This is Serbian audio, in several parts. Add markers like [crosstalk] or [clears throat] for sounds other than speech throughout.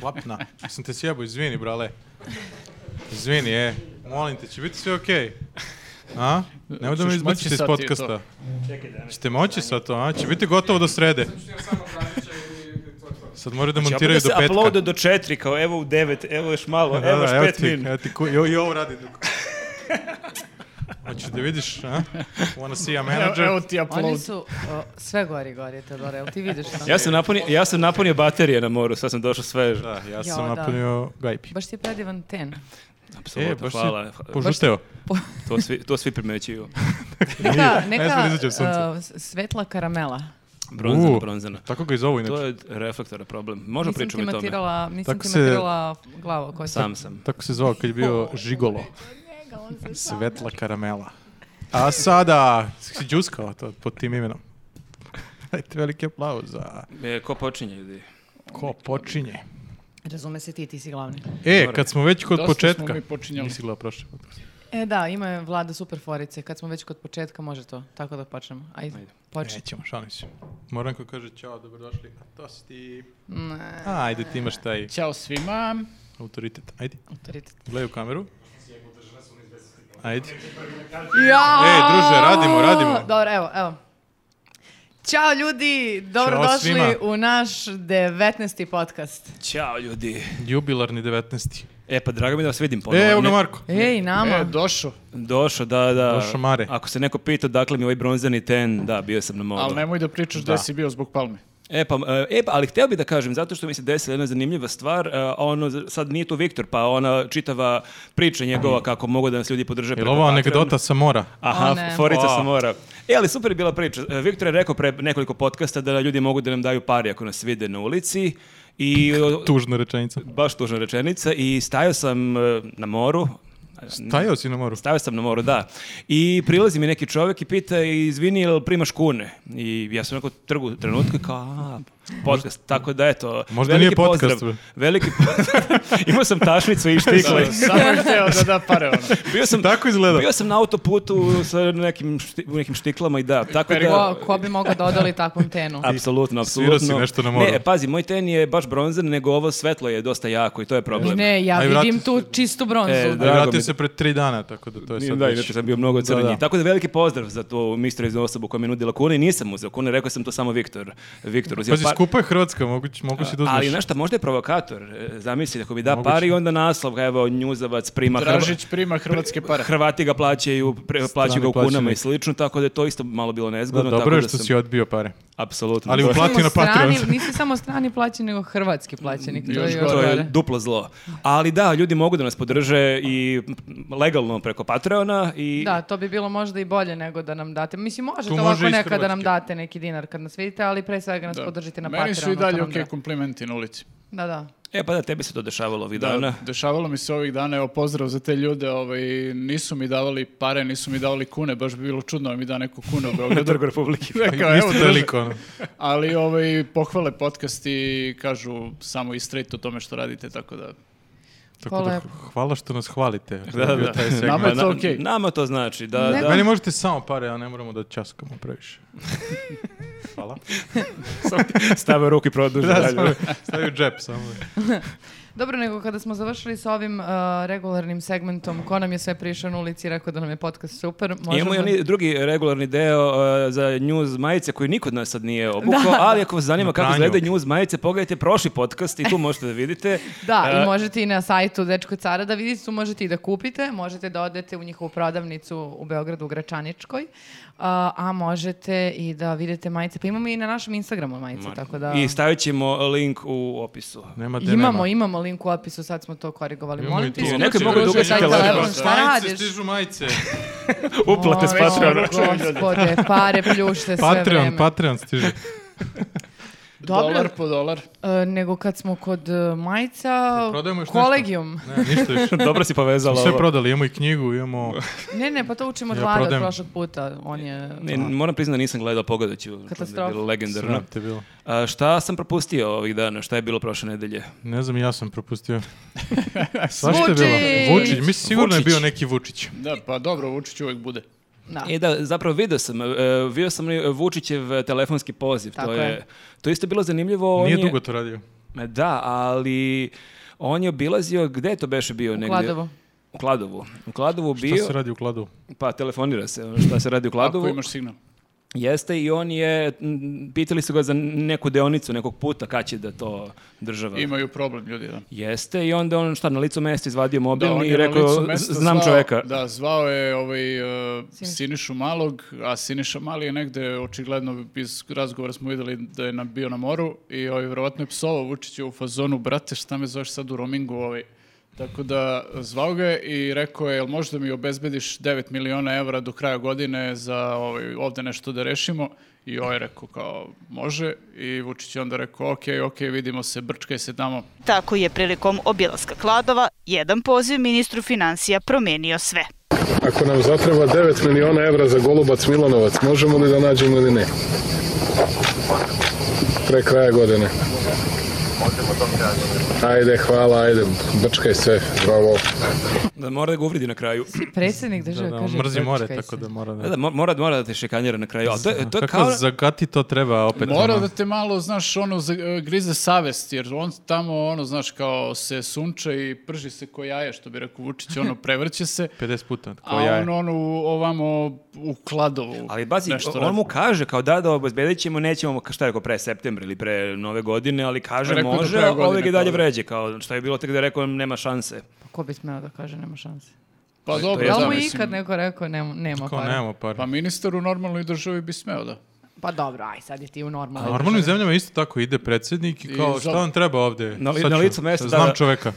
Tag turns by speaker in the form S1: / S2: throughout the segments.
S1: klapna. Sam te sjebao, izvini, brale. Izvini, e. Molim te, će biti sve okej. A? Nemoj da me
S2: Hoćeš
S1: izbacite
S2: moći
S1: iz
S2: sad ti to?
S1: podcasta. Ćete moći sad to, a? Će biti gotovo do srede. Sad moraju da
S3: Opet
S1: montiraju
S3: da
S1: do
S3: se
S1: petka.
S3: uploada do četiri, kao evo u devet, evo još malo,
S1: Da,
S3: evo još
S1: da, evo
S3: pet
S1: ti,
S3: min.
S1: Evo ti, ku- i ovo- i ovo radi dok. Hoćeš da vidiš, a? Wanna see a manager?
S2: Evo ti
S4: Oni
S2: upload.
S4: su o, sve gori gori, Teodora, jel ti vidiš ono? to?
S3: Ja sam, napunio, ja sam napunio baterije na moru, sad sam došao svež.
S1: Da, ja
S4: Jao,
S1: sam
S4: da.
S1: napunio gajpi.
S4: Baš ti je predivan ten.
S3: Apsolutno,
S1: E, baš si-
S3: hvala.
S1: Požuteo.
S3: To svi, to svi primećuju.
S4: Neka,
S1: Ne smije da
S4: neka
S1: izađe u sunce.
S4: e, s- svetla karamela.
S3: Bronzana,
S1: U.
S3: bronzana.
S1: Tako ga i zovu
S3: To
S1: inače.
S3: je reflektora problem. Možemo
S4: nisam ti
S3: pričamo i o tome.
S4: matirala, nisam
S1: Tako
S4: ti
S1: se-
S4: matirala glavu oko sebe.
S3: Sam sam.
S1: Tako se zvao kad je bio žigolo. Svetla karamela. A sada si džuskao to pod tim imenom. [laughs] Dajte veliki aplauz za
S3: E, ko počinje, ljudi?
S1: ko počinje.
S4: Razume se ti, ti si glavni.
S1: E, kad smo već kod
S2: Dosta
S1: početka.
S2: smo mi počinjali.
S1: Nisi gledao prošli podcast.
S4: E da, ima je vlada super forice. Kad smo već kod početka, može to. Tako da počnemo. Ajde,
S3: Ajde.
S2: Znači-
S4: počne.
S1: Nećemo, šalim se. Moram ko kaže čao, dobrodošli, a to si ti.
S4: Ne,
S1: A, ajde, ti imaš taj
S2: Ćao svima.
S1: autoritet. Ajde,
S4: autoritet.
S1: gledaj u kameru. Ajde.
S4: Ja!
S1: Ej, E, druže, radimo, radimo.
S4: Dobro, evo, evo. Ćao ljudi, dobrodošli
S1: svima.
S4: u naš 19. podcast.
S3: Ćao, ljudi.
S1: Jubilarni 19.
S3: E, pa drago mi da vas vidim
S2: Ono
S3: ponovno.
S1: E, evo ga
S3: Ne-
S1: Marko.
S4: Ej, nama.
S2: E, došao.
S3: Došao, da, da.
S1: Došao Mare.
S3: Ako se neko pita dakle mi ovaj bronzani ten, Pa da, bio sam na moru.
S2: Ali nemoj da pričaš da.
S1: Da.
S2: si bio zbog palme.
S3: E pa, e, pa, ali htio bih da kažem, zato što mi se desila jedna zanimljiva stvar, e, ono, sad nije tu Viktor, pa ona čitava priča njegova kako mogu da nas ljudi podrže
S1: Je li
S3: preko
S1: ovo
S3: Patreona.
S1: anegdota sa mora?
S3: Aha,
S4: O, ne.
S3: forica
S1: O.
S3: sa mora. E, ali super je bila priča. E, Viktor je rekao pre nekoliko podcasta da ljudi mogu da nam daju pari ako nas vide na ulici. I o,
S1: Tužna rečenica.
S3: baš tužna rečenica. I stajao sam e, na moru.
S1: Stajao si na moru.
S3: Stavio sam na moru, da. I prilazi mi neki čovjek i pita, izvini, jel primaš kune? I ja sam onako trgu trenutka kao, a, podcast. Tako da, eto,
S1: Možda
S3: veliki
S1: nije podcast,
S3: pozdrav.
S1: bre.
S3: Veliki pozdrav. [laughs] Imao sam tašnicu i štikle.
S2: Samo je hteo da da pare ono.
S3: Bio sam,
S1: Tako izgleda.
S3: Bio sam na autoputu sa nekim, šti- u nekim štiklama i da, tako da...
S4: Ko, ko bi mogao da odoli takvom tenu?
S3: Apsolutno,
S1: Svirao
S3: apsolutno.
S1: si nešto na moru.
S3: Ne, pazi, moj ten je baš bronzan, nego ovo svetlo je dosta jako i to je problem.
S4: Ne, ja
S1: Aj,
S4: vidim
S1: vrati
S4: tu čistu bronzu.
S3: E,
S1: Ali
S3: Drago
S1: vratio
S3: mi-
S1: se pred tri dana, tako da to je sad
S3: da,
S1: već-
S3: inače sam bio mnogo crnji.
S1: Da, da.
S3: Tako da veliki pozdrav za tu misterioznu osobu koja mi je nudila kune i nisam uzeo kune, rekao sam to samo Viktor. Viktor uzeo
S1: Pazi,
S3: par-
S1: skupa je Hrvatska, moguć, mogu si da uzmeš.
S3: Pa- Ali znaš šta, možda je provokator. E, Zamisli, ako bi da
S1: Moguće.
S3: par i onda naslov, ga, evo, Njuzavac prima Hrva-
S2: Dražić prima hrvatske pare.
S3: Hrvati ga plaćaju, pre, plaćaju ga u kunama i
S1: plaćenik.
S3: slično, tako da je to isto malo bilo
S1: Da,
S3: nezgodno. tako
S1: dobro je
S3: da
S1: što
S3: sam-
S1: si odbio pare.
S3: Apsolutno.
S1: Ali
S3: To-
S1: upla- Plati na Patreon.
S4: strani, [laughs] nisi samo strani plaćenik, nego hrvatski plaćenik. To
S2: Još
S4: je još
S3: To je
S4: gore.
S3: duplo zlo. Ali da, ljudi mogu da nas podrže i legalno preko Patreona i
S4: Da, to bi bilo možda i bolje nego da nam date. Mislim, možete
S1: Tu može
S4: ovako
S1: iz
S4: nekad da nam
S1: Hrvatske.
S4: date neki dinar kad nas vidite, ali pre svega nas podržite na Patreonu.
S2: Meni su i
S4: to
S2: dalje
S4: nam
S2: ok
S4: da.
S2: komplimenti na ulici.
S4: Da, da.
S3: E pa da, tebi se to dešavalo ovih
S2: Da,
S3: dana.
S2: dešavalo mi se ovih dana, evo pozdrav za te ljude, ovaj, nisu mi davali pare, nisu mi davali kune, baš bi bilo čudno da mi da neko kune u Beogradu.
S3: Trg Republike.
S2: Rekao, evo,
S1: Isto je
S2: drži.
S1: lik, ono.
S2: Ali ovaj, pohvale podcast i kažu samo i straight o tome što radite, tako da...
S1: Tako da,
S4: lepo.
S1: hvala što nas hvalite.
S3: Da,
S1: To je bio
S3: da.
S1: taj segment.
S2: Nama je
S3: Ma,
S2: to
S3: na-
S2: okej.
S3: Nama to znači, da,
S4: Ne.
S3: da.
S1: Meni možete samo pare, a ne moramo da časkamo
S3: [laughs]
S1: previše. Hvala.
S3: Stave ruke i
S1: [laughs]
S3: produže
S1: Da,
S3: dalje.
S1: samo- stavi u džep samo.
S4: Dobro, nego kada smo završili sa ovim uh, regularnim segmentom, ko nam je sve prišao na ulici i rekao da nam je podcast super, možemo...
S3: Imamo i oni drugi regularni deo e, za news majice koji niko od nas sad nije obukao, ali ako vas zanima kako
S1: pranju.
S3: izgleda news majice, pogledajte prošli podcast i
S4: [laughs]
S3: tu možete da vidite.
S4: Da,
S3: E,
S4: i možete i na sajtu Dečko Cara da vidite, tu možete i da kupite, možete da odete u njihovu prodavnicu u Beogradu u Gračaničkoj, a, a možete i da vidite majice. Pa imamo i na našem Instagramu majice, tako da...
S3: I stavit ćemo link u opisu.
S1: Nema gde
S4: Imamo,
S1: nema.
S4: imamo link u opisu, sad smo to korigovali.
S1: Imamo
S4: Molim
S1: i
S4: ti,
S1: tu.
S4: isključi,
S3: Neko je mogao da
S4: druže,
S3: ugasi
S4: taj
S3: telefon.
S4: telefon, šta
S1: Majice,
S4: radiš?
S1: Stižu majice.
S3: Uplate s
S4: Oj,
S3: Patreona.
S4: ovaj, Gospode, pare pljušte sve
S1: [laughs] Patreon,
S4: vreme.
S1: Patreon stiže.
S4: Dobro,
S2: Dolar po dolar.
S4: e, nego kad smo kod e, majica,
S1: Prodajemo još nešto?
S4: kolegijum.
S1: Ne, ništa više.
S3: [laughs] Dobro si povezala
S1: Sve
S3: ovo.
S1: prodali, imamo i knjigu, imamo...
S4: Ne, ne, pa to učimo od
S1: Ja
S4: Vlada
S1: prodajem.
S4: prošlog puta. On je...
S3: Ne, moram priznati da nisam gledao Pogodaću. to je
S4: Katastrofa.
S3: Bilo legendarno.
S1: Sram te bilo.
S3: A, šta sam propustio ovih dana? Šta je bilo prošle nedelje?
S1: Ne znam, ja sam propustio. Svašta je
S4: Vučić!
S1: bilo. Vučić, mislim sigurno
S3: Vučić.
S1: je bio neki Vučić.
S2: Da, pa dobro, Vučić uvek bude.
S4: Da.
S3: E da, zapravo video sam, e, video sam i Vučićev telefonski poziv,
S4: Tako
S3: to je,
S4: je.
S3: to je isto bilo zanimljivo. on
S1: Nije
S3: je-
S1: dugo to radio.
S3: Ma Da, ali on je obilazio, gde je to beše bio? negdje?
S4: Kladovu.
S3: U Kladovu. U Kladovu bio,
S1: Šta se radi u kladu?
S3: pa telefonira se, ono, šta se radi u Kladovu.
S2: Ako imaš signal.
S3: Jeste i on je, m, pitali su ga za neku deonicu nekog puta kad će da to država.
S2: Imaju problem ljudi, da.
S3: Jeste i onda on šta na licu mesta izvadio mobilni
S2: on je
S3: i
S2: na licu
S3: rekao
S2: mesta
S3: znam
S2: zvao-
S3: čoveka.
S2: Da, zvao je ovaj, uh, Sinišu Malog, a Siniša Mali je negde, očigledno iz razgovora smo videli da je na, bio na moru i ovaj, vjerovatno je psovao Vučića u fazonu, brate, šta me zoveš sad u roamingu? Ovaj. Tako da zvao ga je i rekao je, jel možda mi obezbediš 9 miliona evra do kraja godine za ovaj, ovde nešto da rešimo? I ovaj je rekao kao, može. I Vučić je onda rekao, ok, ok, vidimo se, brčkaj se tamo.
S5: Tako je prilikom obilaska Kladova jedan poziv ministru financija promenio sve.
S6: Ako nam zatreba 9 miliona evra za Golubac Milanovac, možemo li da nađemo ili ne? Pre kraja godine. Ajde, hvala, ajde, brčkaj sve, bravo.
S3: Da mora da ga uvredi na kraju.
S4: Predsjednik
S1: Da,
S4: države
S1: da,
S4: kaže...
S1: mrzi more,
S4: "Brčkaj
S1: tako
S4: se."
S1: da mora
S3: Da,
S1: da...
S3: da, mo- mora, mora da te šikanjera na kraju. Ali to, je- to je
S1: Kako
S3: kao...
S1: zagati to treba opet?
S2: Mora
S1: ono?
S2: da te malo, znaš, ono, za- e, grize savest, jer on tamo, ono, znaš, kao se sunče i prži se ko jaje, što bi rekao Vučić, ono, prevrće se,
S1: 50 puta,
S2: a
S1: kao jaje.
S2: on, ono, u- ovamo u kladovu.
S3: Ali bazi,
S2: nešto
S3: on
S2: radi.
S3: mu kaže kao da, da obezbedit ćemo, nećemo, mu- šta je rekao, pre septembra ili pre nove godine, ali kaže
S2: Rekao je do
S3: može,
S2: kraja
S3: a
S2: godine, pa
S3: ovaj ga i dalje
S2: kao.
S3: vređe, kao što je bilo tek da je rekao nema šanse.
S4: Ko bi smeo da kaže, nema šanse.
S2: Pa
S1: E,
S2: dobro,
S3: Ja
S4: Da
S2: da,
S4: li mu je
S2: mislim.
S4: ikad neko rekao, nema, nema
S1: Kao
S4: para?
S1: nemamo par.
S2: Pa ministar u normalnoj državi bi smeo da.
S4: Pa dobro, aj sad je ti u
S1: A
S4: normalnoj
S1: u normalnim zemljama isto tako ide predsjednik i kao
S2: I
S1: šta
S2: zove.
S1: vam treba ovdje?
S3: Na li-
S1: Sad
S3: na
S1: ću-
S3: licu mjesta,
S1: Znam
S3: da.
S1: čoveka.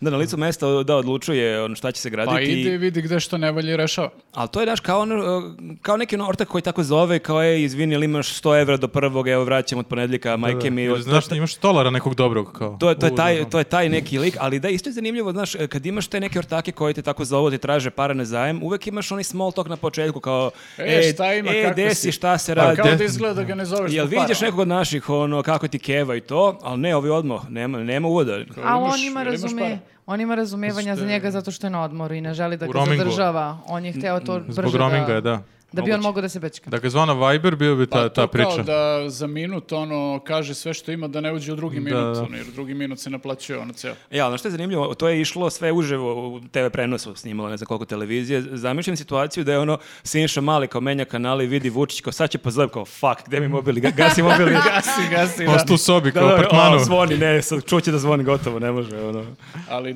S3: Da na licu mesta da odlučuje on šta će se graditi.
S2: Pa ide i vidi gde što ne valje rešava.
S3: Ali to je, daš, kao, ono, e, kao neki ono ortak koji tako zove, kao je, izvini, ili imaš 100 evra do prvog, evo vraćam od ponedljika, majke mi.
S1: Ili
S3: od-
S1: Znaš,
S3: to-
S1: imaš stolara nekog dobrog kao.
S3: To je, to, je
S1: U, ono,
S3: taj,
S1: znam.
S3: to je taj neki lik, ali da, isto je zanimljivo, znaš, e, kad imaš te neke ortake koji te tako zovu, ti traže para na zajem, uvek imaš onaj small talk na početku, kao,
S2: E, šta ima,
S3: e,
S2: kako
S3: gde
S2: si?"
S3: si, šta se
S2: Pa
S3: radi.
S2: kao
S1: de-
S2: da izgleda da ga ne zoveš
S3: Jel
S2: po parama.
S3: vidiš nekog od naših, ono, kako ti keva i to, ali ne, ovi odmah, nema, nema uvoda.
S2: Kao,
S4: A
S2: imaš-
S4: on ima,
S2: jel imaš
S4: razume,
S2: para?
S4: on ima razumevanja za njega zato što je na odmoru i ne želi da
S1: U
S4: ga
S1: roamingu. Mm,
S4: zadržava. On je hteo to brže
S1: Zbog roaminga
S4: da,
S1: je, da.
S4: da bi on mogao da se bečka.
S1: Da ga zvana Viber bio bi ta,
S2: Pa
S1: ta
S2: to
S1: priča.
S2: kao da za minut ono kaže sve što ima da ne uđe u drugi minut,
S1: da.
S2: ono, jer drugi minut se naplaćuje ono ceo.
S3: Ja, ali E, znaš što je zanimljivo, to je išlo sve uživo u TV prenosu, snimalo ne znam koliko televizije. Zamišljam situaciju da je ono Siniša Mali kao menja kanali, vidi Vučić kao sad će pozove kao fuck, gde mi mobil, Ga- gasi mobil, [laughs] gasi, gasi. da.
S1: Pošto u sobi,
S3: Da,
S1: kao u
S3: da,
S1: apartmanu.
S3: a, zvoni, ne, sad čuće da zvoni gotovo, ne može. Ono.
S2: Ali e,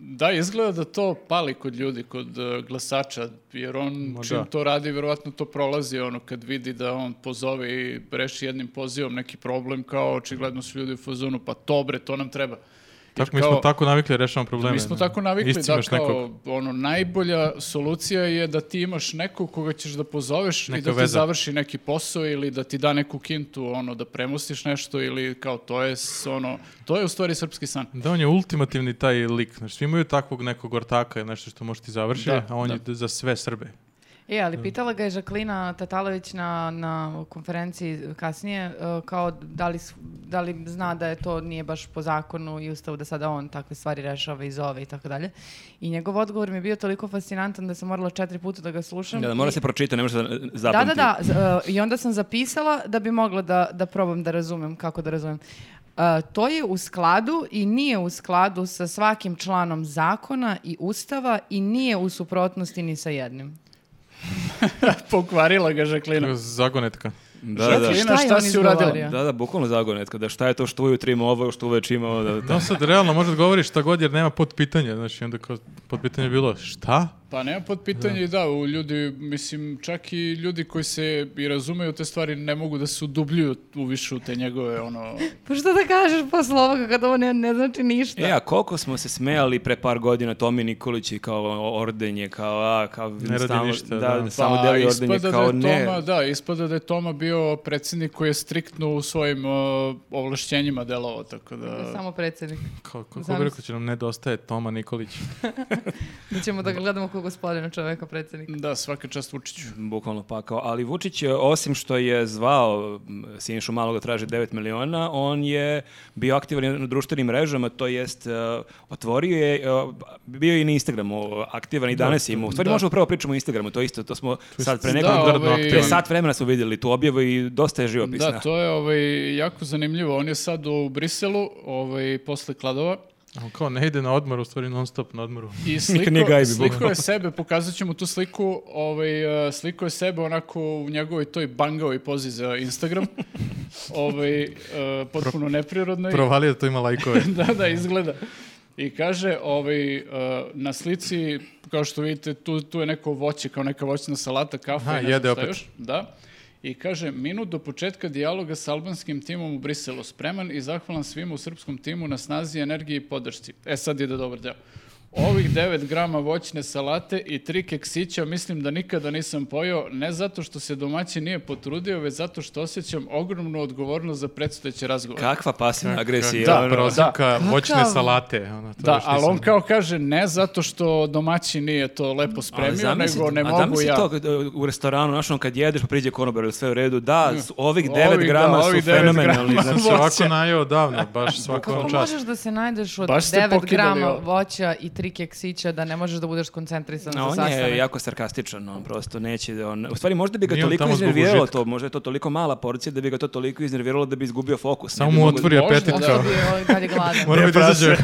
S2: da, izgleda da to pali kod ljudi, kod e, glasača, jer on čim
S1: da.
S2: to radi, vjerovatno to prolazi, ono, kad vidi da on pozove i reši jednim pozivom neki problem, kao očigledno su ljudi u fazonu, pa to bre, to nam treba.
S1: Tako,
S2: Jer
S1: mi smo
S2: kao-
S1: tako navikli da rešavamo probleme.
S2: Mi smo
S1: ne.
S2: tako navikli da
S1: Iscimaš
S2: kao
S1: nekog.
S2: ono najbolja solucija je da ti imaš nekog koga ćeš da pozoveš i
S1: Neka
S2: da ti
S1: veza.
S2: završi neki posao ili da ti da neku kintu ono da premostiš nešto ili kao to je s- ono to je u stvari srpski san. [laughs]
S1: Da, on je ultimativni taj lik. Znači, svi imaju takvog nekog ortaka, nešto što može ti završi,
S2: Da,
S1: a on
S2: da.
S1: je za sve Srbe.
S4: E, ali pitala ga je Žaklina Tatalović na, na konferenciji kasnije, e, kao da li, s- da li zna da je to nije baš po zakonu i ustavu da sada on takve stvari rešava i zove i tako dalje. I njegov odgovor mi je bio toliko fascinantan da sam morala četiri puta da ga slušam.
S3: Da, da,
S4: i-
S3: mora se pročita, ne može da
S4: Da,
S3: zapamti.
S4: da, da. z- e, I onda sam zapisala da bi mogla da, da probam da razumem kako da razumem. E, to je u skladu i nije u skladu sa svakim članom zakona i ustava i nije u suprotnosti ni sa jednim.
S2: Pokvarila ga Žaklina.
S1: Zagonetka.
S3: Da, da, da.
S2: Žaklina,
S4: Šta je
S2: šta
S4: on
S2: si uradila?
S4: izgovorio?
S3: Da, da, bukvalno zagonetka, da šta je to što ujutro ima ovo, što uveč ima ovo. Da, da.
S1: Da, sad realno možeš da govoriš šta god jer nema potpitanja. Znači, onda kao potpitanje je bilo šta?
S2: Pa nema pod pitanje, da. u ljudi, mislim, čak i ljudi koji se i razumeju te stvari ne mogu da se udubljuju u više u te njegove, ono...
S4: Pa što da kažeš posle ovoga kad ovo ne, ne znači ništa?
S3: E, a koliko smo se smejali pre par godina Tomi Nikolić i kao ordenje, kao a, kao
S1: radi
S3: stalno-
S1: ništa,
S3: da,
S1: da.
S3: samo
S2: Pa,
S3: deli
S2: ispada
S3: ordenje, kao
S2: da je
S3: ne.
S2: Toma, Da, ispada da je Toma bio predsjednik koji je striktno u svojim uh, ovlašćenjima delovao, tako da...
S4: Samo predsjednik.
S1: Kao, kako bi
S4: Zamisli.
S1: rekao, će nam nedostaje Toma Nikolić.
S4: Da ćemo da ga gledamo kao gospodina čoveka predsjednika.
S2: Da, svaka čast Vučiću.
S3: Bukvalno pakao. Ali Vučić, je, osim što je zvao m, Sinišu Malog da traži 9 miliona, on je bio aktivan na društvenim mrežama, to jest e, otvorio je, e, bio je i na Instagramu aktivan i danas ima. U stvari možemo prvo pričamo o Instagramu, to isto, to smo sad pre
S2: Da,
S3: nekog...
S1: standardno
S2: ovaj,
S1: aktivan.
S3: Pre sat vremena smo vidjeli tu objavu zanimljiva i dosta je živopisna.
S2: Da, to je ovaj, jako zanimljivo. On je sad u Briselu, ovaj, posle kladova,
S1: Ali kao ne ide na odmor, u stvari non stop na odmoru.
S2: I
S3: Nikad nije
S2: sliko,
S3: gajbi,
S2: sliko
S3: bukvalno.
S2: je sebe, pokazat ćemo tu sliku, ovaj, eh, sliko je sebe onako u njegovoj toj bangovoj pozi za
S3: [laughs]
S2: Instagram, ovaj, eh, potpuno neprirodnoj.
S1: Provalio da to ima lajkove.
S2: [laughs] da, da, izgleda. I kaže, ovaj, eh, na slici, kao što vidite, tu, tu je neko voće, kao neka voćna salata, kafa
S1: Aha,
S2: i ne znam
S1: jede
S2: šta
S1: opet.
S2: još. Da. I kaže, minut do početka dijaloga sa albanskim timom u Briselu. Spreman i zahvalan svima u srpskom timu na snazi, energiji i podršci. E, sad ide dobar deo. Ovih 9 grama voćne salate i tri keksića mislim da nikada nisam pojeo, ne zato što se domaći nije potrudio, već zato što osjećam ogromnu odgovornost za predstojeće razgovore.
S3: Kakva pasivna agresija.
S2: da,
S3: ono.
S2: prosto.
S1: Prozivka
S4: Da.
S1: voćne
S4: Kakav-
S1: salate. Ono, to
S2: Da,
S1: još
S2: ali
S1: nisam-
S2: on kao kaže ne zato što domaći nije to lepo
S3: Ali
S2: spremio,
S3: zamisli-
S2: nego ne
S3: a
S2: mogu
S3: zamisli
S2: ja.
S3: to kad, e, u restoranu, znaš, ono kad jedeš pa priđe konobar, sve u redu, da, s- ovih
S2: Mm. Ovih,
S3: 9 grama
S2: da,
S3: su
S2: ovih devet
S3: fenomenalni.
S2: [laughs] grama.
S1: Sam se
S2: voće.
S1: ovako najeo davno, baš svaka
S4: Kako
S1: vam čast.
S4: možeš da se najdeš od
S2: Baš ste
S4: 9
S2: pokidali
S4: grama
S2: ovo.
S4: voća i 3 keksića da ne možeš da budeš koncentrisan
S3: A
S4: za
S3: on je
S4: sastanak?
S3: jako sarkastičan, on prosto neće da on... U stvari možda bi ga
S1: Nije on
S3: toliko
S1: tamo zbog
S3: iznerviralo
S1: užitka.
S3: to, možda je to toliko mala porcija da bi ga to toliko iznerviralo da bi izgubio fokus.
S1: Samo
S3: Ne bi
S1: mu
S3: mogao-
S1: otvori
S2: možda
S1: apetit
S2: da-
S1: kao.
S4: Onda bi on kad je gladan.
S1: Mora bi da
S3: praše.
S1: izađe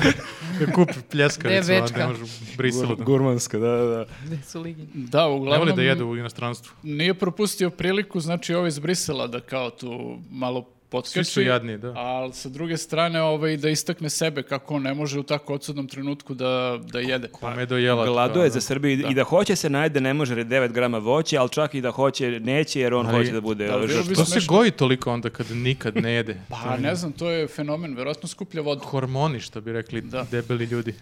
S1: da kupi pljeskavicu,
S4: Gde je
S1: a
S4: bečka?
S1: ne može u Briselu. da-
S3: Gurmanska, da, da, da.
S4: Gde su liginje?
S2: Da,
S1: Ne voli
S2: uglavnom
S1: da jedu u inostranstvu.
S2: nije propustio priliku, znači ovo iz Brisela da kao tu malo potkači.
S1: Svi su jadni, da.
S2: Ali sa druge strane ovaj, da istakne sebe kako on ne može u tako odsudnom trenutku da, da jede.
S1: Kome ono? dojela.
S3: Glado je za Srbiju i- i da hoće se najde ne može jer je 9 grama voće, ali čak i da hoće neće jer on
S1: Ali-
S3: hoće da bude
S2: Da,
S3: e,
S2: bilo bi
S3: žrtva.
S1: To se
S2: Smešno.
S1: goji toliko onda kad nikad ne jede.
S2: Pa ne znam, to je fenomen, verovatno skuplja vodu.
S1: Hormoni, što bi rekli
S2: Da.
S1: debeli ljudi.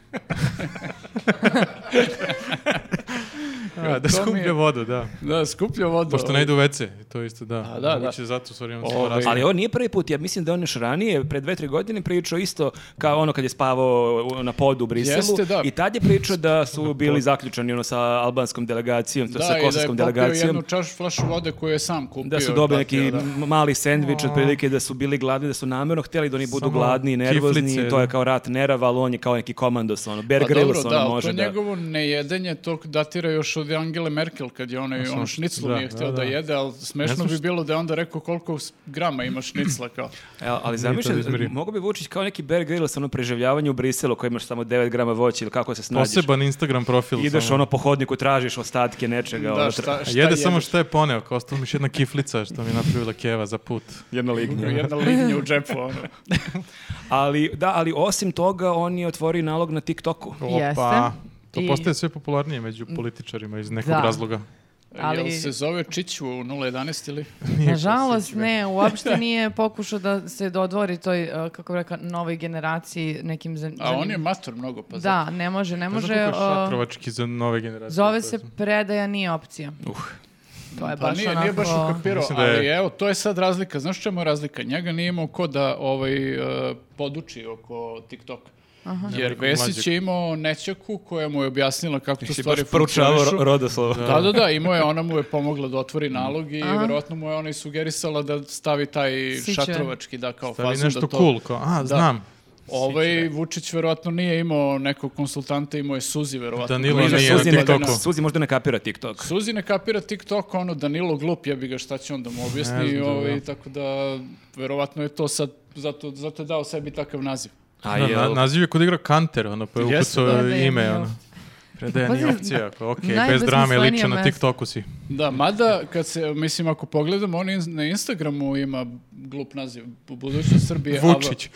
S1: A, da
S2: To mi je-
S1: skuplja vodu, da.
S2: Da, skuplja ovaj. vodu.
S1: Pošto ne idu u WC, to isto da.
S2: A, da, da.
S1: Moguće zato stvari imam
S2: Ovaj,
S1: stvarno
S3: Ali ovo nije prvi put, ja mislim da on još ranije, pre dve, tri godine pričao isto kao ono kad je spavao u- na podu u Briselu.
S2: Jeste, da.
S3: I tad je pričao da su bili zaključani ono sa albanskom delegacijom, to
S2: Da,
S3: sa
S2: i da je
S3: kosovskom
S2: popio
S3: delegacijom.
S2: jednu čašu flašu vode koju je sam kupio.
S3: Da su
S2: i
S3: dobili neki
S2: platio, da.
S3: m- mali sendvič, otprilike da su bili gladni, da su namjerno htjeli da oni budu
S1: Samo
S3: gladni i nervozni,
S1: kiflice,
S3: to je
S1: da.
S3: kao rat nerava, ali on je kao neki komandos, ono, Bear
S2: Pa
S3: Grylls,
S2: dobro,
S3: ono,
S2: da, ali
S3: može
S2: to
S3: da...
S2: njegovo nejedenje to datira još od Angele Merkel kad je onaj, ono šniclu
S1: da,
S2: nije htio
S1: da,
S2: da,
S1: da.
S2: jede, ali smešno
S1: znam
S2: bi
S1: što-
S2: bilo da je onda rekao koliko s- grama ima šnicla
S1: [laughs]
S2: kao.
S3: E, ali zamišljaj,
S1: izmeri.
S3: mogu bi Vučić kao neki Bear Grylls, ono, preživljavanje u Briselu koji imaš samo 9 grama voća ili kako se snađeš.
S1: Poseban Instagram profil.
S3: Ideš
S1: samo.
S3: ono po hodniku, tražiš ostatke nečega. ono,
S2: da,
S3: tra-
S2: šta,
S1: A
S2: šta
S1: jede samo
S2: jedeš?
S1: što je poneo, kao ostalo mi još jedna kiflica što mi je napravila keva za put.
S3: Jedna lignja.
S2: Jedna lignja u džepu,
S1: [laughs]
S2: ono.
S3: Ali, da, ali osim toga, on je otvorio nalog na TikToku.
S4: Jeste.
S1: To
S4: I-
S1: postaje sve popularnije među političarima iz nekog
S4: Da.
S1: razloga.
S4: Ali-
S2: Jel se zove Čiću u 011 ili?
S4: Nažalost,
S1: [laughs]
S4: ne, uopšte nije pokušao da se dodvori toj, e, kako bi rekla, novoj generaciji nekim zan-
S2: A on je
S4: zanim-
S2: mator mnogo, pa zato.
S4: Da, ne može, ne
S1: Ne
S4: može...
S1: znam kako je
S4: e,
S1: šatrovački za nove generacije.
S4: Zove
S1: to
S4: se
S1: je znam.
S4: predaja nije opcija.
S1: Uh.
S4: To je
S2: Pa
S4: baš
S2: nije,
S4: onako...
S2: nije baš ukapirao,
S1: Mislim da je-
S2: ali evo, to je sad razlika. Znaš čemu je razlika? Njega nije imao ko da ovaj, e, poduči oko TikToka. Jer
S1: Nekog
S2: Vesić
S1: mlađeg.
S2: je imao nećaku koja mu je objasnila kako to
S3: Si
S2: stvari
S3: baš proučavao
S2: funkcionišu.
S3: ro- rodoslovo.
S2: Da, da, da, imao je, ona mu je pomogla da otvori nalog i verovatno mu je ona i sugerisala da stavi taj
S4: Siće.
S2: šatrovački, da kao
S1: Stavi
S2: fazon
S1: nešto
S2: da to...
S1: cool, kao, a, znam.
S2: Ovaj Vučić verovatno nije imao nekog konsultanta, imao je Suzi verovatno.
S1: Danilo
S2: Koja je
S1: nije
S3: Suzi,
S1: na
S3: ne,
S1: TikToku.
S3: Suzi možda ne kapira TikTok.
S2: Suzi ne kapira TikTok, ono Danilo glup, ja bi ga šta će onda mu
S1: Ne
S2: objasni,
S1: znam, da,
S2: ovaj,
S1: da.
S2: tako da verovatno je to sad, zato, zato je dao sebi takav naziv.
S3: A
S1: Da,
S3: jel-
S1: na-
S3: [laughs]
S1: naziv je kod igra Kanter, ono, pa je
S2: Jeste,
S1: ukucao
S4: da.
S1: ime, ono. Predaja nije
S4: Pazi,
S1: opcija, ako, okej, bez
S4: najbesmislenije
S1: drame, liče na
S4: mesto.
S1: TikToku si.
S2: Da, mada, kad se, mislim, ako pogledamo, on in- na Instagramu ima glup naziv, Bu- budućnost Srbije. ava- [laughs]
S1: Vučić.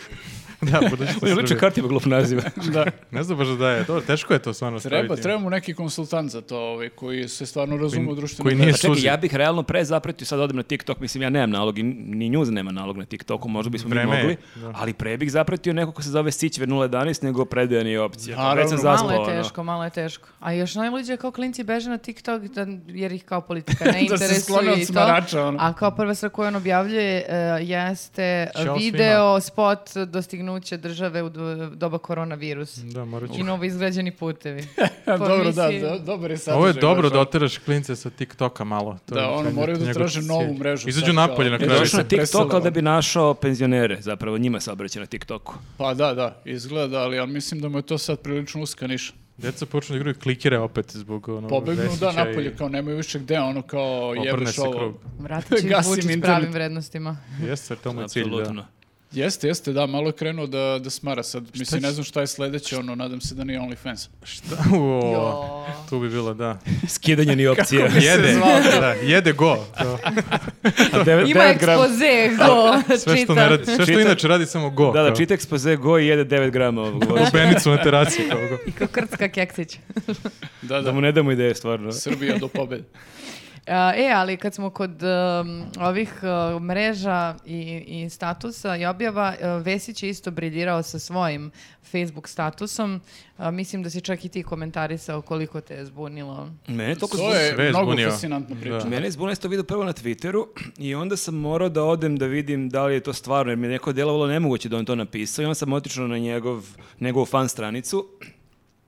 S1: da, budućnost
S3: Ovo je liče
S1: Srbije.
S3: kartima
S1: [laughs]
S3: glup naziv.
S2: Da,
S1: Ne znam baš da daje, dobro, teško je to stvarno staviti
S2: treba,
S1: ime.
S2: treba mu neki konsultant za to, ovaj, koji se stvarno razume u društvenim
S1: koji nije
S3: Pa čekaj,
S1: Suzi.
S3: ja bih realno pre zapretio, sad odem na TikTok, mislim ja nemam nalog, i ni njuz nema nalog na TikToku, možda bismo mi
S1: Vreme je,
S3: mogli,
S1: da.
S3: ali pre bih zapretio neko ko se zove Sićve 011, nego predaja nije opcija.
S2: Naravno.
S3: Već sam zaspao,
S4: Malo je
S3: ono.
S4: teško, malo je teško. A još najluđe je kao klinci beže na TikTok da, jer ih kao
S2: [laughs]
S4: politika ne
S2: Da se sklone
S4: interesuje
S2: od
S4: i
S2: smarača,
S4: to.
S2: ono.
S4: A kao prva stvar koju on objavljuje e, jeste
S1: Ćao svima.
S4: video spot dostignuće države u do- doba koronavirus.
S1: Da, morat ću.
S4: I novo izgrađeni Znači,
S2: [laughs]
S4: putevi. Pa
S2: Dobro, da,
S4: mislim-
S2: do, dobar je sadržaj.
S1: Ovo je dobro
S2: baš,
S1: da oteraš klince sa TikToka malo. To
S2: Da,
S1: je
S2: ono,
S1: taj
S2: moraju da
S1: njegov
S2: traže
S1: cilj.
S2: novu mrežu
S1: Izađu
S2: sad,
S1: napolje
S2: kao.
S1: na
S2: E,
S1: kraju.
S3: Došao
S2: došlo
S1: sa-
S3: na TikTok ali
S2: preselila.
S3: da bi našao penzionere, zapravo njima se obraća na TikToku.
S2: Pa da, da, izgleda, ali ja mislim da mu je to sad prilično uska niša.
S1: Deca počnu da igraju klikere opet zbog ono,
S2: Pobegnu, da,
S1: Vesića i-
S2: napolje, kao nemaju više gde, ono kao
S1: Obrne
S2: jebeš
S1: se
S2: ovo.
S1: krug.
S4: Vratit ću
S2: Gasim
S4: Vučić s pravim
S2: internet.
S4: vrednostima.
S1: Jeste, to
S3: Znači,
S1: mu je cilj, da.
S3: Apsolutno.
S2: Jeste, jeste, da, malo je krenuo da, da smara sad. Mislim, ne znam šta je sledeće, ono, nadam se da nije OnlyFans.
S1: Šta? O, tu bi bilo,
S2: [laughs]
S1: da.
S3: Skidanje ni opcija.
S1: Jede, da, jede go. To,
S3: A devet-
S4: Ima
S3: devet
S2: [laughs]
S3: gram-
S4: ekspoze, go,
S1: sve što,
S4: čitam.
S1: ne radi, sve što
S3: Čita-
S1: inače radi samo go.
S3: Da, da,
S1: kao.
S3: čita ekspoze, go i jede 9 grama ovog voća.
S1: Lubenicu na terasi, kao go.
S4: I kao krcka keksić.
S2: Da,
S3: [laughs] Da
S2: da,
S3: mu ne damo ideje, stvarno.
S2: Srbija do
S1: [laughs]
S2: pobede.
S4: A, E, ali kad smo kod um, ovih uh, mreža i, i statusa i objava, uh, Vesić je isto briljirao sa svojim Facebook statusom. A, mislim da si čak i ti komentarisao koliko te je zbunilo.
S3: Mene je toliko
S2: To
S1: Sve
S2: je
S1: je
S2: mnogo
S1: zbunio.
S2: fascinantna priča.
S1: Da.
S3: Mene je zbunilo, ja sam to vidio prvo na Twitteru i onda sam morao da odem da vidim da li je to stvarno, jer mi je neko djelovalo nemoguće da on to napisao i onda sam otišao na njegov, njegovu fan stranicu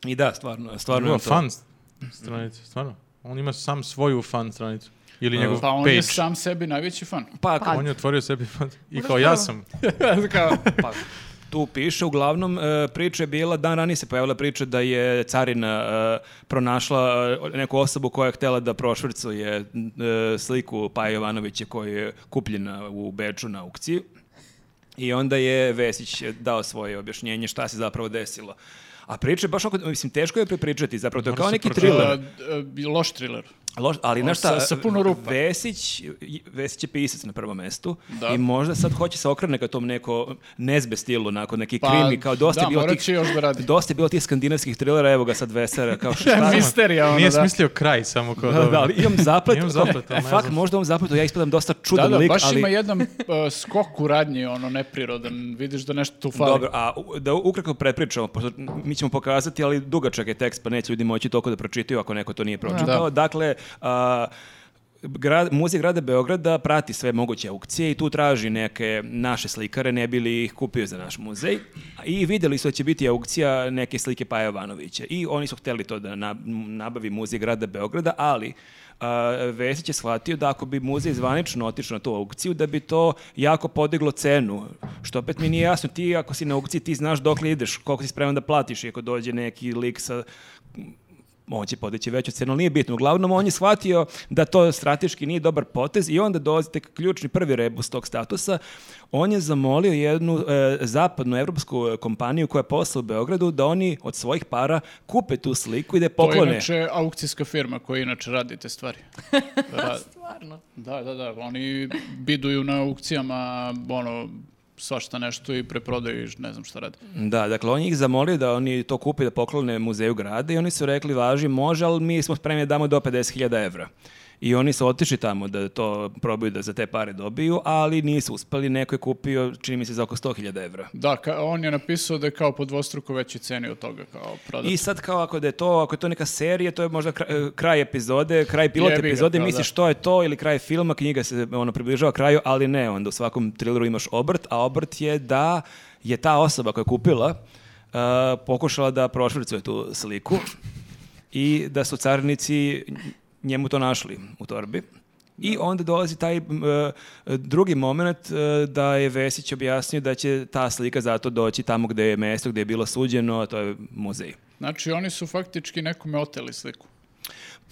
S3: i da, stvarno, stvarno
S1: Ima
S3: je to.
S1: fan stranicu, stvarno. On ima sam svoju fan stranicu. Ili njegov
S2: Pa on
S1: page.
S2: je sam sebi najveći fan.
S3: Pa,
S4: Pa,
S1: On je otvorio sebi fan. I kao ja sam. [laughs]
S2: Kao,
S3: pa, tu piše, uglavnom e, priča je bila, dan ranije se pojavila priča da je carina e, pronašla e, neku osobu koja je htjela da prošvrcuje e, sliku Paja Jovanovića koja je kupljena u Beču na aukciji. I onda je Vesić dao svoje objašnjenje šta se zapravo desilo. A priča je baš oko, mislim, teško je prepričati, zapravo to je
S1: Mora
S3: kao
S1: se
S3: neki
S1: pročitati.
S3: thriller.
S2: a, d- a, loš thriller.
S3: Loš, ali znaš šta,
S2: sa- sa puno rupa.
S3: Vesić, Vesić je pisac na prvom mestu
S2: Da.
S3: i možda sad hoće se okrene ka tom neko nezbe stilu, onako neki
S2: Pa,
S3: krimi, kao dosta je
S2: da,
S3: bilo
S2: morat
S3: tih,
S2: će još da radi.
S3: dosta je bilo tih skandinavskih trilera, evo ga sad Vesera,
S2: [laughs]
S3: kao šta
S2: Mislim, Misterija, ono,
S1: Nije
S2: da.
S1: smislio kraj, samo kao
S3: [laughs] Da, da, ali imam zaplet.
S1: Imam
S3: [laughs]
S1: zaplet, ali ne
S3: Fak,
S1: znam.
S3: možda u ovom zapletu ja ispadam dosta čudan
S2: Da, da,
S3: lik,
S2: baš
S3: ali...
S2: ima jedan uh, skok u radnji, ono, neprirodan. Vidiš da nešto tu fali.
S3: Dobro, a u- da ukratko prepričamo, pošto mi ćemo pokazati, ali dugačak je tekst, pa neće ljudi moći toliko da pročitaju ako neko to nije pročitao. Dakle, a, grad, Muzej grada Beograda prati sve moguće aukcije i tu traži neke naše slikare, ne bi li ih kupio za naš muzej. I vidjeli su da će biti aukcija neke slike Paja Jovanovića. I oni su hteli to da na- nabavi Muzej grada Beograda, ali a, Vesić je shvatio da ako bi muzej zvanično otišao na tu aukciju, da bi to jako podiglo cenu. Što opet mi nije jasno, ti ako si na aukciji, ti znaš dokle ideš, koliko si spreman da platiš, i ako dođe neki lik sa on će podići veću cenu, ali nije bitno. Uglavnom, on je shvatio da to strateški nije dobar potez i onda dolazi tek ključni prvi rebus tog statusa. On je zamolio jednu e, zapadnu evropsku e, kompaniju koja posla u Beogradu da oni od svojih para kupe tu sliku i da je
S2: To je
S3: poklone.
S2: inače aukcijska firma koja inače radi te [laughs] stvari. Da,
S4: Stvarno.
S2: da, da, da, oni biduju na aukcijama, ono, svašta nešto i preprodaju i ne znam šta radi.
S3: Da, dakle, on je ih zamolio da oni to kupe da poklone muzeju grada i oni su rekli, važi, može, ali mi smo spremni da damo do 50.000 evra. I oni su otišli tamo da to probaju da za te pare dobiju, ali nisu uspeli, neko je kupio, čini mi se, za oko 100.000 evra.
S2: Da, ka- on je napisao da je kao po dvostruko veći ceni od toga, kao prodat.
S3: I sad kao ako da je to, ako je to neka serija, to je možda kra- e, kraj, epizode, kraj pilot
S2: Jebi ga,
S3: epizode,
S2: kao
S3: misliš
S2: da.
S3: što je to ili kraj filma, knjiga se ono približava kraju, ali ne, onda u svakom trileru imaš obrt, a obrt je da je ta osoba koja je kupila uh, pokušala da prošvrcuje tu sliku i da su carnici njemu to našli u torbi. I onda dolazi taj m, e, drugi moment e, da je Vesić objasnio da će ta slika zato doći tamo gde je mesto, gde je bilo suđeno, a to je muzej.
S2: Znači, oni su faktički nekome oteli sliku.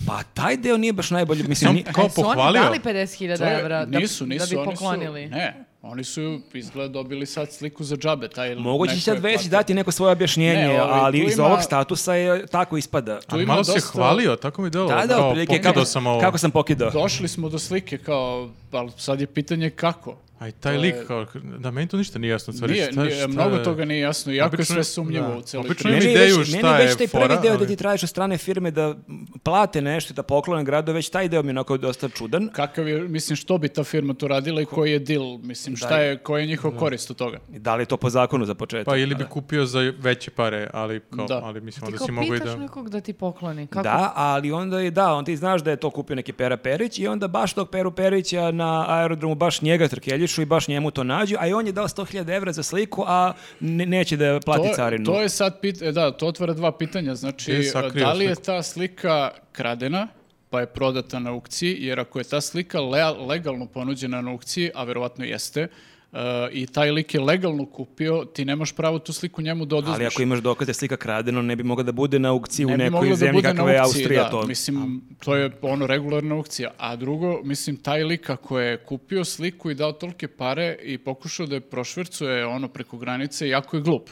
S3: Pa taj deo nije baš najbolji, mislim,
S1: Sam
S3: ni-
S1: kao
S4: E, su oni
S1: pohvalio.
S4: dali
S2: To
S4: 50.000
S2: je-
S4: evra da,
S2: nisu, nisu,
S4: da bi
S2: oni
S4: poklonili?
S2: Su, ne, oni su izgleda dobili sad sliku za džabe. Taj
S3: moguće će
S2: neko je
S3: sad već
S2: platio.
S3: dati neko svoje objašnjenje,
S2: Ne, ovaj,
S3: ali
S2: tu
S3: iz
S2: ima-
S3: ovog statusa je tako ispada.
S2: Tu
S1: Ali
S2: ima
S1: malo se
S2: dosta-
S1: hvalio, tako mi delo.
S3: Da, da, otprilike,
S1: kako
S3: kako,
S1: sam ovo.
S3: kako sam pokidao.
S2: Došli smo do slike kao, ali sad je pitanje kako.
S1: A i taj
S2: To
S1: lik,
S2: je-
S1: kao, da, meni to ništa nije jasno. Stvari,
S2: Nije,
S1: Pa šta,
S2: nije,
S1: šta
S2: mnogo
S1: je-
S2: toga nije jasno, jako
S1: Obično-
S2: je sve sumnjivo
S1: da.
S2: u cijeloj
S1: Obično
S2: priči.
S1: ima-
S3: Meni je
S1: ideju
S3: već,
S1: šta
S3: meni je
S1: je
S3: već taj
S1: fora,
S3: prvi deo da
S1: ali-
S3: ti tražiš od strane firme da plate nešto, i da poklone gradu, već taj deo mi je onako dosta čudan.
S2: Kakav je, mislim, što bi ta firma to radila i koji je deal, mislim, šta je, koji je njihov korist od toga.
S3: Da li je to po zakonu za početak?
S1: Pa ili bi kupio za veće pare, ali, kao,
S2: Da.
S1: ali mislim
S4: Ti
S1: da
S4: kao
S1: si mogu i
S4: pitaš
S1: da...
S4: nekog da ti pokloni. Kako?
S3: Da, ali onda je, da, on ti znaš da je to kupio neki Pera Perić i onda baš tog Peru Perića na aerodromu baš njega trkeljišu i baš njemu to nađu, a i on je dao 100.000 evra za sliku, a ne- neće da plati
S2: To,
S3: carinu.
S2: to je sad, pit, e, da, to otvara dva pitanja, znači,
S1: Gdje je sakrio
S2: da li je
S1: sliku?
S2: ta slika kradena, pa je prodata na aukciji, jer ako je ta slika le- legalno ponuđena na aukciji, a verovatno jeste, e, uh, i taj lik je legalno kupio, ti nemaš pravo tu sliku njemu da oduzmeš.
S3: Ali ako imaš dokaze slika kradeno, ne bi mogla da bude na aukciji u
S2: Ne bi
S3: nekoj
S2: moglo da
S3: zemlji
S2: bude
S3: kakva
S2: na
S3: je
S2: aukciji,
S3: Austrija.
S2: da.
S3: to.
S2: Mislim, to je ono regularna aukcija. A drugo, mislim, taj lik ako je kupio sliku i dao tolike pare i pokušao da je prošvercuje ono preko granice, jako je glup.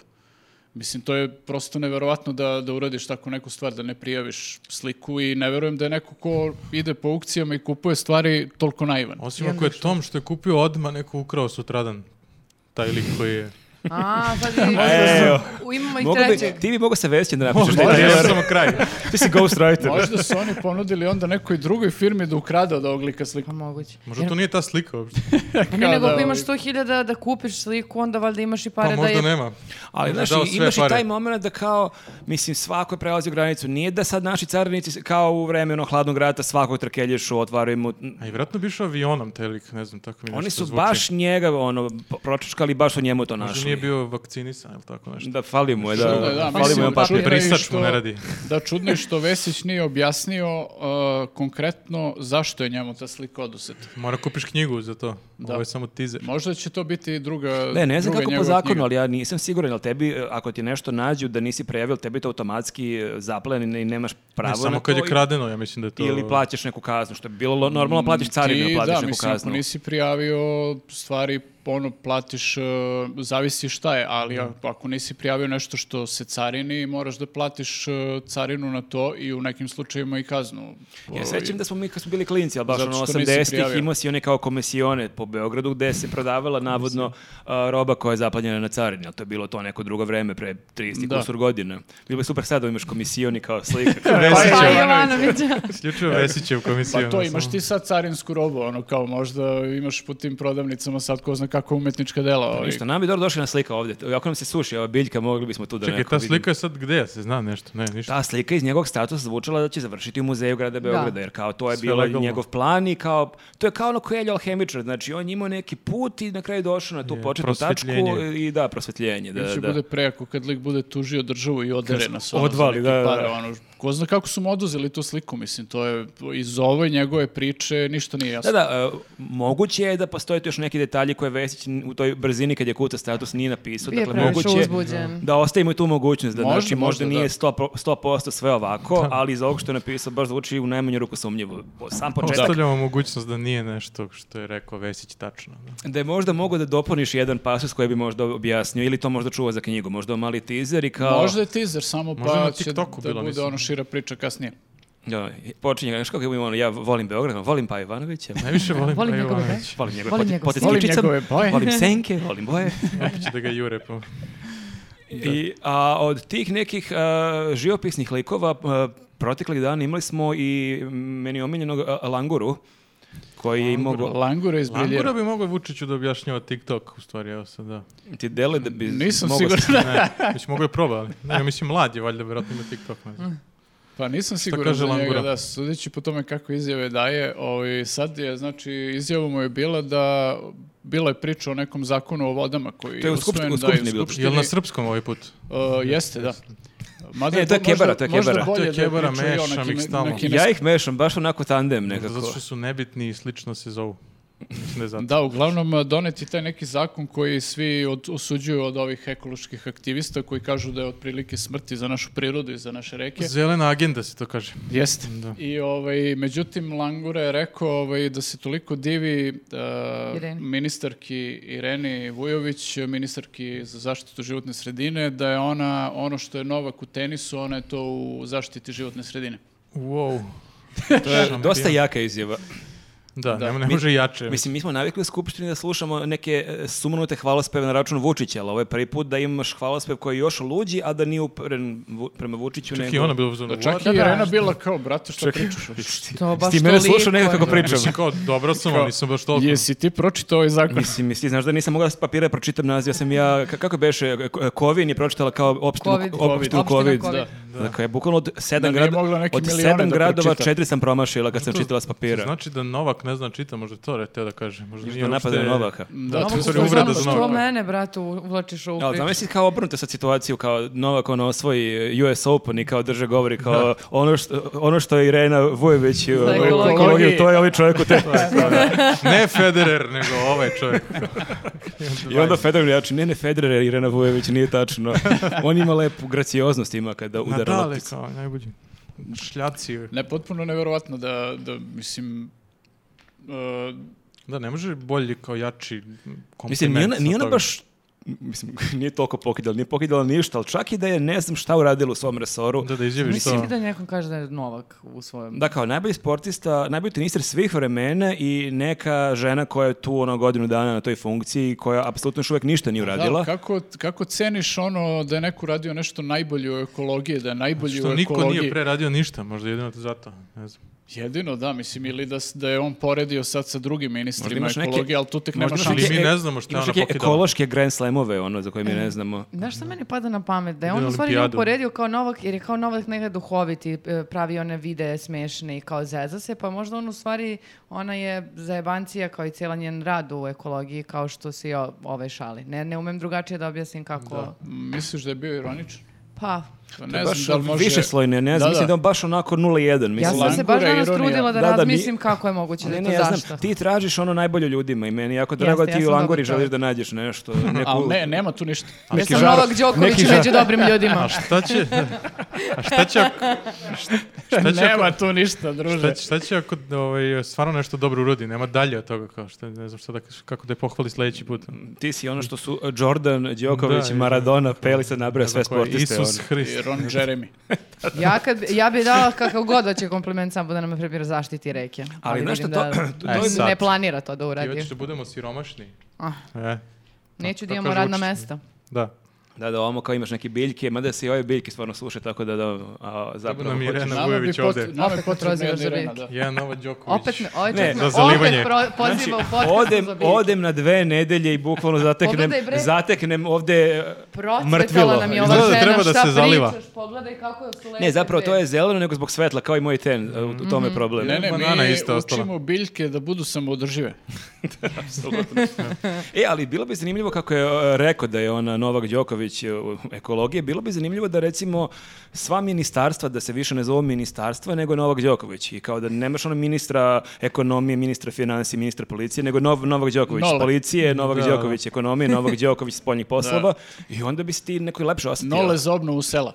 S2: Mislim, to je prosto neverovatno da, da uradiš takvu neku stvar, da ne prijaviš sliku i ne verujem da je neko ko ide po aukcijama i kupuje stvari toliko naivan.
S1: Osim ako je Tom što je kupio odma neko ukrao sutradan. Taj lik koji je...
S4: A, sad vidiš.
S3: Evo.
S4: U, Imamo i
S3: Mogu bi-
S4: trećeg.
S3: ti bi mogao sa Vesićem da napišeš taj
S1: Možda je
S3: trailer.
S1: samo kraj.
S3: [laughs] Ti si ghostwriter.
S2: Možda su oni ponudili onda nekoj drugoj firmi da ukrade od ovog lika sliku.
S4: Pa moguće.
S1: Možda to nije ta slika uopšte.
S4: Pa ne, nego
S2: da,
S4: ako imaš
S2: ovaj-
S4: 100.000 da kupiš sliku, onda valjda imaš i pare
S1: Pa
S4: da
S1: možda
S4: je...
S1: nema.
S3: Ali
S1: Ne
S3: znaš,
S1: dao
S3: i-
S1: sve
S3: imaš i
S1: pare.
S3: taj moment da kao, mislim, svako je prelazio granicu. Nije da sad naši carinici s- kao u vreme ono, hladnog rata svako trkelješu, otvaraju mu...
S1: A i vjerojatno bi išao avionom taj lik, ne znam, tako mi nešto
S3: Oni su
S1: zvuči.
S3: baš njega ono, po- pročačkali, baš o njemu to
S1: Možda
S3: našli.
S1: nije bio vakcinisan ili tako nešto.
S3: Da, fali mu je, da,
S2: Da,
S3: da,
S2: da, da,
S4: Pa
S3: fali mu
S2: mislim,
S3: je papir.
S2: čudno je
S1: Brisač
S2: što-
S1: mu ne radi.
S2: Da čudno je što Vesić nije objasnio uh, konkretno zašto je njemu ta slika oduzeta.
S1: Mora kupiš knjigu za to. Ovo je samo teaser.
S2: Možda će to biti druga
S3: Ne, ne znam
S2: druga
S3: kako po
S2: njegova
S3: zakonu,
S2: knjiga.
S3: ali ja nisam siguran, ali tebi, e, ako ti nešto nađu da nisi prijavio, tebi to automatski e, zapleni i nemaš pravo
S2: ono
S1: Ne,
S3: na
S1: samo
S3: to
S1: kad je
S3: i-
S1: kradeno, ja mislim da je to...
S3: Ili plaćaš neku kaznu, što bi bilo lo-
S1: Mm,
S3: normalno, platiš carinu,
S2: Ti,
S3: platiš
S2: da,
S3: neku
S2: mislim,
S3: kaznu.
S2: ako nisi prijavio stvari, ono, platiš, e, zavisi šta je, ali a- ako nisi prijavio nešto što se carini, moraš da platiš e, carinu na to i u nekim slučajevima i kaznu.
S3: Ja
S2: Ovaj,
S3: sećam da smo mi kad smo bili klinci, ali baš
S2: Zato
S3: ono
S2: što nisi
S3: 80-ih
S2: prijavio.
S3: imao si one kao komisione po Beogradu gde se prodavala navodno a, roba koja je zaplanjena na carini, ali to je bilo to neko drugo vreme pre 30
S2: Da.
S3: kusur godina. Bilo je super sad da imaš komisioni kao
S1: [laughs]
S3: slika.
S1: Vesić
S4: Pa
S1: je-
S4: Jovanovića.
S1: Isključivo Vesićev ono komisiju.
S2: Pa to imaš ti sad carinsku robu, ono kao možda imaš po tim prodavnicama sad ko zna kako umetnička dela. ovaj.
S3: Pa Ništa, nam bi dobro došla na slika ovdje. Ako nam se suši ova biljka, mogli bismo tu da
S1: Čekaj,
S3: neko
S1: ta
S3: vidi.
S1: slika je sad gde? Se zna nešto? Ne, ništa.
S3: Ta slika iz njegovog statusa zvučala da će završiti u muzeju grada Beograda, jer kao to je
S1: Sve
S3: bilo
S1: legalno.
S3: njegov plan i kao, to je kao ono Koeljo alhemičar, znači on je imao neki put i na kraju došao na tu
S1: Je,
S3: početnu tačku
S1: prosvetljenje.
S3: i da, prosvetljenje. Da,
S2: Da, će
S3: da.
S2: bude prejako kad lik bude tužio državu i odere nas. ono, za
S3: odvali,
S2: neke
S3: da, da,
S2: pare,
S3: da.
S2: ono. Ko zna kako su mu oduzeli tu sliku, mislim, to je iz ove njegove priče ništa nije jasno.
S3: Da, da, e, moguće je da postoje tu još neki detalji koje Vesić n- u toj brzini kad je kuta status nije napisao.
S4: Bio je
S3: dakle,
S4: previše
S3: moguće
S4: uzbuđen.
S3: da ostavimo i tu mogućnost. Da,
S2: Možda,
S3: znači, možda,
S2: možda,
S3: nije
S2: da.
S3: 100%, 100% sve ovako, ali iz ovog što je napisao baš zvuči u najmanju ruku sumnjivo. Po- Sam početak.
S1: Ostavljamo mogućnost da nije nešto što je rekao Vesić tačno. da.
S3: Da je možda mogao da dopuniš jedan pasus koji bi možda objasnio ili to možda čuo za knjigu, možda mali teaser i kao...
S2: Možda je teaser samo,
S1: Možda na
S2: pa će da
S1: TikToku bilo,
S2: bude
S1: mislim.
S2: ono šira priča kasnije.
S3: Da, počinje, znaš kako ima ono, ja volim Beograd, volim pa Ivanovića,
S1: Najviše volim
S4: Volim
S1: Paju
S4: njegove
S1: Ivanovića.
S3: volim njegove
S4: Volim
S3: pote-
S4: njegov
S3: potez
S4: stil.
S2: Volim
S3: ključicom,
S2: njegove boje.
S3: volim senke, volim boje.
S1: Opet će da ga jure po...
S3: I, a od tih nekih a, živopisnih likova a, proteklih dana imali smo i meni omiljenog a, Languru, koji je imao... go-
S2: Langura iz
S1: Langura
S2: Briljera.
S1: bi mogao Vučiću da objašnjava TikTok, u stvari, evo sad, da.
S3: Ti dele da bi...
S2: Nisam
S3: mogao-
S2: siguran.
S1: Ne, već mogu je probao, ali ne, mislim, mlad je, valjda, vjerojatno ima TikTok, ne znam.
S2: Pa nisam siguran
S1: kaže
S2: za njega,
S1: Langura?
S2: da, sudeći po tome kako izjave daje, ovaj, sad je, znači, izjava mu je bila da bila je priča o nekom zakonu o vodama koji
S3: To je u
S2: usvojen,
S3: skupštini- u
S2: da je
S3: skupštini bilo.
S1: Jel na srpskom ovaj put?
S2: Uh, jeste, da. Mada
S3: E, to je
S2: možda-
S3: kebara, to je
S2: možda
S3: kebara.
S2: bolje
S1: To je
S2: da je
S1: kebara,
S2: pričao i
S1: mešam
S2: onaki
S1: ih
S2: ne-
S1: stalno.
S2: neki
S3: Ja ih mešam, baš onako tandem nekako.
S1: Zato što su nebitni i slično se zovu. Mislim da je zato.
S2: Da, uglavnom uh, doneti taj neki zakon koji svi od, osuđuju od ovih ekoloških aktivista koji kažu da je otprilike smrti za našu prirodu i za naše reke.
S1: Zelena agenda se to kaže.
S2: Jeste.
S1: Da.
S2: I ovaj, međutim, Langura je rekao ovaj, da se toliko divi uh,
S4: Ireni.
S2: ministarki Ireni Vujović, ministarki za zaštitu životne sredine, da je ona ono što je Novak u tenisu, ona je to u zaštiti životne sredine.
S1: Wow.
S3: To je dosta jaka izjava.
S1: Da,
S2: Da.
S1: Ne, ne može jače.
S3: Mislim, mi smo navikli u Skupštini da slušamo neke e, sumanute hvalospeve na račun Vučića, ali ovo je prvi put da imaš hvalospeve koji je još luđi, a da nije uperen Vu- prema Vučiću.
S1: Čak
S3: nego...
S1: i ono ona bila uzorna.
S2: Da čak i Irena bila kao, brate, šta pričaš?
S4: To baš
S3: Ti mene
S4: toliko
S3: slušao nekako kako
S4: je.
S3: pričam.
S1: Mislim, kao, dobro sam, ali nisam baš toliko.
S2: Jesi ti pročitao ovaj zakon?
S3: Mislim, misli, znaš da nisam mogla s papira pročitam naziv, ja sam ja, ka- kako beše, K- Kovin je pročitala kao opštinu
S4: Covid.
S3: opštinu
S4: Opština
S3: COVID.
S4: Covid.
S2: Da.
S3: Dakle, bukvalno od sedam,
S2: Da nije
S3: grad-
S2: mogla neki
S3: od
S2: milione
S3: sedam
S2: da
S3: gradova
S2: pročita.
S3: četiri sam promašila kad sam
S1: To
S3: čitala s papira.
S1: Znači da Novak ne zna čita, možda to re, teo da kaže. Možda
S3: Da
S1: nije
S3: napadaju
S1: uopšte- [laughs]
S3: Novaka.
S2: Da,
S1: to je
S2: to
S1: stvari uvreda za
S4: Što
S1: Novaka.
S4: mene, brate, uvlačiš u
S3: Ali
S4: priču?
S3: zamisli kao obrnuta sad situaciju, kao Novak ono osvoji US Open i kao drže govori kao ono što, ono što je Irena Vujević u
S4: Za ekologiju.
S3: ekologiju, to je ovaj čovjek u te...
S1: Pa, Ne Federer, nego ovaj čovjek. [laughs]
S3: I onda Federer jači, ne ne Federer, je Irena Vujević, nije tačno. On ima lepu gracioznost ima kada
S1: Na
S3: udara
S1: dale,
S3: lopticu.
S1: kao najbolji. Šljaci.
S2: Ne, potpuno nevjerovatno da, da mislim, uh,
S1: Da, ne može bolji kao jači kompliment.
S3: Mislim, nije, ona-
S1: sa
S3: nije ona
S1: toga.
S3: baš mislim, [laughs] nije toliko pokidala, nije pokidala ništa, ali čak i da je ne znam šta uradila u svom resoru,
S1: Da, da izjaviš
S4: Mislim
S1: to.
S4: da nekom kaže da je Novak u svojem...
S3: Da, kao najbolji sportista, najbolji tenister svih vremena i neka žena koja je tu ono godinu dana na toj funkciji koja apsolutno još uvijek ništa nije uradila.
S2: Da, kako, kako ceniš ono da je neko radio nešto najbolje u ekologiji, da je najbolji u
S1: Što niko
S2: ekologiji?
S1: nije preradio ništa, možda jedino to zato. Ne znam.
S3: Pa
S2: Jedino da, mislim, ili da, s- da je on poredio sad sa drugim ministrima
S3: imaš neke-
S2: ekologije, ali tu tek nema
S3: Možda
S1: Ali
S2: šanse.
S3: neke
S1: mi
S3: e-
S1: ne znamo šta je
S3: imaš
S1: ona
S3: neke
S1: pokidala.
S3: ekološke grand slamove, ono, za koje mi
S2: E,
S3: ne znamo.
S4: Znaš što meni pada na pamet? Da je on
S1: Na
S4: u stvari nju
S1: olimpijadu.
S4: poredio kao Novak, jer je kao Novak nekad duhovit i e, pravi one videe smešne i kao zeza se, pa možda on u stvari, ona je zajebancija kao i cijela njen rad u ekologiji, kao što se i o- ovaj šali. Ne, ne umem drugačije da objasnim kako...
S2: Misliš da je bio ironičan?
S4: Pa,
S2: Pa
S3: To je
S2: ne
S3: baš
S2: znam da li može...
S3: više slojne, ne znam,
S2: Da,
S3: mislim
S2: da.
S3: da je on baš onako 0-1.
S4: ja
S3: Mislim,
S4: sam se baš
S2: langura,
S4: danas
S2: ironija.
S4: trudila da,
S3: Da, da, mi-
S4: razmislim kako je moguće da
S3: Ne,
S4: je
S3: ne,
S4: to
S3: ja
S4: zašto.
S3: znam, ti tražiš ono najbolje ljudima i meni jako
S4: Jeste,
S3: drago da
S4: ja
S3: ti u
S4: sam
S3: Langori
S4: dobar čovjek.
S3: želiš da nađeš nešto.
S2: [laughs]
S3: Neku,
S2: Ali ne, nema tu ništa.
S4: Ja sam
S3: žar-
S4: Novak Đoković
S3: neki žar-
S4: među dobrim
S3: [laughs]
S4: ljudima.
S1: A šta će... A šta će ako... Šta će ako...
S2: Nema tu ništa, druže.
S1: Šta će, šta će ako ovaj, stvarno nešto dobro urodi? Nema dalje od toga, kao što ne znam šta da, kako da je pohvali sljedeći put.
S3: Ti si ono što su Jordan, Đoković,
S1: Da, i-
S3: Maradona, Peli sad nabraja sve
S1: Tako je,
S3: sportiste.
S1: Isus
S3: ono.
S1: Hrist.
S2: I Ron Jeremy.
S4: Ja, kad, ja bi dala kakav god hoće kompliment samo da nam na primjer zaštiti reke. Ali,
S3: znaš
S4: vidim
S3: šta, to-
S4: da
S3: [clears throat] to je
S4: ne
S3: sad.
S4: planira to da
S1: I
S4: uradi.
S1: hoćeš da budemo siromašni.
S4: Ah.
S1: E,
S4: Neću da
S1: Tako
S4: imamo
S1: kaže
S4: radna
S1: učitelj.
S4: mesta.
S1: da.
S3: Da, da, ovamo kao imaš neke biljke, mada se i ove biljke stvarno sluše, tako da, da a, zapravo...
S1: nam je
S3: hoćeš-
S1: Irena
S2: Nama, bi
S1: Vujović ovde.
S2: pot, nama je
S4: Opet
S2: potrebna
S4: prozivaš
S2: jedna
S4: za
S2: Irena,
S4: reke.
S2: da.
S1: Jedan Novo Đoković.
S4: Opet, me- ovaj
S3: Ne,
S4: čovjek me
S1: za zalivanje.
S4: opet pro, poziva
S3: Znači,
S4: u podcast
S3: odem,
S4: za biljke.
S3: odem na dve nedelje i bukvalno zateknem,
S4: Pogledaj, bre.
S3: zateknem ovde e,
S4: Procvetala
S3: mrtvilo.
S4: nam je ova
S1: Izgleda da
S4: žena,
S1: treba da
S4: šta
S1: se zaliva.
S4: pričaš, pogledaj kako je su
S3: Ne, zapravo to je zeleno nego zbog svetla, kao i moj ten, e, u tome
S4: Mhm.
S3: je problem.
S2: Ne, ne,
S1: Banana
S2: mi
S1: isto ostala.
S2: učimo biljke da budu samoodržive.
S3: E, ali bilo bi zanimljivo kako je e, rekao da je ona Novak Đoković e, u ekologije, bilo bi zanimljivo da recimo sva ministarstva, da se više ne zovu ministarstva, nego Novak Đoković. I kao da nemaš ono ministra ekonomije, ministra financije, ministra policije, nego Nov, Novak Đoković
S2: Nole.
S3: policije, Novak
S1: Da,
S3: Đoković ekonomije, Novak Đoković
S2: [laughs]
S3: spoljnih poslova i onda bi se ti neko lepše osetio.
S2: Nole za obnovu sela.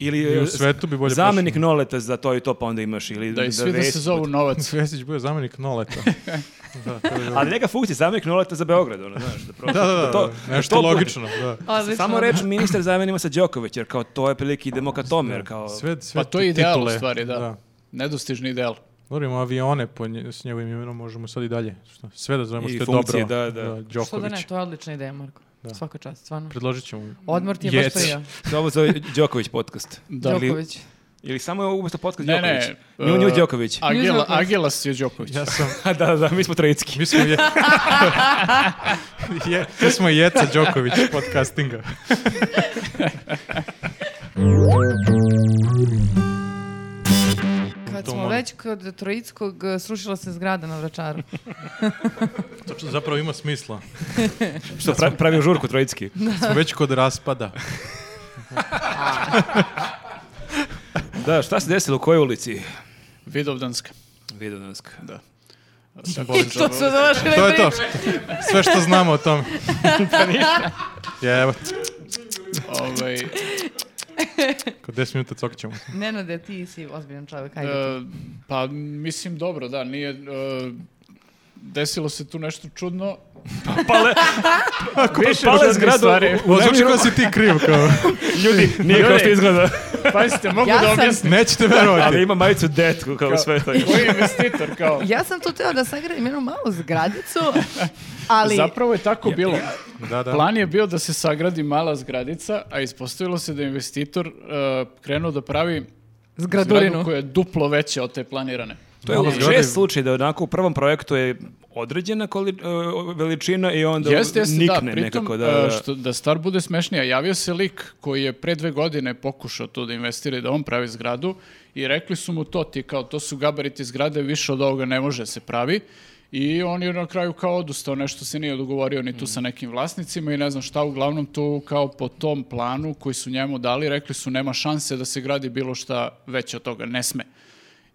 S3: Ili
S1: I u
S3: e,
S1: svetu bi bolje
S3: zamenik Noleta za to i to pa onda imaš ili
S2: Da i svi da se
S3: Vesić-
S2: zovu novac.
S1: [laughs] Svesić bio zamjenik Noleta. da, to je bilo.
S3: Ali neka funkcija zamenik Noleta za Beograd, ono, znaš, da prosto.
S1: da, da, da,
S3: to-
S1: nešto
S3: to bude.
S1: logično. Da.
S3: Samo reč ministar zamenimo sa Đoković, jer kao to je prilike idemo ka tome, jer kao...
S1: Sve, sve
S2: Pa to je ideal u
S1: titule,
S2: stvari, da. Nedostižni ideal.
S1: Govorimo avione po nje- s njegovim imenom, možemo sad i dalje. Što- Sve da zovemo
S3: I
S1: što je dobro.
S3: funkcije, da, da.
S4: Što da
S1: Đoković.
S4: ne, to je odlična ideja, Marko. Svaka čast, stvarno.
S1: Predložit ćemo.
S4: Odmor ti je baš
S1: Mm. Jec.
S4: to i ja.
S3: Ovo zove Đoković podcast.
S2: Da.
S4: Đoković.
S3: Ili samo je umjesto podcast
S2: Ne,
S3: Đoković.
S2: ne.
S3: Nju,
S2: e,
S3: nju Đoković.
S2: Agela,
S4: Đoković.
S2: Agelas je Đoković.
S1: Ja sam,
S3: [laughs] da, da, da, mi smo trojicki.
S1: mi smo, je, [laughs] je, mi smo Jeca Đoković podcastinga.
S4: Kad
S1: To
S4: smo
S1: molim.
S4: već kod Trojickog, e, srušila se zgrada na
S1: [laughs]
S4: vračaru.
S1: To što zapravo ima smisla.
S3: Što pra, pravio žurku trojicki.
S1: Smo već kod
S4: [laughs]
S1: raspada.
S3: Da, šta se desilo u kojoj ulici?
S2: Vidovdanska.
S3: Vidonanska. Da.
S4: to su završile
S1: To je to.
S4: priče.
S1: Sve što znamo o
S4: [laughs]
S1: tom.
S4: Pa
S1: Je, evo,
S2: Ovaj, e,
S1: kod 10 minuta cokit ćemo.
S4: Nenade, ti si ozbiljan
S1: E,
S4: čovjek, ajde ti.
S2: pa mislim dobro, da, nije... e, desilo se tu nešto čudno. [laughs]
S3: Pale,
S2: Više
S3: pale
S2: raznih
S3: zgradu
S2: stvari. [laughs]
S3: u, u
S1: Zvuči
S3: najmanju-
S1: kao si ti kriv, kao.
S3: Ljudi, nije kao što izgleda.
S2: Pazite, mogu
S4: Ja
S2: da
S4: sam-
S2: objasnim.
S1: Nećete
S3: [laughs] Ali
S1: verovati.
S3: ima majicu detku, kao sve to.
S2: Koji je investitor, kao...
S4: Ja sam tu teo da sagradim jednu malu zgradicu, ali...
S2: Zapravo je tako bilo.
S1: Da, da.
S2: Plan je bio da se sagradi mala zgradica, a ispostavilo se da je investitor e, krenuo da pravi zgradu
S4: Zgradurinu.
S2: koja je duplo veća od te planirane.
S3: To je
S1: Malo
S3: čest
S1: zgrade-
S3: slučaj da onako u prvom projektu je određena koli- e, veličina i onda
S2: Jeste, jeste, da,
S3: nikne
S2: pritom,
S3: nekako. Da,
S2: e, što, da stvar bude smešnija, javio se lik koji je pre dve godine pokušao tu da investira i da on pravi zgradu i rekli su mu to ti, kao to su gabariti zgrade, više od ovoga ne može da se pravi i on je na kraju kao odustao, nešto se nije dogovorio ni tu sa nekim vlasnicima i ne znam šta, uglavnom tu kao po tom planu koji su njemu dali, rekli su nema šanse da se gradi bilo šta veće od toga, ne sme.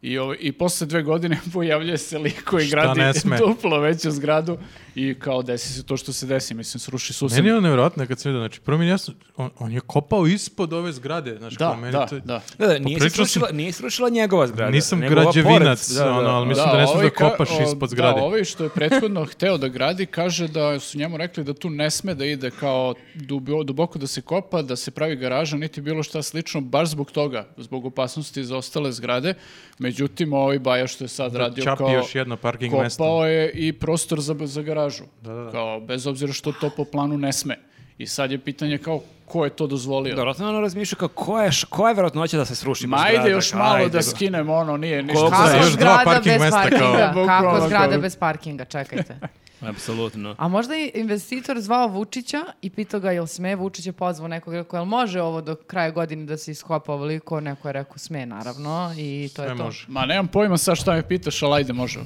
S2: I, ovo- I posle dve godine [laughs] pojavljuje se lik koji
S1: Šta
S2: gradi
S1: ne sme?
S2: duplo veću zgradu i kao desi se to što se desi, mislim, sruši sused.
S1: Meni je ono nevjerojatno kad sam vidio, znači, prvo mi je jasno, on, on je kopao ispod ove zgrade, znači, kao
S2: Da,
S1: meni
S2: da,
S1: to-
S2: da.
S3: Da, da, nije se
S1: poprilično
S3: srušila, nije srušila njegova zgrada.
S1: Nisam
S3: nego ova
S1: građevinac,
S3: pored. Da, da,
S1: ono, ali
S3: da.
S1: mislim da ne smiješ
S2: ovaj
S1: da kopaš
S2: ka- o,
S1: ispod zgrade.
S2: Da, ovaj što je prethodno [laughs] hteo da gradi, kaže da su njemu rekli da tu ne sme da ide kao dubo- duboko da se kopa, da se pravi garaža, niti bilo šta slično, baš zbog toga, zbog opasnosti za ostale zgrade. Međutim, ovaj baja što je sad radio
S1: čapi
S2: kao...
S1: još jedno parking
S2: kopao
S1: mesto.
S2: je i prostor za, za garažu. Kao, bez obzira što to po planu ne sme. I sad je pitanje kao, ko je to dozvolio?
S3: Da, vratno ono razmišlja kao koja je, š- koja je verovatnoća da se sruši
S2: Ma
S3: baš
S2: ajde
S3: zgrada,
S2: još
S3: kao,
S2: malo
S3: ajde,
S2: da
S3: go.
S2: skinem ono, nije ništa.
S3: Koliko
S1: Da,
S4: Kako
S1: još dva
S4: zgrada
S1: parking
S4: bez
S1: mesta kao-
S4: parkinga?
S2: Bukvalno
S4: Kako zgrada
S2: kao-
S4: bez parkinga, čekajte.
S3: Apsolutno.
S4: A možda je investitor zvao Vučića i pitao ga jel sme Vučić je pozvao nekog i rekao jel može ovo do kraja godine da se iskopa ovoliko, neko je rekao sme naravno i to
S1: Ne
S4: je to.
S1: može.
S2: Ma nemam pojma sad šta me pitaš, ali
S1: [laughs]
S2: ajde možemo.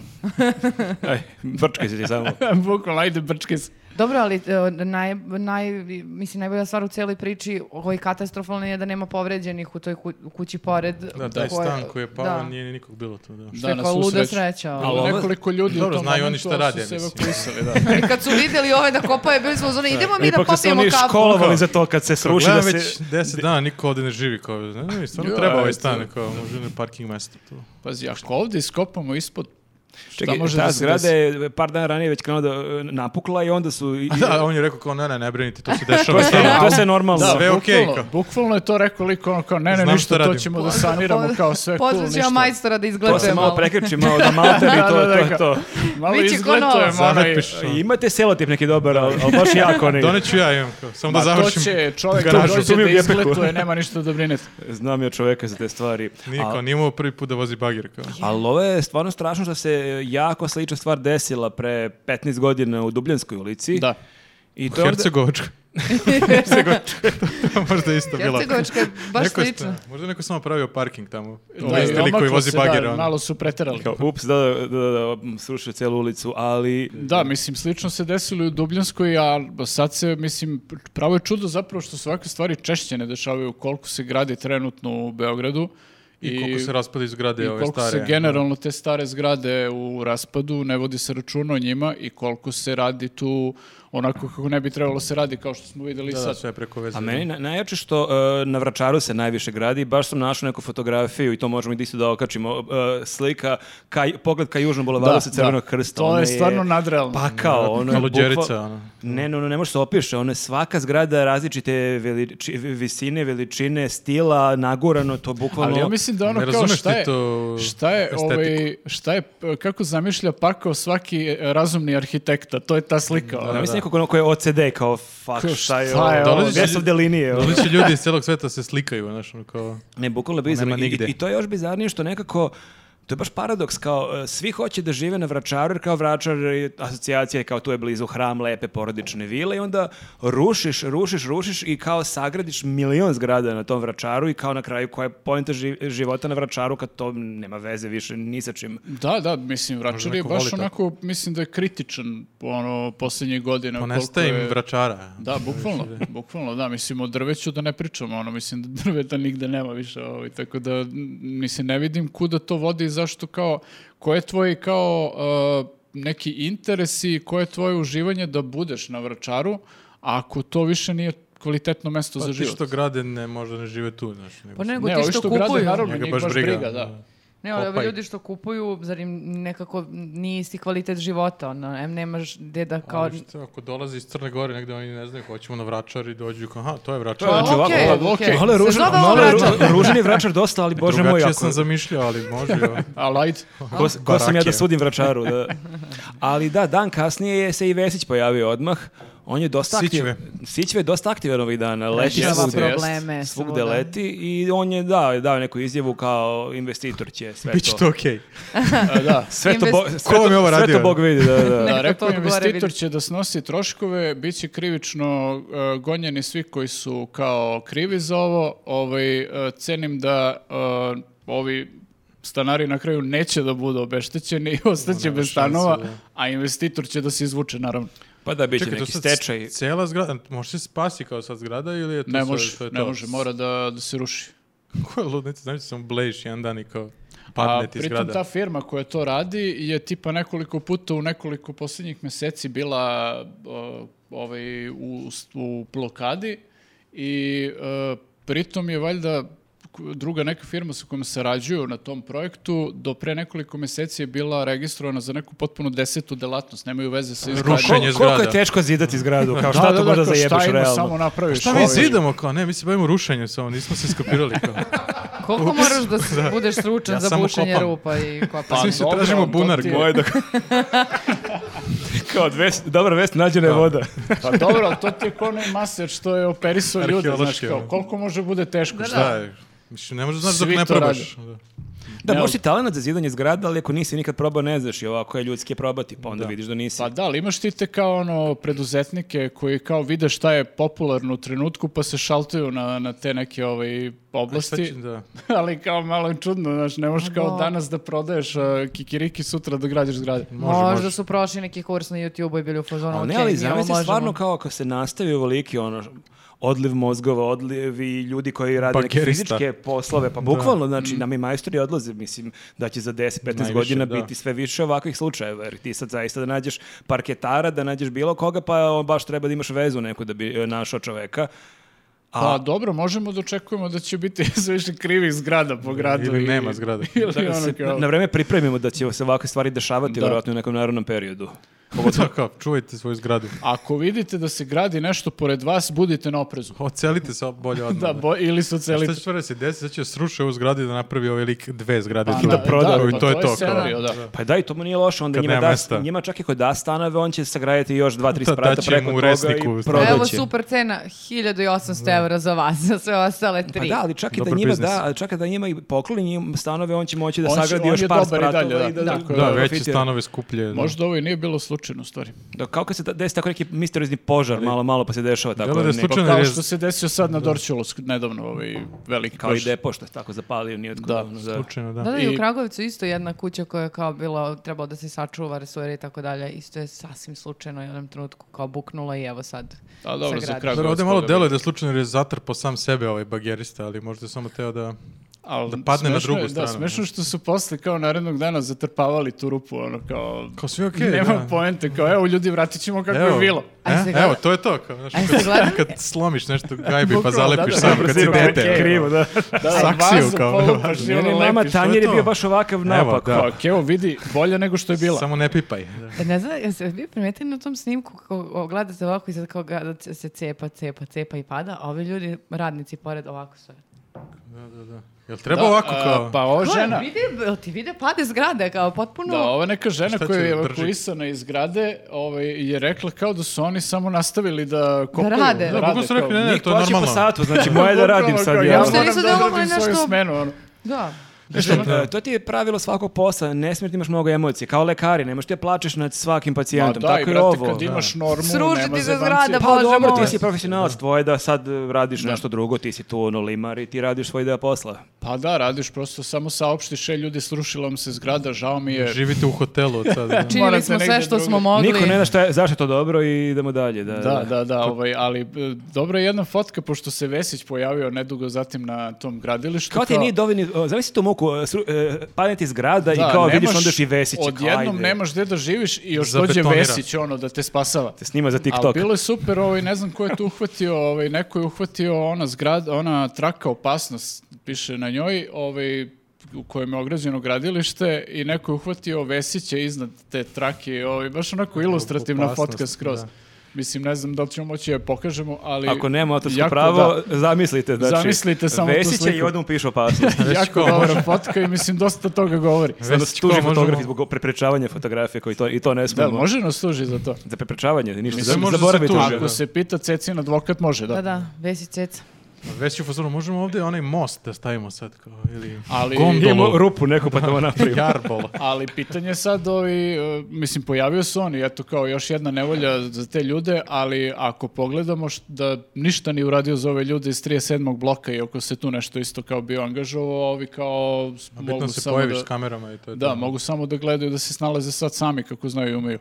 S3: Aj, brčkaj se ti
S2: [laughs]
S3: samo.
S2: Bukvalno, ajde brčke se.
S4: Dobro, ali e, naj, naj, mislim, najbolja stvar u cijeloj priči ovoj katastrofalno je da nema povređenih u toj ku- kući pored.
S1: Da, taj
S4: koje-
S1: stan koji je pao,
S4: da.
S1: nije ni nikog bilo tu. Da.
S4: Što je kao luda sreća, ono.
S3: Ali ovo-
S2: Nekoliko ljudi
S1: Dobro,
S2: u tom
S1: znaju oni
S2: momentu,
S1: šta
S2: ali
S1: rade,
S2: su se
S1: mislim.
S2: evakuisali, da.
S1: [laughs]
S4: I kad su vidjeli ove da kopaju, bili smo u zoni, idemo mi da
S3: Ipak se
S4: popijemo
S3: oni
S4: kafu.
S3: školovali za to kad se sruši da
S1: Gledam
S3: se...
S1: već 10 dana niko ovdje ne živi kao, ne, ne, stvarno
S2: Joj,
S1: treba ovaj
S2: eto.
S1: stan, kao, može na parking mesto tu.
S2: Pazi, ako ovdje iskopamo ispod, šta
S3: Čekaj,
S2: može
S3: ta
S2: da se
S3: zgrada
S2: desi?
S3: je par dana ranije već krenula da e, napukla i onda su... i-
S1: Da, on je rekao kao, ne, ne, ne brinite,
S2: [laughs]
S1: to se dešava
S3: To se,
S1: stalno.
S3: to se normalno.
S2: Da,
S1: Sve okej,
S2: bukvalno,
S1: kao.
S2: bukvalno je to rekao liko ono kao, ne, ne,
S1: Znam šta
S2: ništa, to
S1: radim.
S2: ćemo da saniramo kao sve cool,
S4: Pozvat ću ja
S2: ništa.
S4: majstora da
S3: To
S4: izgleduje
S3: se malo
S4: malo.
S3: prekriči, malo da malter i
S2: Da,
S3: to,
S2: da, da,
S3: to je
S2: kao-
S3: to.
S2: Malo
S4: Biće ko
S2: izgledujem,
S4: novo.
S2: ono, i-
S1: Zamepiš, ono.
S3: Imate selotip neki dobar, ali, ali baš jako onaj.
S1: Doneću ja imam, kao, samo da
S2: Ma to
S1: završim.
S2: će čovjek
S1: garažu.
S2: da dođe
S3: Tu mi
S2: da
S3: je gepeku.
S2: izgletuje, nema ništa da brinete.
S3: Znam ja čoveka za te stvari.
S1: Nije
S3: A-
S1: kao, nije imao prvi put da vozi bagir, kao.
S3: Ali ovo je stvarno strašno što se jako slična stvar desila pre 15 godina u Dubljanskoj ulici.
S2: Da.
S3: I to
S1: U
S3: je
S2: [laughs]
S3: onda-
S1: Hercegovačku. [laughs] Možda je isto bilo.
S4: Hercegovačka je baš
S1: Neko je sta-
S4: slična.
S1: možda je neko samo pravio parking tamo.
S2: Da,
S1: Ovaj stili
S2: omaklo
S1: koji vozi
S2: se,
S1: bagir,
S2: da,
S1: ono.
S2: malo su preterali.
S3: Kao, ups, da, da, da, da, m, srušio cijelu ulicu, ali...
S2: Da, mislim, slično se desilo i u Dubljanskoj, a sad se, mislim, pravo je čudo zapravo što se ovakve stvari češće ne dešavaju koliko se gradi trenutno u Beogradu.
S1: I, koliko se raspada iz
S2: i
S1: zgrade ove
S2: koliko
S1: stare. ono.
S2: se generalno te stare zgrade u raspadu, ne vodi se računa o njima i koliko se radi tu onako kako ne bi trebalo se radi, kao što smo vidjeli
S1: Da, da,
S2: sad.
S1: sve preko veze.
S3: A meni na, najjače što e, na Vračaru se najviše gradi, baš sam našao neku fotografiju i to možemo i isto da okačimo, e, slika, ka, pogled ka Južnom bulevaru sa Crvenog krsta.
S2: To
S3: ona
S2: je stvarno nadrealno.
S3: Pakao, ono je
S1: Kaluđerica,
S3: bukval-
S1: ono.
S3: Ne, no, no, ne može se opiše, ono je svaka zgrada različite veliči- visine, veličine, stila, nagurano, to bukvalno...
S2: Ali ja mislim da ono
S1: Ne
S2: kao
S1: razumeš
S2: šta
S1: ti
S2: je,
S1: to
S2: šta je,
S1: estetiku.
S2: ovaj, šta je, p- kako zamišlja pakao svaki e, razumni arhitekta, to je ta slika. ono.
S3: Ja mislim nekog ono koji je OCD kao fuck
S2: Kao,
S3: šta je
S2: šta
S3: ovo,
S2: je
S3: Gdje
S1: ovo?
S3: su ovdje linije. ono?
S1: Dolići ljudi iz celog sveta se slikaju, znaš, ono kao...
S3: Ne, bukvalno bizarno.
S1: nema
S3: I,
S1: nigde.
S3: I to je još bizarnije što nekako To je baš paradoks, kao e, svi hoće da žive na Vračaru, jer kao Vračar je asocijacija, je kao tu je blizu hram, lepe porodične vile i onda rušiš, rušiš, rušiš i kao sagradiš milion zgrada na tom Vračaru i kao na kraju koja je pojenta živ- života na Vračaru kad to nema veze više ni sa čim.
S2: Da, da, mislim, Vračar je
S1: neko
S2: baš
S1: voli tako.
S2: onako, mislim da je kritičan ono, posljednjih godina.
S1: Ponestaje Pa
S2: koliko
S1: im
S2: je-
S1: vračara.
S2: Da, bukvalno, bukvalno, da, mislim, o drveću da ne pričamo, ono, mislim [laughs] da drveta nigde nema više, ovaj, tako da, m, mislim, ne vidim kuda to vodi i zašto kao, ko je tvoj kao uh, neki interes i koje je tvoje uživanje da budeš na vračaru, ako to više nije kvalitetno mesto
S1: Pa
S2: za
S1: ti
S2: život.
S1: što grade ne, možda ne žive tu, znaš. Nego
S4: Pa nego
S2: Ne,
S4: ti
S2: ovi
S4: što,
S2: što grade,
S4: kupuju.
S2: naravno,
S1: njega
S2: njih
S1: baš briga.
S2: da.
S4: Ne, ali ovi
S1: Kopaj.
S4: ljudi što kupuju, zar im nekako nije isti kvalitet života, ono, em nemaš gde da kao...
S1: Kao...
S2: Pa-
S1: Što, ako dolazi iz Crne Gore, negde oni ne znaju, hoćemo na vračar i dođu kao, aha, to je vračar.
S3: To je
S4: Pa,
S3: znači ovako,
S4: okej,
S2: ovako,
S4: okej.
S2: okej.
S3: Malo je
S4: Se
S3: ružan,
S4: zove ovo
S3: malo je ru-
S4: vračar.
S3: ružan je Vračar dosta, ali bože moj,
S1: Drugačije
S3: ako...
S1: sam zamišljao, ali
S3: [laughs]
S1: može. ovo.
S2: Ali ajde.
S3: Ko, ko sam ja da
S1: barake.
S2: [laughs]
S3: sudim vračaru, da. Ali da, dan kasnije je se i Vesić pojavio odmah. On je dosta aktivan.
S1: Sićve.
S3: Sićve je dosta aktivan ovih dana. Leti
S2: Rešava
S3: svugde.
S4: probleme
S3: Svugde
S4: svuda.
S3: leti i on je dao, dao neku izjavu kao investitor će sve
S1: Biće
S3: to.
S1: to okej.
S2: A, da.
S3: Sve to,
S4: Invest-
S3: bo- sve
S1: Ko vam je
S3: to-
S1: ovo
S3: sve
S1: radio?
S3: to Bog vidi, da, da.
S2: Da,
S4: Neka
S2: rekao
S4: to
S2: je,
S4: odgovore
S2: investitor
S4: vidi.
S2: će da snosi troškove, bit će krivično e, gonjeni svi koji su kao krivi za ovo. Ovaj, e, cenim da e, ovi stanari na kraju neće da budu obeštećeni [laughs]
S1: Ono
S2: i ostaće bez stanova, a investitor će da se izvuče, naravno.
S3: [laughs] Pa da, bit će
S1: Čekaj, to
S3: neki
S1: sad
S3: stečaj.
S1: Cijela zgrada, može se spasi kao sad zgrada ili je to
S2: Ne
S1: sve-
S2: može,
S1: to je
S2: ne
S1: to?
S2: može, mora da, da se ruši.
S1: [laughs] Koja ludnica, znači samo blejiš jedan dan i kao
S2: A
S1: padne ti
S2: pritom
S1: zgrada.
S2: ta firma koja to radi je tipa nekoliko puta u nekoliko posljednjih meseci bila uh, ovaj, u, u blokadi i uh, pritom je valjda k- druga neka firma sa kojom sarađuju na tom projektu do pre nekoliko meseci je bila registrovana za neku potpuno desetu delatnost, nemaju veze sa izgradnjom.
S1: Rušenje
S3: Koliko je
S1: zgrada.
S3: teško [laughs] zidati zgradu? Kao
S2: Da,
S3: šta
S2: da,
S3: to
S2: da,
S3: možda
S2: kao
S3: zajebeš
S2: šta ima,
S3: realno?
S2: samo napraviš.
S1: Pa Šta
S2: ovaj,
S1: mi zidamo kao? Ne, mi se bavimo rušenju samo, nismo se skopirali kao.
S4: Koliko moraš da
S3: [laughs]
S4: s- budeš stručan
S1: Ja
S4: za
S1: samo
S4: bušenje
S1: kopam.
S4: rupa i
S2: Pa
S1: Svi
S4: kopanje?
S1: se
S2: dobro,
S1: tražimo
S2: ali to
S1: bunar.
S2: ti je-
S1: gore.
S3: Moje da... kao vest, dobra vest, nađena je voda.
S2: Pa dobro, ali to ti je ko onaj maser što je operisao ljude, znaš
S1: Arheološki,
S2: kao,
S1: ono.
S2: koliko može bude teško, šta?
S1: Šta je? Mislim, ne možeš znaš dok
S2: Svi
S1: ne
S2: to
S1: probaš. Da.
S3: Da,
S2: Ne,
S3: možeš i talent za zidanje zgrada, ali ako nisi nikad probao, ne znaš i ovako je ljudski je probati, pa onda vidiš da nisi.
S2: Pa da, ali imaš ti te kao ono preduzetnike koji kao vide šta je popularno u trenutku pa se šaltuju na, na te neke ovaj,
S1: Šta
S2: oblasti,
S1: će- da.
S2: [laughs] ali kao malo je čudno, znaš, ne možeš kao danas da prodaješ a, kikiriki sutra da gradiš zgrade.
S4: Možda su prošli neki kurs na YouTube-u i bili u fazonu,
S3: ali ne,
S4: "Okej, mi
S3: ali
S4: ovo
S3: zamisli
S4: možemo."
S3: stvarno kao kad se nastavi ovoliki ono, odliv mozgova, odliv i ljudi koji rade neke
S1: Bagerista.
S3: fizičke poslove, pa bukvalno, znači, nam i majstori odlaze, mislim, da će za 10-15
S1: Najviše,
S3: godina
S1: da.
S3: biti sve više ovakvih slučajeva, jer ti sad zaista da nađeš parketara, da nađeš bilo koga, pa on baš treba da imaš vezu neku da bi e, našao čoveka. A,
S2: Pa dobro, možemo da očekujemo da će biti [laughs] sve više krivih zgrada po gradu.
S1: Ili
S2: i-
S1: nema zgrade.
S2: [laughs] Ili
S3: da
S2: ono
S3: se
S2: kao...
S3: na vreme pripremimo da će se ovakve stvari dešavati
S2: Da.
S3: vjerojatno u nekom narodnom periodu.
S1: Pogotovo kao, čuvajte svoju zgradu.
S2: Ako vidite da se gradi nešto pored vas, budite na oprezu.
S1: Ocelite se bolje odmah.
S2: Da, bo, ili su
S1: A
S2: celi...
S1: Šta će stvarno se desiti? Sad će srušiti ovu zgradu i da napravi ovaj lik dve zgrade. tu.
S3: da proda,
S1: i
S2: pa
S1: to je to, kao.
S2: scenario, da.
S3: Pa da, i to mu nije loše, onda
S1: Kad
S3: njima,
S1: nema
S3: da,
S1: mesta.
S3: njima čak i ko da stanove, on će sagraditi još dva, tri
S1: Da,
S3: sprata
S1: dat će
S3: preko
S1: mu u
S3: toga
S1: resniku,
S3: i
S1: da.
S3: prodaće.
S4: Evo super cena, 1800 evra za vas, za sve ostale
S3: Pa
S4: tri.
S3: da, ali čak i da
S1: Dobar
S3: njima
S1: biznis.
S3: da, ali čak i da njima i pokloni njim stanove, on će moći da
S2: On će- on
S3: sagradi još
S2: je
S3: par
S2: dobar i dalje,
S3: spratova
S2: da.
S3: i da,
S2: Da,
S1: Da, veće
S3: profitira.
S1: stanove skuplje. da.
S2: Možda ovo i nije bilo slučajno, u stvari.
S3: Da, kao kad se da- desi tako neki misterizni požar, malo, malo pa se dešava tako.
S1: Delo da je
S3: ne-
S1: slučajno,
S2: Kao
S1: jer je-
S2: što se desio sad na Dorčulovsk, nedavno ovaj veliki
S3: Kao i
S2: požar.
S3: depo što je tako zapalio, nije
S2: Da,
S3: ono, da.
S1: Slučajno, da.
S4: Da, da, i u
S2: I-
S4: Kragovicu isto jedna kuća koja je kao bila, trebalo da se sačuva resore i tako dalje, isto je sasvim slučajno u jednom trenutku kao buknula i evo sad.
S2: A dobro, za
S4: sagradi.
S2: Kragovac.
S1: Dobro, ovdje malo
S2: toga
S1: delo je
S2: bilo.
S1: da je slučajno jer je zatrpo sam sebe ovaj bagerista, ali možda je samo teo da...
S2: Al
S1: da padne na
S2: smešno je-
S1: drugu stranu,
S2: Da,
S1: ne?
S2: smešno je što su posle kao narednog dana zatrpavali tu rupu, ono kao... [laughs]
S1: Kao svi okej,
S2: Nema
S1: da.
S2: poente, kao evo ljudi, vratit ćemo kako
S1: Evo.
S2: je bilo.
S4: A
S1: E?
S4: se gleda-
S1: Evo, to je to. Kao, znaš,
S4: A se
S1: kad,
S4: gleda-
S1: kad slomiš nešto u gajbi pa
S2: Bukvalno,
S1: zalepiš
S2: da, da,
S1: sam
S2: da,
S1: kad
S2: da,
S1: si
S2: da,
S1: dete.
S2: da,
S3: Krivo, da.
S2: Da,
S1: Saksiju [laughs]
S2: vazu
S1: kao,
S2: polupaš i ono
S3: Meni mama
S2: lepiš, to je
S3: Tanjer je
S1: to?
S3: bio baš ovakav napak.
S1: da.
S3: kao,
S2: Pa, evo vidi, bolje nego što je bila.
S1: Samo ne pipaj. Da.
S4: E, Ne znam, jeste vi primetili na tom snimku kako o, gledate ovako i sad kao ga- da c- se cepa, cepa, cepa i pada, a ovi ljudi, radnici pored ovako stoje.
S1: Jel treba ovako
S2: a,
S1: kao...
S2: pa ova žena...
S4: Ko je, Vide, jel ti vide pade zgrade kao potpuno...
S2: Da, ova neka žena
S1: Šta će
S2: koja je
S1: da drži?
S2: evakuisana iz grade ovaj, je rekla kao da su oni samo nastavili da kopaju.
S4: rade. Da,
S1: Da, kako su rekli,
S2: kao-
S1: ne, ne,
S3: Njih
S1: to je
S3: plaća po
S1: normalno.
S3: satu, znači
S2: [laughs]
S3: moje da radim
S2: Bukvalno
S3: sad.
S2: kao,
S3: jel?
S4: Uopšte
S2: moram
S4: nisu
S2: da
S4: dovoljno
S2: odradim svoju
S4: nešto-
S2: smenu, ono.
S4: Da.
S3: Mislim, e, to ti je pravilo svakog posla, ne smiješ da imaš mnogo emocije. Kao lekari, ne možeš ti da plačeš nad svakim
S2: Pa
S3: pacijentom.
S2: da, i
S3: Tako je
S2: brate,
S3: ovo. ono.
S2: kad imaš normu,
S4: Sruši
S2: nema
S4: ti se
S2: zebancije.
S4: zgrada,
S3: Pa
S4: Bože
S3: dobro,
S4: moj.
S3: ti si profesionalac, tvoje da sad e, radiš nešto drugo, ti si tu ono limar i ti radiš svoj deo posla.
S2: Pa da, radiš prosto, samo saopštiš, e, ljudi, srušila vam se zgrada, žao mi je.
S1: Živite u hotelu od sada.
S3: Znači-
S4: Činili
S2: Morate
S4: smo sve
S2: negde
S4: što smo
S2: drugde.
S4: mogli.
S3: Niko ne zna šta je, zašto je to dobro i idemo dalje. Da,
S2: Da, da, da, ovaj, ali e, dobra je jedna fotka, pošto se Vesić pojavio nedugo zatim na tom gradilištu.
S3: Kao ti nije dovoljni, o, zamisli tu muku, e, sru- e, padne ti zgrada i kao vidiš
S2: nemaš-
S3: onda još i vesiće. kao,
S2: Odjednom
S3: ajde.
S2: nemaš gde da živiš i još dođe
S1: Zabetonira.
S2: Vesić, ono, da te spasava.
S3: Te snima za
S2: Ali
S3: TikTok.
S2: bilo je super, ovaj, ne znam ko je tu uhvatio, ovaj, neko je uhvatio ona zgrada, ona traka opasnost, piše na njoj, ovaj, u kojem je ograđeno gradilište i neko je uhvatio Vesića iznad te trake, ovaj, baš onako ilustrativna
S1: Opasnost,
S2: fotka skroz.
S1: da.
S2: Da. Mislim, ne znam da li ćemo moći da je pokažemo, ali...
S3: Ako nema autorsko
S2: jako
S3: [laughs] pravo, zamislite. Znači,
S2: Zamislite samo tu
S3: Vesić je i
S2: sliku.
S3: odmah piše
S2: [laughs]
S3: opasnost.
S2: Da, jako dobra fotka i mislim, dosta toga govori.
S3: Sada nas
S1: Vesić,
S3: tuži
S1: ko možemo-
S3: fotografi zbog preprečavanja fotografije koji to, i to ne
S2: Da,
S3: smemo.
S2: može nas tuži za to.
S3: Za preprečavanje, ništa.
S1: Mislim,
S3: za-
S1: može se
S3: zaboravite.
S1: tuži.
S2: Ako se pita Cecin advokat, može, da.
S4: Da, da, vesi ceca. [laughs]
S1: ono. Već je u fazonu, možemo ovdje onaj most da stavimo sad kao, ili
S2: Ali-
S3: Imamo
S1: gondolu,
S3: rupu neku pa tamo napravimo.
S1: jarbol.
S2: [laughs] Ali pitanje je sad, ovi, e, mislim, pojavio se on i eto kao još jedna nevolja za te ljude, ali ako pogledamo š- da ništa nije uradio za ove ljude iz 37. bloka i ako se tu nešto isto kao bio angažovao, ovi kao s-
S1: A
S2: mogu
S1: bitno se
S2: samo
S1: pojaviš
S2: da...
S1: s kamerama i to je
S2: Da,
S1: to.
S2: mogu samo da gledaju da se snalaze sad sami kako znaju i umeju.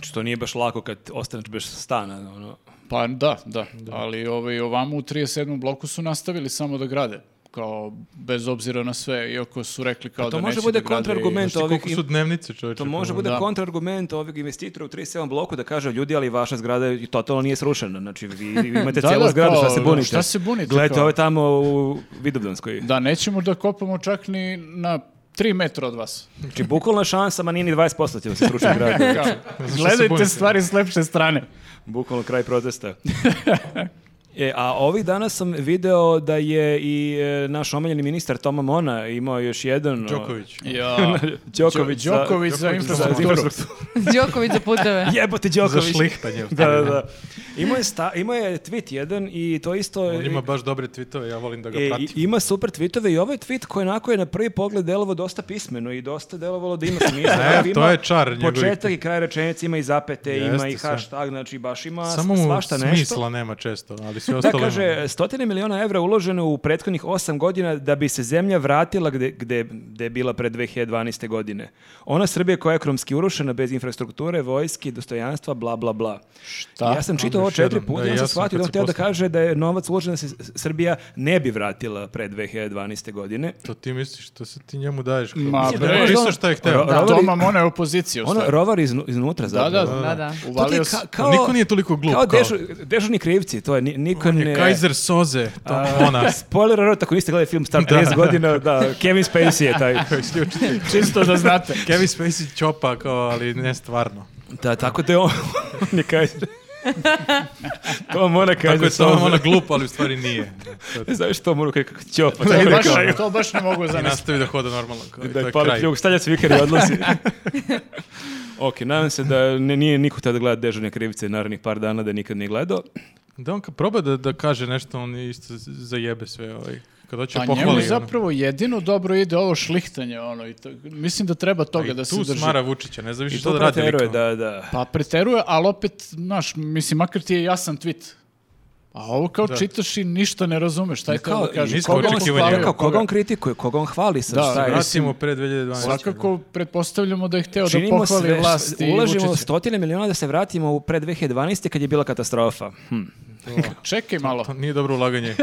S3: Što nije baš lako kad ostaneš bez stana. Ono.
S2: Pa da, da, ali ovaj, ovamo u 37. bloku su nastavili samo da grade kao bez obzira na sve, iako su rekli kao
S3: to
S2: da
S3: može
S2: neće
S3: bude
S2: da grade i-
S1: Znaš
S3: kontrargument.
S1: ti
S3: Ovih
S1: koliko
S3: im-
S1: su dnevnice čovječe?
S3: To može
S1: Pa,
S3: bude
S2: da.
S3: kontrargument ovog investitora u 37 bloku da kaže ljudi, ali vaša zgrada i totalno nije srušena. Znači, vi
S2: [laughs]
S3: vi imate
S2: Da,
S3: cijelu
S2: da,
S3: zgradu,
S2: kao,
S3: šta se bunite?
S2: šta se bunite,
S3: Gledajte,
S2: kao?
S3: ovo je tamo u Vidovdanskoj.
S2: Da, nećemo da kopamo čak ni na 3 metra od vas.
S3: Znači, bukvalna šansa, ma nije ni 20% će da se
S2: [laughs]
S3: sruši grad.
S2: Kao,
S1: Zašto se
S2: Gledajte
S1: bunite?
S2: stvari s lepše strane.
S3: Bukvalno kraj
S2: [laughs]
S3: protesta. E, a ovih dana sam video da je i e, naš omiljeni ministar Toma Mona imao još jedan... o,
S1: ono, Đoković.
S2: [laughs] Ja.
S3: Đoković za-
S2: Đoković za
S1: Đoković za
S3: za
S2: infrastrukturu.
S3: infrastrukturu.
S4: Đoković za puteve.
S3: Jebote
S1: Za
S3: Đoković.
S1: šlihtanje.
S3: Da, da, da. Imao je, sta, imao je tweet jedan i to isto...
S1: On ima baš dobre tweetove, ja volim da ga
S3: E, i-
S1: pratim.
S3: ima super tweetove i ovaj tweet koji onako je na prvi pogled delovao dosta pismeno i dosta delovalo da ima smisla.
S1: [laughs] E,
S3: Onako
S1: to
S3: ima
S1: je čar njegovih-
S3: Početak i kraj rečenice ima i zapete, ima
S1: Jeste,
S3: i
S1: sve.
S3: hashtag, znači baš ima
S1: Samo
S3: Samo
S1: mu
S3: svašta nešto.
S1: smisla nema često, ali sve
S3: Da,
S1: ostalo ima.
S3: kaže, stotine miliona evra uloženo u prethodnih osam godina da bi se zemlja vratila gde, gde, gde je bila pre 2012. godine. Ona Srbija koja je ekonomski urušena bez infrastrukture, vojski, dostojanstva, bla, bla, bla. Ja sam čitao ovo
S1: još
S3: četiri
S1: jedan.
S3: puta,
S1: Da,
S3: ja
S1: i
S3: sam
S1: ja sam
S3: shvatio
S1: kad
S3: da on
S1: se
S3: teo da
S1: postavio.
S3: kaže da je novac uložen da se S- Srbija ne bi vratila pre 2012. godine.
S1: To ti misliš, to se ti njemu daješ. kao-
S2: Ma
S1: Mislim da
S2: bre.
S1: je pisao šta je hteo.
S3: Ro- ro-
S2: Da,
S3: Rovari-
S2: Toma Mona je opozicija. u
S3: Ono,
S2: stvari.
S3: rovar iznu- iznutra
S2: Da,
S3: zapravo.
S2: da,
S4: Da, da.
S3: To ti je
S2: Uvalio se.
S3: ka- kao,
S1: Niko nije toliko glup,
S3: Kao,
S1: kao.
S3: dežu- dežurni krivci, to je, ni- niko
S1: On je
S3: ne...
S1: Kaiser Soze, to ona.
S3: Spoiler alert, ako niste gledali film Star 30 godina, da, Kevin Spacey je taj.
S2: Čisto da [laughs] znate.
S1: Kevin Spacey čopa, kao, ali ne stvarno.
S3: Da, tako da je on, [laughs] on je Kaiser. to mora Kaiser.
S1: Tako je
S3: Soze.
S1: samo ona glup, ali u stvari
S3: [laughs]
S1: nije.
S3: Znaš što mora kako ćopa.
S2: pa To
S3: tako da
S2: baš,
S3: kao-
S2: to baš ne mogu
S1: I
S2: zamisliti.
S1: nastavi da hoda normalno. Kao, i
S3: Da
S1: to
S3: je
S1: je
S3: pali
S1: kraj.
S3: pljug, stavlja cvikar i odlazi. ok, nadam se da ne, nije niko tada gleda dežurne krivice narednih par dana da nikad nije gledao.
S1: Da on kad proba da, da kaže nešto, on isto z- zajebe sve. Ovaj. Kad hoće
S2: Pa njemu
S1: pohvali.
S2: zapravo jedino dobro ide ovo šlihtanje. Ono, i to, mislim da treba
S1: ono.
S2: toga
S1: I
S2: da se
S1: tu
S2: drži.
S1: smara Vučića, ne znam više
S3: I
S1: što
S3: to
S1: da radi.
S3: preteruje,
S1: likom.
S3: da, da.
S2: Pa preteruje, ali opet, znaš, mislim, makar ti je jasan tweet. A ovo kao
S1: Da.
S2: čitaš i ništa ne razumeš. Šta je to da kaže?
S1: nisko
S2: Koga on
S1: očekivanje.
S2: hvalio,
S1: Kao
S3: E, koga on kritikuje, koga on hvali sa
S2: Da,
S3: šta je-
S2: mislim,
S1: Vratimo pre 2012.
S2: Svakako pretpostavljamo da je hteo da
S3: Činimo
S2: pohvali
S3: sve,
S2: vlast i
S3: ulažimo
S2: Vučića.
S3: stotine miliona da se vratimo u pre 2012. kad je bila katastrofa. Hm.
S2: Čekaj malo.
S1: To nije dobro
S2: [laughs]
S1: ulaganje.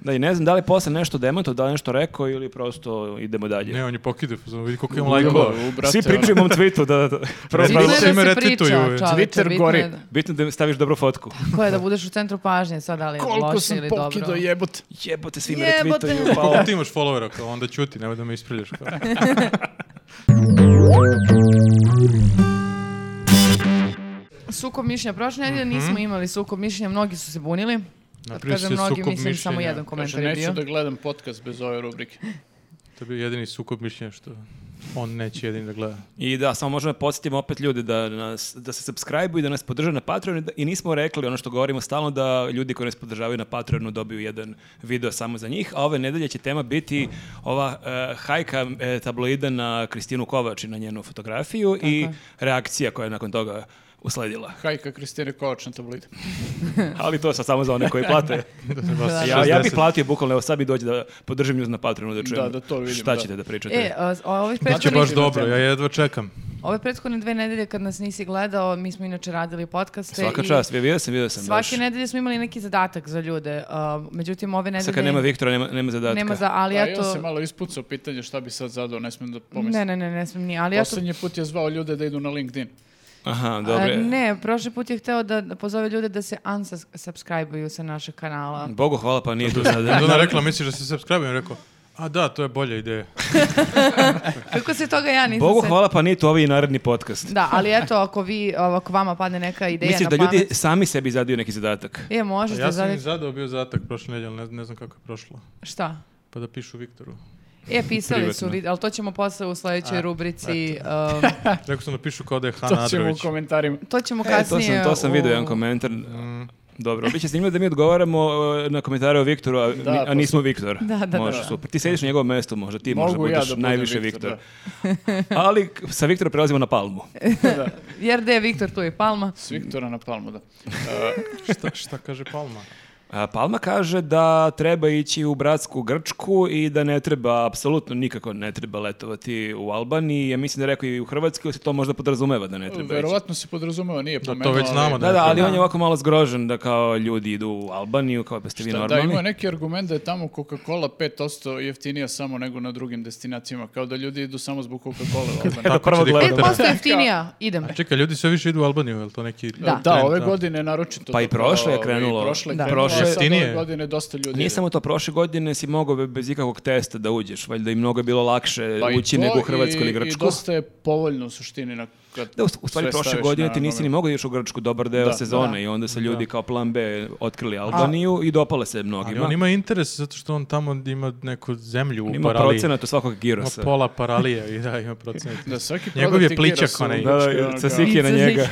S3: Da i ne znam da li je posle nešto demanto, da li je nešto rekao ili prosto idemo dalje.
S1: ne, on je pokidu. Vidi koliko imam
S2: Lajkova,
S1: lajkova.
S2: u, brate, ono.
S3: Svi pričaju u mom tweetu da,
S4: [laughs]
S3: pa da- prvo
S1: Bitno
S4: Bitno
S1: je
S3: pravo-
S1: da se
S4: je da se
S1: retweetuju,
S4: priča,
S1: je.
S4: čoveče,
S2: Twitter
S4: bitno
S2: gori.
S4: je da-
S3: Bitno da staviš dobru fotku.
S4: Ko je da budeš u centru pažnje sad, ali
S2: ono, Koliko
S4: loše
S2: sam
S4: ili dobro.
S2: pokido jebote.
S3: Jebote svi me
S4: Jebote.
S3: retweetuju. pa-
S1: Koliko ti imaš followera, kao, onda ćuti, nemoj da me isprljaš. Kao.
S4: Sukob mišljenja. Prošle nedelje
S3: Mhm.
S4: nismo imali sukob mišljenja, mnogi su se bunili. Kad
S1: Napravio
S4: kažem
S1: se
S4: mnogi,
S1: sukob
S4: mislim samo
S1: mišljenja.
S4: jedan
S2: Kaže,
S4: komentar je bio.
S2: Znači, neću da gledam podcast bez ove rubrike.
S1: To je bio jedini sukob mišljenja što on neće jedini da
S2: [laughs]
S1: gleda.
S3: I da, samo možemo da podsjetimo opet ljude da, nas, da se subscribe i da nas podrže na Patreonu i da- i nismo rekli ono što govorimo stalno da ljudi koji nas podržavaju na Patreonu dobiju jedan video samo za njih, a ove nedelje će tema biti ova eh, hajka eh, tabloida na Kristinu Kovač i na njenu fotografiju i reakcija koja je nakon toga usledila. [laughs]
S2: Hajka Kristine Kovač na tabloide.
S3: Ali to je sad samo za one koji plate.
S1: Vas
S3: Ja, ja bih
S1: 60.
S3: platio bukvalno, evo sad bi dođe da podržim njuz na Patreonu da čujem
S2: Da, da to vidim,
S3: šta
S2: da.
S3: ćete da pričate.
S4: E, a, a ovih
S3: Znači,
S1: Biće
S4: prethodnih
S1: baš dobro, ja jedva čekam.
S4: Ove prethodne dve nedelje kad nas nisi gledao, mi smo inače radili podcaste.
S3: Svaka
S4: i
S3: čast, ja vidio sam, vidio sam. baš.
S4: Svake nedelje smo imali neki zadatak za ljude. uh, međutim, ove nedelje...
S3: Sad kad nema Viktora, nema, nema zadatka.
S4: nema za, ali
S2: A ja
S4: ja
S2: Pa se
S4: to...
S2: malo ispucao pitanje šta bi sad zadao, ne smijem da pomislim.
S4: Ne, ne, ne, ne smijem ni, ali ja to...
S2: Poslednji put je zvao ljude da idu na LinkedIn.
S3: Aha,
S4: A,
S3: dobro. je.
S4: ne, prošli put je hteo da da pozove ljude da se unsubscribe-uju sa našeg kanala.
S3: Bogu hvala pa nije tu
S2: [laughs]
S3: sada.
S1: Onda ona rekla, misliš da se subscribe-im, rekao, A da, to je bolja ideja.
S4: Kako se toga ja nisam
S3: Bogu
S4: setila?
S3: hvala, pa nije to ovaj i naredni podcast.
S4: Da, ali eto, ako vi, ako vama padne neka ideja
S3: Misliš da
S4: na
S3: ljudi
S4: pamet...
S3: sami sebi zadaju neki zadatak?
S4: E, možete
S1: ja sam im
S4: zadati-
S1: zadao bio zatak prošle nedjelje, ne, ne znam kako je prošlo.
S4: Šta?
S1: Pa da pišu Viktoru.
S4: E, pisali su,
S3: Privatno.
S4: vid- ali to ćemo posle u sljedećoj rubrici. [laughs] um,
S1: Rekao sam da pišu kao da je Hana
S2: To ćemo u
S1: Adrović. [laughs]
S2: komentarima.
S4: to ćemo
S3: [laughs] E, to
S4: kasnije...
S3: sam, to sam vidio
S4: u-
S3: jedan komentar.
S2: Mm.
S3: Dobro, bit će snimljeno da mi odgovaramo e, na komentare o Viktoru, a, mi- a
S2: posle.
S3: nismo Viktor.
S4: Da, da,
S3: Može,
S2: da.
S3: super. Ti sediš na njegovom mjestu možda, ti možda
S2: Mogu ja
S3: budeš
S2: da budem
S3: najviše Viktor.
S2: Viktor,
S3: Ali k- sa Viktora prelazimo na Palmu.
S4: Jer gde je Viktor, tu je Palma.
S2: S Viktora na Palmu, da.
S1: šta, šta kaže Palma?
S3: A, Palma kaže da treba ići u bratsku Grčku i da ne treba, apsolutno nikako ne treba letovati u Albaniji. Ja mislim da je rekao i u Hrvatskoj, ali se to možda podrazumeva da ne treba ići.
S2: Verovatno se podrazumeva, nije
S1: Da, to
S2: pomenuo.
S1: već
S2: ali-
S1: znamo da,
S3: Da,
S1: je
S3: da,
S1: to.
S3: ali on je ovako malo zgrožen da kao ljudi idu u Albaniju, kao pa ste vi
S2: Da,
S3: normalni.
S2: Da, ima neki argument da je tamo Coca-Cola 5% jeftinija samo nego na drugim destinacijama. Kao da ljudi idu samo zbog Coca-Cola. u
S3: [laughs]
S2: Albaniju.
S1: Tako
S3: Prvo
S1: će
S3: gledam.
S1: [laughs] diktator.
S4: 5% E, jeftinija, idem.
S1: A čekaj, ljudi sve više idu u Albaniju, je li to neki...
S4: Da.
S2: da,
S1: trend,
S2: ove
S1: da?
S2: godine naročito.
S3: Pa i
S2: to kao,
S3: prošle je
S2: i
S3: krenulo.
S2: prošle je
S4: Da.
S2: krenulo, a sad
S1: Jeftinije.
S2: ove godine dosta ljudi.
S3: Nije
S2: ide.
S3: samo to, prošle godine si mogao bez ikakvog testa da uđeš, valjda i mnogo je bilo lakše
S2: Pa i
S3: ući
S2: to
S3: nego u Hrvatsku ili
S2: i-
S3: Grčku.
S2: I dosta je povoljno u suštini. Na, kad
S3: Da, u u stvari
S2: sve
S3: prošle
S2: staviš
S3: godine
S2: na
S3: ti nisi ni
S2: noge.
S3: mogao da ideš u Grčku dobar deo
S2: Da,
S3: sezone
S4: da.
S3: i onda se ljudi kao plan B otkrili Albaniju i dopale se
S1: Ali
S3: mnogima.
S1: on ima interes zato što on tamo ima neku zemlju u
S3: Ima
S1: paraliji.
S3: procenat od svakog
S1: Ima
S3: girosa.
S1: pola paralije [laughs] i da, ima procenat.
S2: Da, svaki
S1: Njegov
S2: produkt
S1: je
S2: igra
S1: plićak
S2: su
S1: onaj.
S2: u
S3: Da, da,
S2: Grčkoj, ono
S3: sa
S2: kao-
S3: Siki na
S4: Ica
S3: njega.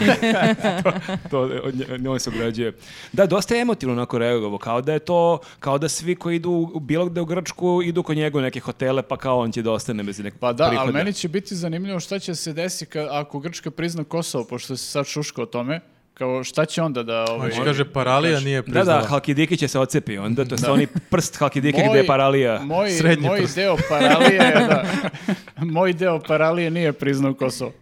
S3: to, to od nje- on se ograđuje. Da, dosta je emotivno onako reagovao, kao da je to, kao da svi koji idu u bilo gde u Grčku idu kod njega u neke hotele, pa kao on će da ostane bez nekog
S2: Pa da,
S3: prihoda.
S2: ali meni će biti zanimljivo šta će se desiti ka- ako Grčka prizna Kosovo, pošto se sad šuška o tome, kao šta će onda da... Ovaj,
S1: On će kaže paralija nije
S3: Da,
S1: priznala.
S3: da, Halkidiki će se ocepi onda, to je oni prst Halkidiki
S2: Moj-
S3: gdje je paralija.
S2: Moj,
S1: Srednji
S2: moj
S1: prst.
S2: deo
S1: [laughs]
S2: paralije, da, moj deo paralije nije priznao Kosovo.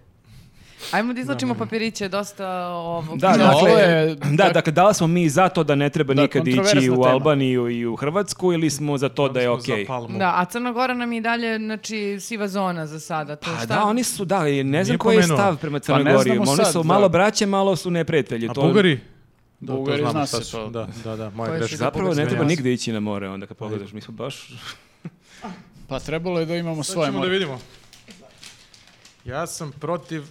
S4: Ajmo da izlačimo papiriće, dosta ovog...
S3: Da,
S2: Da,
S3: dakle,
S2: ovo je-
S3: da, dakle, da li smo mi za to da ne treba
S2: Da,
S3: nikad ići
S2: kontroverzna
S3: u
S2: tema.
S3: Albaniju i u Hrvatsku ili smo za to da je
S1: Za
S2: pa-
S3: okej?
S1: Palmu.
S4: Da, a Crna Gora nam je i dalje, znači, siva zona za sada. To
S3: Pa
S4: šta?
S3: da, oni su, da, i ne znam
S1: Nije
S3: koji je
S1: pomenuo.
S3: stav prema Crnoj
S2: ne
S3: Gori.
S2: znamo
S3: Oni
S2: sad,
S3: su
S2: da.
S3: malo braće, malo su neprijatelji.
S1: A
S3: to-
S1: Bugari? Da, to
S2: Bugari
S1: znamo
S2: zna
S1: šta
S2: se
S1: su.
S2: to.
S1: Da, da, da, moja
S4: Koje su
S1: greška.
S3: Zapravo ne
S1: Sve
S3: treba
S1: jasno.
S3: nigde ići na more, onda kad pogledaš, mi smo baš...
S2: Pa trebalo je da imamo
S1: Sad
S2: svoje
S1: ćemo da
S2: more.
S1: vidimo. Ja sam protiv...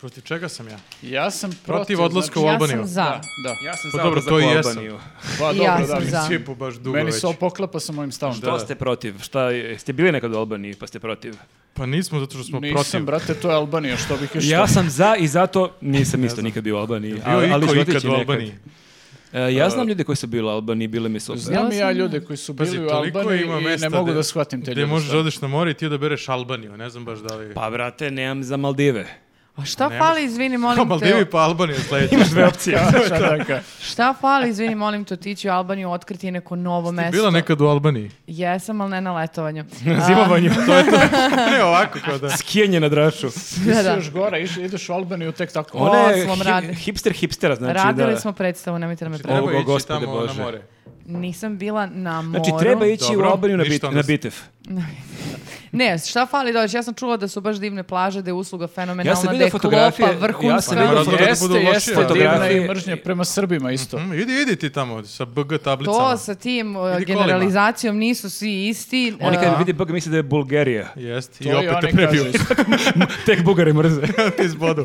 S1: Protiv čega sam ja?
S2: Ja sam protiv,
S1: Protiv odlaska u
S4: Ja
S1: Albaniju.
S4: sam za.
S2: znači- Da, da.
S3: Ja sam
S1: Pa za dobro, to i ulazak u jesam.
S3: Albaniju.
S1: Albaniju.
S2: Pa,
S4: I
S2: dobro,
S4: ja
S2: da,
S4: sam
S2: mislim,
S4: za.
S1: Cipu baš dugo
S2: Meni
S1: već.
S2: se opoklapa sa mojim stavom.
S3: Što ste protiv? Šta, jeste bili nekad u Albaniji pa ste protiv?
S1: Pa nismo zato što smo
S2: Nisam,
S1: protiv.
S2: brate, to je Albanija, što bih još...
S3: Ja sam za i zato nisam isto nikad bio u Albaniji.
S1: Bio
S3: ali- ali ću
S1: iko
S3: otići
S1: ikad u
S3: nekad.
S1: Albaniji.
S3: E, ja znam ljude koji su bili u Albaniji, bile mi super.
S2: Znam i ja
S4: sam-
S2: ljude koji su bili
S1: Pazi,
S2: u
S1: toliko
S2: Albaniji
S1: ima
S2: i
S1: mesta
S2: ne mogu
S1: gde-
S2: da shvatim te
S1: gdje
S2: ljude.
S1: možeš da
S2: stvarno.
S1: odeš na more i ti odabereš Albaniju. Ne znam baš da li...
S3: Pa, brate, nemam za Maldive.
S4: A Pa šta
S1: Ne
S4: fali, izvini, molim te?
S1: Maldivi pa Albaniju sledeće. Imaš dve opcije. [laughs]
S2: Šta da ka-
S4: Šta fali, izvini, molim te, otići u Albaniju, otkriti neko novo mesto.
S1: Bila nekad u Albaniji.
S4: Jesam, ali ne na letovanju.
S3: Zimovanju. to
S4: [laughs]
S3: je
S1: Ne ovako kao da...
S3: skijenje na draču.
S2: Ti si
S4: da.
S2: još gore, iš- ideš u Albaniju tek tako.
S3: Ona je
S4: smo
S3: hi-
S4: radili.
S3: hipster hipstera, znači
S4: Radili
S3: da...
S4: smo predstavu, nemojte da me pre...
S3: Treba
S1: Treba
S3: ići
S1: ići
S3: gospode
S1: tamo
S3: Bože.
S1: na more.
S4: Nisam bila na moru.
S3: Znači, treba ići
S1: Dobro,
S3: u Albaniju na,
S1: ništa
S3: bit,
S1: onda
S3: na
S1: s-
S3: bitev.
S4: Ne, šta fali dođe? Ja sam čula da su baš divne plaže, da je usluga fenomenalna,
S3: Ja sam
S4: da
S3: vidio
S4: je
S3: fotografije,
S4: klopa
S3: ja sam
S4: vrhunska.
S3: vidio
S1: Razlog da
S2: Ono, Jeste,
S1: budu lošije,
S2: jeste,
S1: ali-
S2: divna
S3: Fotografije-
S2: i mržnja prema Srbima isto.
S1: Mm, idi, idi ti tamo sa BG tablicama.
S4: to sa tim uh,
S1: kolima.
S4: generalizacijom nisu svi isti.
S3: Oni
S4: uh,
S3: kad vidi bug misle da je Bulgarija. [laughs]
S1: Jest,
S2: To
S1: i opet
S2: oni
S1: te prebiju.
S2: kažu isto.
S3: Tek Bugari mrze.
S1: [laughs] ti zbodu.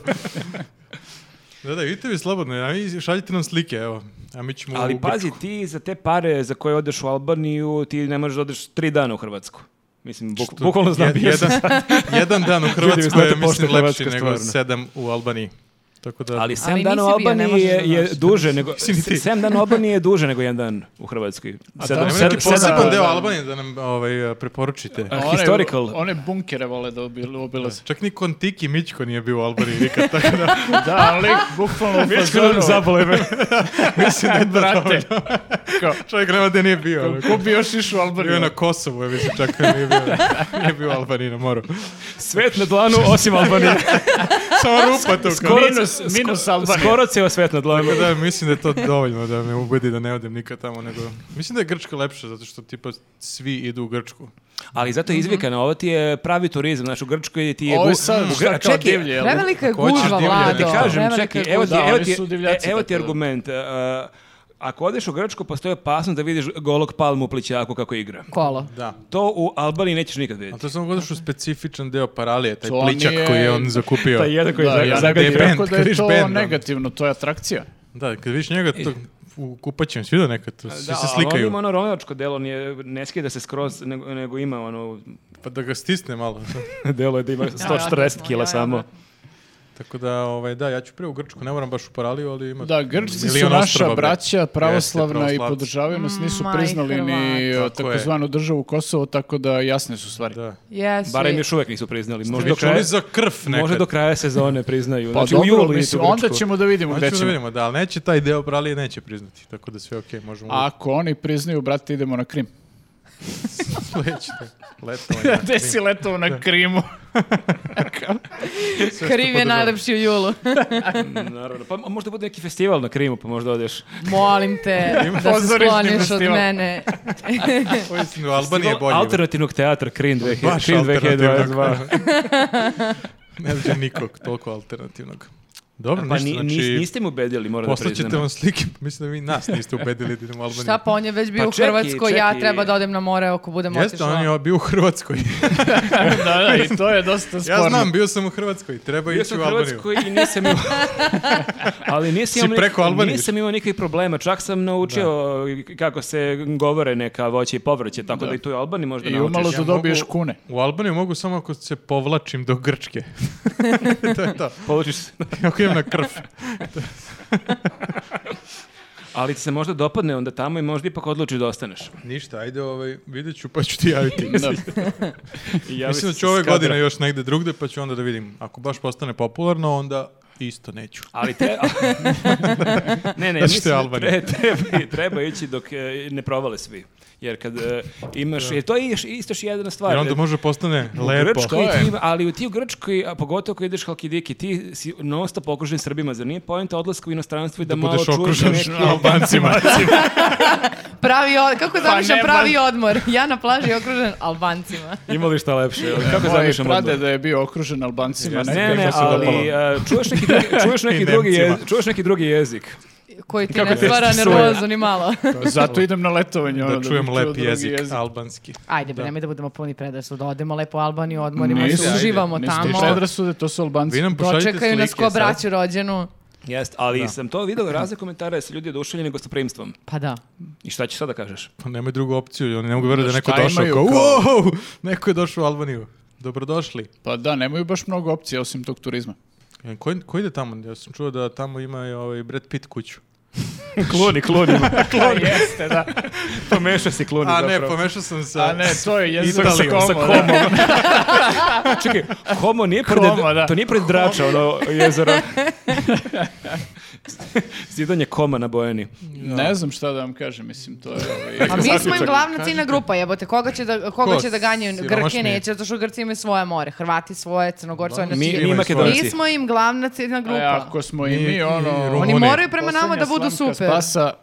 S1: da, da, vidite vi slobodno, a vi šaljite nam slike, evo. A mi ćemo u
S3: Ali
S1: Grčku.
S3: pazi, ti za te pare za koje odeš u Albaniju, ti ne možeš da odeš tri dana u Hrvatsku. Mislim, buk,
S1: Što-
S3: bukvalno znam
S1: jed-
S3: bio sam
S1: jedan, jedan dan u
S3: Ljudi, vi
S1: Hrvatskoj
S3: znate
S1: je, mislim,
S3: pošto je
S1: lepši
S3: Hrvatska
S1: nego
S3: stvarno.
S1: sedam u Albaniji. Tako da,
S3: Ali 7
S4: nisi
S3: dana u
S4: bio, ne
S3: Albaniji
S4: možeš
S3: je,
S4: da
S3: je
S4: znaš.
S3: duže nego
S1: Nisi ni ti.
S3: 7 dana u Albaniji je duže nego jedan dan u Hrvatskoj. Sedam, E.
S1: Nema
S2: Sedam-
S1: neki
S2: sedam-
S1: Pa poseban deo
S2: da.
S1: Albanije da nam ovaj, preporučite.
S3: A,
S2: One-
S3: historical.
S2: One bunkere vole da obil- obilaze.
S1: Čak ni Kontiki Mićko nije bio u Albaniji
S3: [laughs]
S1: nikad, tako da
S2: Da, ali bukvalno u fazonu.
S1: mislim da je to
S2: Brate,
S1: dovoljno. Čovjek nema gde nije bio. ono.
S2: ko bi još išao
S1: Bio
S2: u
S1: je
S2: Albaniju?
S1: na Kosovu, ja mislim, čak nije bio,
S3: [laughs]
S1: nije bio u Albaniji na moru.
S3: [laughs] Svet na dlanu osim Albanije.
S1: Samo rupa tu. kao.
S3: [laughs] Skoro-
S2: Minus-
S3: sko-
S2: minus Albanija.
S3: Skoro ceo svet na dlanu.
S1: Tako da mislim da je to dovoljno da me ubedi da ne odem nikad tamo, nego... Mislim da je Grčka lepša, zato što tipa svi idu u Grčku.
S3: Ali zato
S4: Mhm.
S3: je izvikano, ovo ti je pravi turizam, znači u Grčkoj ti je...
S2: Ovo je
S3: gu-
S2: sad
S3: u Gr-
S2: šta kao
S3: čekaj,
S2: divlje, jel?
S4: Prevelika je
S1: Ako hoćeš
S4: gužva,
S1: divlje,
S4: Vlado.
S1: da ti
S3: E, Kažem,
S4: prevelika
S3: čekaj,
S4: je
S3: evo ti,
S4: gužva.
S2: Da,
S3: evo
S2: oni
S3: ti,
S2: su divljaci,
S3: e- evo ti
S2: tako da.
S3: argument. e, e, ako odeš u Grčku, postoji opasnost da vidiš golog palmu u plićaku kako igra.
S4: Kolo.
S1: Da.
S3: To u Albaniji nećeš nikad vidjeti.
S1: A to samo gledaš u specifičan deo paralije, taj
S2: To
S1: pličak
S2: nije-
S1: koji je on zakupio.
S3: Taj jedan koji
S2: Da,
S3: je
S2: ja ne
S3: zagadio.
S2: bih
S1: bend,
S2: rekao da
S1: kad
S2: je
S1: vidiš
S2: to
S1: bend, ono.
S2: negativno, to je atrakcija.
S1: Da, kad vidiš njega to, u kupaćem, svi da nekad, to, svi
S3: Da,
S1: se
S3: ali on
S1: slikaju.
S3: ima ono rojačko delo, nije, ne skida se skroz, nego, nego ima
S1: [laughs]
S3: ono,
S1: Pa da ga stisne malo.
S3: delo je da ima 140 kila samo.
S1: Tako da, ovaj, da, ja ću prije u Grčku, ne moram baš u paraliju, ali ima...
S2: Da, Grci su
S1: milion ostrva,
S2: naša
S1: bre.
S2: braća pravoslavna
S1: Jeste,
S2: i
S1: pravoslavci.
S2: podržavaju nas, nisu
S4: Ma, i
S2: priznali ni
S4: Hrvati.
S2: eh,
S1: Tako je.
S2: takozvanu državu Kosovo, tako da jasne su stvari.
S1: Da.
S4: Jesu.
S3: Barem
S4: i-
S3: još uvek nisu priznali. Možda
S1: Vi
S3: do kraja,
S1: čuli za krv nekad.
S3: možda do kraja sezone priznaju.
S2: Pa
S3: znači, u
S2: dobro,
S3: julu idu
S2: mislim,
S3: u
S2: onda
S3: Grčku.
S2: ćemo da vidimo
S1: Hoćemo
S2: gde
S1: da
S2: ćemo.
S1: vidimo, da, ali neće taj deo pralije neće priznati, tako da sve okej, možemo
S2: A ako oni priznaju, brate, idemo na
S1: [laughs]
S2: Krim.
S1: sledeći letovanje.
S2: Gde si letao na Krimu?
S4: Krim je najlepši u julu.
S3: Naravno, pa možda bude neki festival na Krimu, pa možda odeš.
S4: Molim
S3: [laughs]
S4: te da se
S2: Pozorišni
S4: skloniš od
S2: festival.
S4: mene.
S1: Mislim, u Albaniji je Pa bolje. bre.
S3: Alternativnog teatra Krim, 2000,
S1: Baš
S3: Krim
S1: alternativnog.
S3: 2022.
S1: [laughs] ne vidim nikog toliko alternativnog. Dobro,
S3: Pa ni,
S1: ništa,
S3: nis,
S1: znači...
S3: niste mu ubedili, moram da priznam.
S1: Poslaćete vam slike, mislim da vi nas niste ubedili da idemo u Albaniju.
S4: Šta pa on je već bio
S3: Pa
S4: u
S3: čekaj,
S4: Hrvatskoj, ja
S3: čekaj.
S4: treba da odem na more ako budem
S1: Jeste, on je bio u
S3: [laughs]
S1: Hrvatskoj.
S2: [laughs] da, da, i to je dosta sporno.
S1: ja znam, bio sam u Hrvatskoj, treba
S3: Bio
S1: ići
S3: sam
S1: u
S3: u
S1: Albaniju.
S3: Hrvatskoj i nisam imao... [laughs] Ali
S1: Si
S3: nisam, imao
S1: preko Albanije
S3: nisam imao nikakvih problema. Čak sam naučio kako se govore neka voće i povrće, tako da, i tu u Albaniji možda
S2: I
S3: naučiš.
S2: umalo da
S1: mogu-
S2: dobiješ kune.
S1: U Albaniju mogu samo ako se povlačim do Grčke. [laughs] to je
S3: [laughs]
S1: to.
S3: Polučiš se.
S1: Ako idem na krv.
S3: Ali ti se možda dopadne onda tamo i možda ipak odlučiš da ostaneš.
S1: Ništa, ajde, ovaj, vidjet ću pa ću ti
S3: [laughs]
S1: javiti.
S2: [laughs] Da.
S3: I javi
S1: Mislim da
S3: se
S1: ću ove
S3: skadra.
S1: godine još negde drugde, pa ću onda da vidim. Ako baš postane popularno, onda isto neću.
S3: Ali
S1: [laughs]
S3: te... ne,
S1: Znaš što
S3: ne,
S1: je
S3: mislim, da
S1: Albanija?
S3: tre- treba, treba ići dok e, ne provale svi. Jer kad e, imaš... Jer to je još- isto još jedna stvar.
S1: Jer onda može postane
S3: Pa
S1: lepo.
S3: Grčkoj,
S2: To je.
S3: ti ima- ali u ti u Grčkoj, a pogotovo ako ideš Halkidiki, ti si non stop okružen Srbima, zar nije pojenta odlaska u inostranstvo i da, malo
S1: budeš
S3: čuješ
S1: okružen
S3: [laughs] neki...
S1: [laughs] Albancima.
S4: Pravi od... Kako
S3: Pa
S4: zamišljam
S2: ne,
S4: pravi odmor? [laughs] Ja na plaži okružen Albancima.
S3: Ima li šta lepše? ali Kako
S2: Moje
S3: zamišljam
S2: prade
S3: odmor?
S2: da je bio okružen Albancima.
S1: Jeste.
S3: Ne,
S1: Kako
S3: ne,
S1: se
S3: ali
S1: dopalo.
S3: a, čuješ neki, drugi- [laughs] čuješ neki,
S1: I
S3: drugi,
S1: Nemcima.
S3: jez- čuješ neki drugi jezik.
S4: Koji ti
S3: Kako
S4: ne
S3: te
S4: stvara
S3: spisuje?
S4: nervozu ni malo.
S2: Zato idem na letovanje. ono,
S1: da
S2: bih
S1: čujem
S2: čuo
S1: lep
S2: drugi
S1: jezik, albanski.
S4: [laughs] Ajde, bre, nemoj da budemo puni predrasud. Odemo lepo u Albaniju, odmorimo
S2: Nisu,
S4: se,
S2: ajde,
S4: uživamo
S2: nisu ti
S4: tamo.
S2: predrasude, to su Albanci.
S1: Vi nam pošaljite
S4: Dočekaju nas
S1: slike
S4: ko
S1: sad.
S4: braću rođenu.
S3: Jest, ali sam to video razne komentare da su ljudi oduševljeni gostoprimstvom.
S4: Pa da.
S3: I šta ćeš sada kažeš?
S1: Pa nemaju drugu opciju, oni ne mogu verovati da je
S2: Šta
S1: neko došao
S2: imaju
S1: kao,
S2: kao-
S1: wow, neko je došao u Albaniju. Dobrodošli.
S2: Pa da, nemaju baš mnogo opcija osim tog turizma.
S1: Ko, ko ide tamo? Ja sam čuo da tamo ima i ovaj Brad Pitt kuću.
S3: [laughs] kloni, kloni. [laughs] kloni. jeste, da. [laughs] Pomeša si kloni
S1: A ne,
S3: zapravo.
S1: pomešao sam sa...
S2: A ne, to je jezik sa
S1: Italijom, sa
S2: komo. da.
S3: Čekaj, homo nije pored,
S2: Homo, da.
S3: to nije pored drača, ono [laughs] jezero. Zidanje koma na bojeni.
S2: Ne znam šta da vam kažem, mislim, to je... ovaj,
S4: A mi smo im glavna ciljna grupa, jebote. Koga će da, koga
S1: Ko?
S4: će da ganjaju? Grke
S1: Siromašni.
S4: neće, zato što Grci imaju svoje more. Hrvati svoje, Crnogorci svoje.
S3: Mi,
S4: Znači,
S3: mi
S1: svoje.
S4: mi
S3: makedonci.
S4: smo im glavna ciljna
S2: E,
S4: grupa.
S2: ako smo i
S1: I-
S2: mi,
S1: i
S2: ono...
S1: Rumuni.
S4: Oni moraju prema
S2: Poslednja
S4: nama da budu
S2: slamka
S4: super.
S2: Spasa,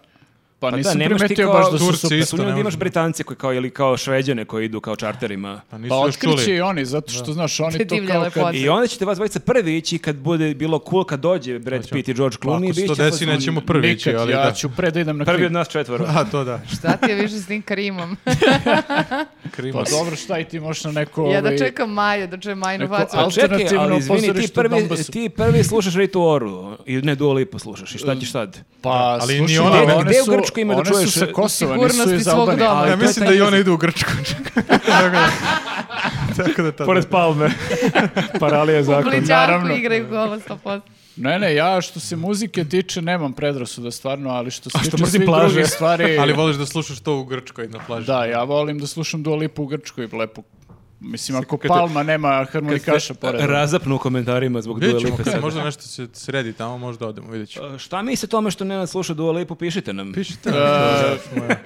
S2: pa,
S3: Pa
S2: nisam
S3: da, nemaš ti
S2: primetio
S3: kao
S2: baš da su
S1: Turci.
S2: super.
S1: isto,
S3: Isto,
S1: ne
S3: imaš
S1: možemo.
S3: Britance koji kao, ili kao Šveđane koji idu kao čarterima.
S1: Pa nisu
S2: Pa
S1: još
S2: otkriće i
S1: čuli.
S2: oni, zato što, znaš,
S4: Te
S2: oni to
S4: divlje
S2: kao
S4: lepote.
S2: kad...
S3: I onda ćete vas dvojica prvi ići kad bude bilo cool kad dođe Brad Pitt i George
S1: Pa
S3: Clooney.
S1: ako se to
S3: bit će
S1: desi,
S3: fazon-
S1: nećemo prvi ići,
S2: Nikad,
S1: ali
S2: ja
S1: da.
S2: ću pre da idem na
S3: [laughs] Prvi od
S2: Krim.
S3: nas
S1: [laughs]
S3: četvoro.
S1: A, to da,
S4: Šta ti je više s tim Karimom?
S2: Pa
S1: Krimos.
S2: dobro, šta i ti možeš na neko...
S4: [laughs] ja da
S2: ovaj,
S4: čekam Maju, da čujem Majinu
S2: Neko
S4: facu.
S2: al-
S3: Pa čekaj, ali
S2: Alternativno
S3: izvini, ti
S2: pozorište u
S3: prvi,
S2: Donbasu.
S3: ti prvi slušaš Ritu Oru i ne Dua Lipu slušaš i šta ćeš
S1: [laughs]
S3: sad?
S2: Pa,
S1: Ali
S2: slušaj,
S1: ni ona
S2: ali
S1: meni-
S2: one
S3: Gde u
S2: su-
S3: Grčkoj ima da
S2: One
S3: čuješ
S2: su sa Kosova, nisu
S4: sigurnosti
S2: iz
S4: svog
S2: Albanije.
S4: doma?
S1: Ja
S3: to je
S1: mislim da
S3: taj
S1: i ona
S3: jezik.
S1: ide u Grčku. [laughs] Tako da- Tako da tada.
S3: [laughs] Palme. Paralija
S4: U Plićarku
S2: naravno.
S4: igraju gola 100%.
S2: Ne, ne, ja što se muzike tiče nemam predrasuda stvarno, ali što se
S3: što
S2: tiče
S3: mrzim
S2: svih
S3: plaže.
S2: drugih stvari...
S1: [laughs] Ali voliš da slušaš to u Grčkoj na plaži.
S2: Da, ja volim da slušam Dua Lipu u Grčkoj lepo. Mislim, ako Palma nema harmonikaša pored.
S3: Razapnu u komentarima zbog Dua
S1: Vidjet ćemo,
S3: Lipe
S1: kad
S3: sada.
S1: možda nešto se sredi tamo, možda odemo, vidjet ćemo.
S3: E, Šta mislite o tome što Nenad sluša Dua Lipu, pišite nam.
S1: Pišite.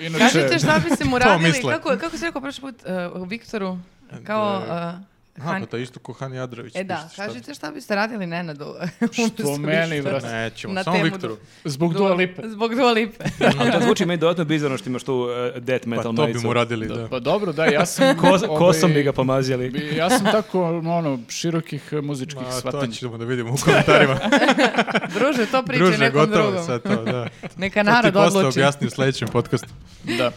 S2: Inače,
S4: Kažete šta bi se mu radili,
S1: misle.
S4: kako, kako si rekao prošli put uh, Viktoru? e, Kao, uh,
S1: Aha, pa to je isto ko Han Jadrović.
S4: E da,
S1: piše, šta-
S4: kažite šta biste radili Nenadu.
S2: Što meni, brate?
S1: Nećemo,
S4: Na
S1: samo
S4: temu
S1: Viktoru. Pa
S2: Zbog Dua Lipe.
S4: [laughs] Zbog Dua Lipe.
S3: Ali to zvuči meni dodatno bizarno što imaš tu uh, death
S1: Pa
S3: metal
S1: to
S3: majicu.
S1: bi mu radili, da.
S2: Pa dobro, da, ja sam... [laughs]
S3: Ko,
S2: ovaj,
S3: kosom bi ga pomazili.
S2: bi- Ja sam tako, ono, širokih eh, muzičkih
S1: Ma, to
S2: shvatanja.
S1: ćemo da vidimo u komentarima.
S4: Druže, to [laughs] priče
S1: Druže,
S4: nekom
S1: gotovo
S4: drugom.
S1: sad
S4: [laughs]
S1: to, da.
S4: Neka
S1: To ti
S4: narod
S1: posle
S4: odluči.
S1: objasni u sljedećem podcastu.
S2: Da.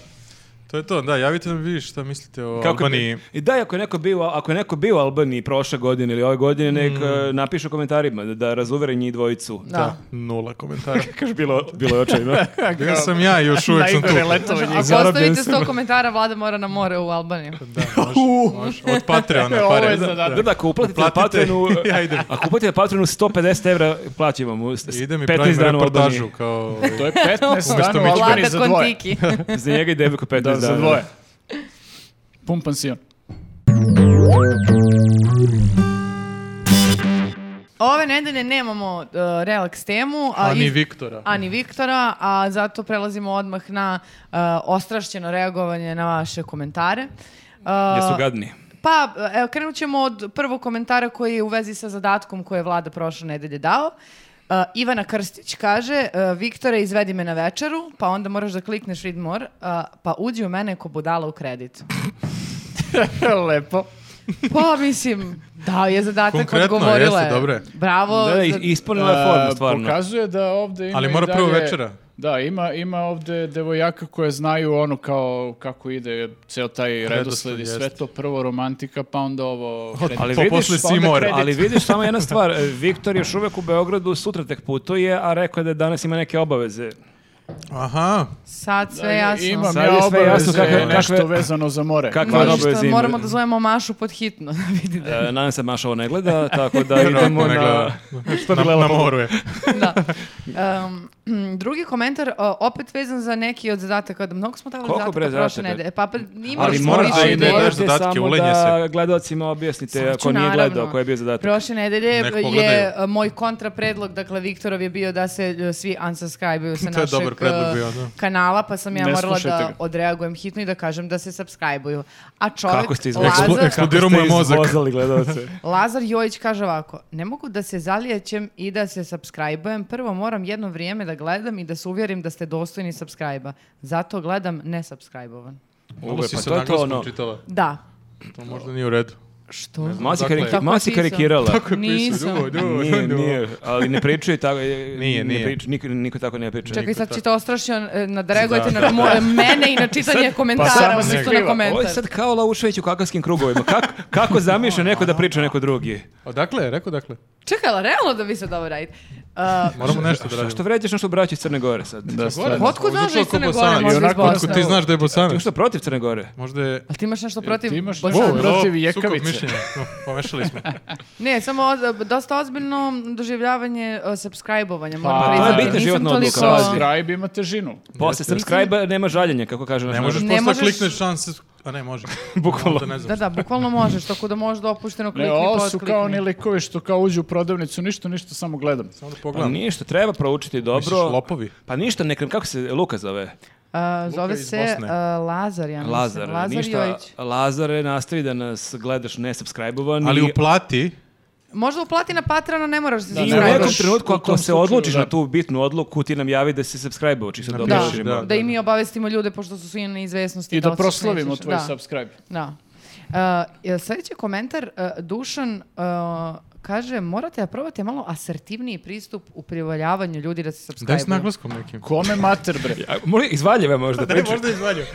S1: To je to, da, javite nam vi šta mislite o
S3: Kako
S1: Albaniji.
S3: bi, I da, ako je neko bio, ako je neko bio u Albaniji prošle godine ili ove godine, nek eh, napiše u komentarima da, da razuvere njih dvojicu.
S4: Da.
S1: Da, nula
S4: [laughs]
S1: komentara.
S3: Kaže, bilo, bilo je očajno.
S1: Bio sam ja i još uvijek sam tu.
S2: Najgore letovo njih.
S4: Ako
S3: zarobljen
S4: ostavite
S3: sam.
S4: 100 komentara, vlada mora na more u Albaniju.
S1: Da, može, može. Od
S4: [laughs]
S1: Patreona
S2: E, Ovo Ono
S1: pare.
S2: je zadatak.
S3: Da, da, ako uplatite na
S1: Platite
S3: [laughs] Patreonu,
S1: i ajde.
S3: ako uplatite na Patreonu 150 evra, plaćamo mu s-
S1: I Idem i
S3: 15
S1: pravim
S3: dana u
S1: reportažu
S3: Albaniji.
S1: kao...
S2: To je [laughs] 15
S1: Umesto
S2: dana u
S1: Mićka.
S2: Albaniji
S4: Vlada
S2: za dvoje.
S4: Kontiki.
S3: [laughs] Za njega i devojku 15
S2: Da,
S3: dana.
S2: za dvoje. Pun pansion.
S4: Ove nedelje nemamo uh, relax temu. A
S1: Ani
S4: iz- [laughs]
S1: Viktora.
S4: Ani Viktora, a zato prelazimo odmah na uh, ostrašćeno reagovanje na vaše komentare. Uh,
S3: Jesu gadni.
S4: Pa, evo, krenut ćemo od prvog komentara koji je u vezi sa zadatkom koje je vlada prošle nedelje dao. Uh, Ivana Krstić kaže, uh, Viktore, izvedi me na večeru, pa onda moraš da klikneš read more, uh, pa uđi u mene ko budala u kredit.
S2: Lepo.
S4: Pa, mislim, da je zadatak
S1: Konkretno,
S4: odgovorila.
S1: jeste,
S4: je.
S1: dobro je.
S4: Bravo.
S3: Da,
S4: za-
S3: i- ispunila je
S2: A,
S3: formu, stvarno.
S2: Pokazuje da ovdje ima
S1: Ali
S2: i
S1: mora prvo
S2: dalje-
S1: večera.
S2: Da, ima, ima ovdje devojaka koje znaju ono kao kako ide ceo taj redosled i sve
S1: jeste.
S2: to prvo romantika pa onda ovo... kredit.
S3: Ali
S1: Pa
S3: vidiš,
S1: posle
S2: onda
S1: Simor.
S2: kredit.
S3: Ali vidiš samo jedna stvar, e, Viktor je još uvek u Beogradu, sutra tek putuje, a rekao je da danas ima neke obaveze.
S1: Aha,
S4: Sad sve
S2: Da,
S4: jasno.
S2: Imam
S3: Sad
S2: ja
S3: je sve jasno
S2: obaveze,
S3: kakve-
S2: nešto
S3: kakve-
S2: vezano za more.
S3: Kakve
S4: Možda
S3: obaveze
S4: što
S3: ima.
S4: moramo da zovemo Mašu pod hitno. da vidi da-
S3: E, nadam se Maša ovo ne gleda, tako da idemo
S1: vjerojatno [laughs] ne
S3: na...
S1: gleda.
S3: Što bi
S1: Na,
S3: gledala
S1: na
S3: po-
S1: moru je.
S4: da. Um, mm, [clears throat] drugi komentar, o, opet vezan za neki od zadataka. Da mnogo smo davali
S3: Koliko
S4: zadataka
S3: bre
S4: prošle
S3: zadataka?
S4: nedelje. Pa, pa ima
S1: Moraš
S3: Ali mora,
S1: morati
S3: ali
S1: da ideš
S3: morate
S1: zadatke,
S3: samo
S1: ulenje
S3: da gledalcima objasnite
S4: Sad ću,
S3: ako nije
S4: Znači, naravno.
S3: gledao, koji je bio zadatak.
S4: Prošle nedelje
S1: Nek
S4: je
S1: pogledaju.
S4: e, moj kontrapredlog, dakle Viktorov je bio da se e, svi unsubscribe-uju sa
S1: [laughs] To je
S4: našeg
S1: dobar predlog
S4: e,
S1: bio, da.
S4: kanala, pa sam ja
S2: Ne
S4: morala da
S2: slušajte ga.
S4: odreagujem hitno i da kažem da se subscribe-uju. A čovjek
S3: Kako ste izvozili?
S1: Eksplo-
S4: Lazar,
S1: eksplodirao mu je mozak.
S3: izvozali
S1: [laughs]
S3: gledalce?
S4: Lazar Jojić kaže ovako, ne mogu da se zalijećem i da se subscribe-ujem, prvo moram jedno vrijeme da gledam i da se uvjerim da ste dostojni subscribe-a. Zato gledam nesubscribe-ovan.
S1: Malo si
S3: pa
S1: sa
S3: to je to
S1: naglaskom
S3: ono.
S1: čitala.
S4: Da.
S1: To možda nije u redu.
S4: Što?
S3: Masi,
S1: Dakle,
S3: kariki-
S4: tako
S3: Masi
S4: je pisao.
S3: karikirala.
S1: Tako je
S4: Nisam.
S1: pisao. Dugo, dugo,
S3: Nije,
S1: dugo.
S3: nije, ali ne pričaju
S1: [laughs]
S3: tako, e,
S1: Nije,
S3: ne
S1: nije.
S3: priča- niko, niko tako ne priča.
S4: Čekaj, sad
S1: tako.
S4: ćete ostrašio, nadregujete
S1: Da,
S4: na mo- mene i na čitanje komentara,
S2: samo se
S4: umjesto na
S2: skriva.
S3: Ovo je
S4: komentar.
S3: sad kao Laušević u kakavskim krugovima. Kako, kako zamišlja neko da priča neko drugi?
S1: Odakle je, rekao dakle.
S4: Čekaj, ali realno da vi sad ovo radite? Uh,
S1: Moramo nešto da
S3: Što,
S1: radimo.
S3: što vređaš našu braću iz Crne Gore sad?
S2: Da, stvarno.
S4: Otkud znaš da iz Crne Gore,
S1: Bosanac.
S4: možda iz
S1: Ionako, Otkud ti
S4: Bosne?
S1: znaš da je
S3: Ti
S1: Bosanac?
S3: što protiv Crne Gore?
S1: Možda je...
S4: ali ti imaš nešto protiv
S2: Ti imaš
S4: Bosanaca?
S2: nešto
S1: Ovo je
S2: protiv
S1: ovo
S2: jekavice.
S1: sukob mišljenja. No, pomešali
S3: [laughs]
S1: smo.
S4: Ne, samo oz- dosta ozbiljno doživljavanje uh, subscribe-ovanja, moram
S2: Pa, to je
S4: priznati.
S3: bitna
S4: Nisam
S3: životna odluka,
S4: toliko-
S3: pazi.
S2: Subscribe ima težinu.
S3: Posle subscribe nema žaljenja, kako kaže naš
S1: Ne možeš
S4: Ne
S1: posle
S4: možeš-
S1: klikneš šanse... A ne,
S3: [laughs]
S1: može.
S3: Bukvalno.
S1: Onda Ne znam.
S4: Da, da, bukvalno možeš, tako da možeš dopušteno klikni,
S2: Ne, ovo su
S4: potklikni.
S2: kao oni likovi što kao uđu u prodavnicu, ništa, ništa, samo gledam.
S1: Samo da
S3: Pa
S1: pogledam.
S3: ništa, treba proučiti
S1: Misliš,
S3: dobro.
S1: lopovi?
S3: Pa ništa, nekam, kako se Luka zove?
S4: A, zove
S1: iz
S4: se
S1: Bosne.
S4: a, Lazar, ja mislim.
S3: Lazar, ništa.
S4: Jojić.
S3: Lazare, nastavi da nas gledaš nesubscribe-ovan.
S1: Ali
S3: i-
S1: uplati
S4: Možda uplati na Patrona, ne moraš da se
S3: I u
S2: ne
S4: subscribe-aš.
S3: nekom
S2: moraš
S3: trenutku,
S2: u
S3: ako
S2: tom
S3: se
S2: slučaju,
S3: odlučiš
S2: da.
S3: na tu bitnu odluku, ti nam javi da si subscribe-ovo, čisto da
S4: Da,
S1: Piši,
S3: objašnjimo.
S4: da,
S1: da,
S4: i mi obavestimo ljude, pošto su svi na izvesnosti.
S2: I da
S4: odslušaju,
S2: proslavimo
S4: slušaju.
S2: tvoj
S4: Da,
S2: subscribe.
S4: Da. Uh, sljedeći komentar, uh, Dušan uh, kaže, morate da probate malo asertivniji pristup u privoljavanju ljudi da se
S1: Daj s
S4: subscribe
S1: naglaskom nekim. [laughs]
S2: Kome mater, bre?
S3: A, možda iz Valjeva možda priča.
S1: izvalju.
S3: [laughs]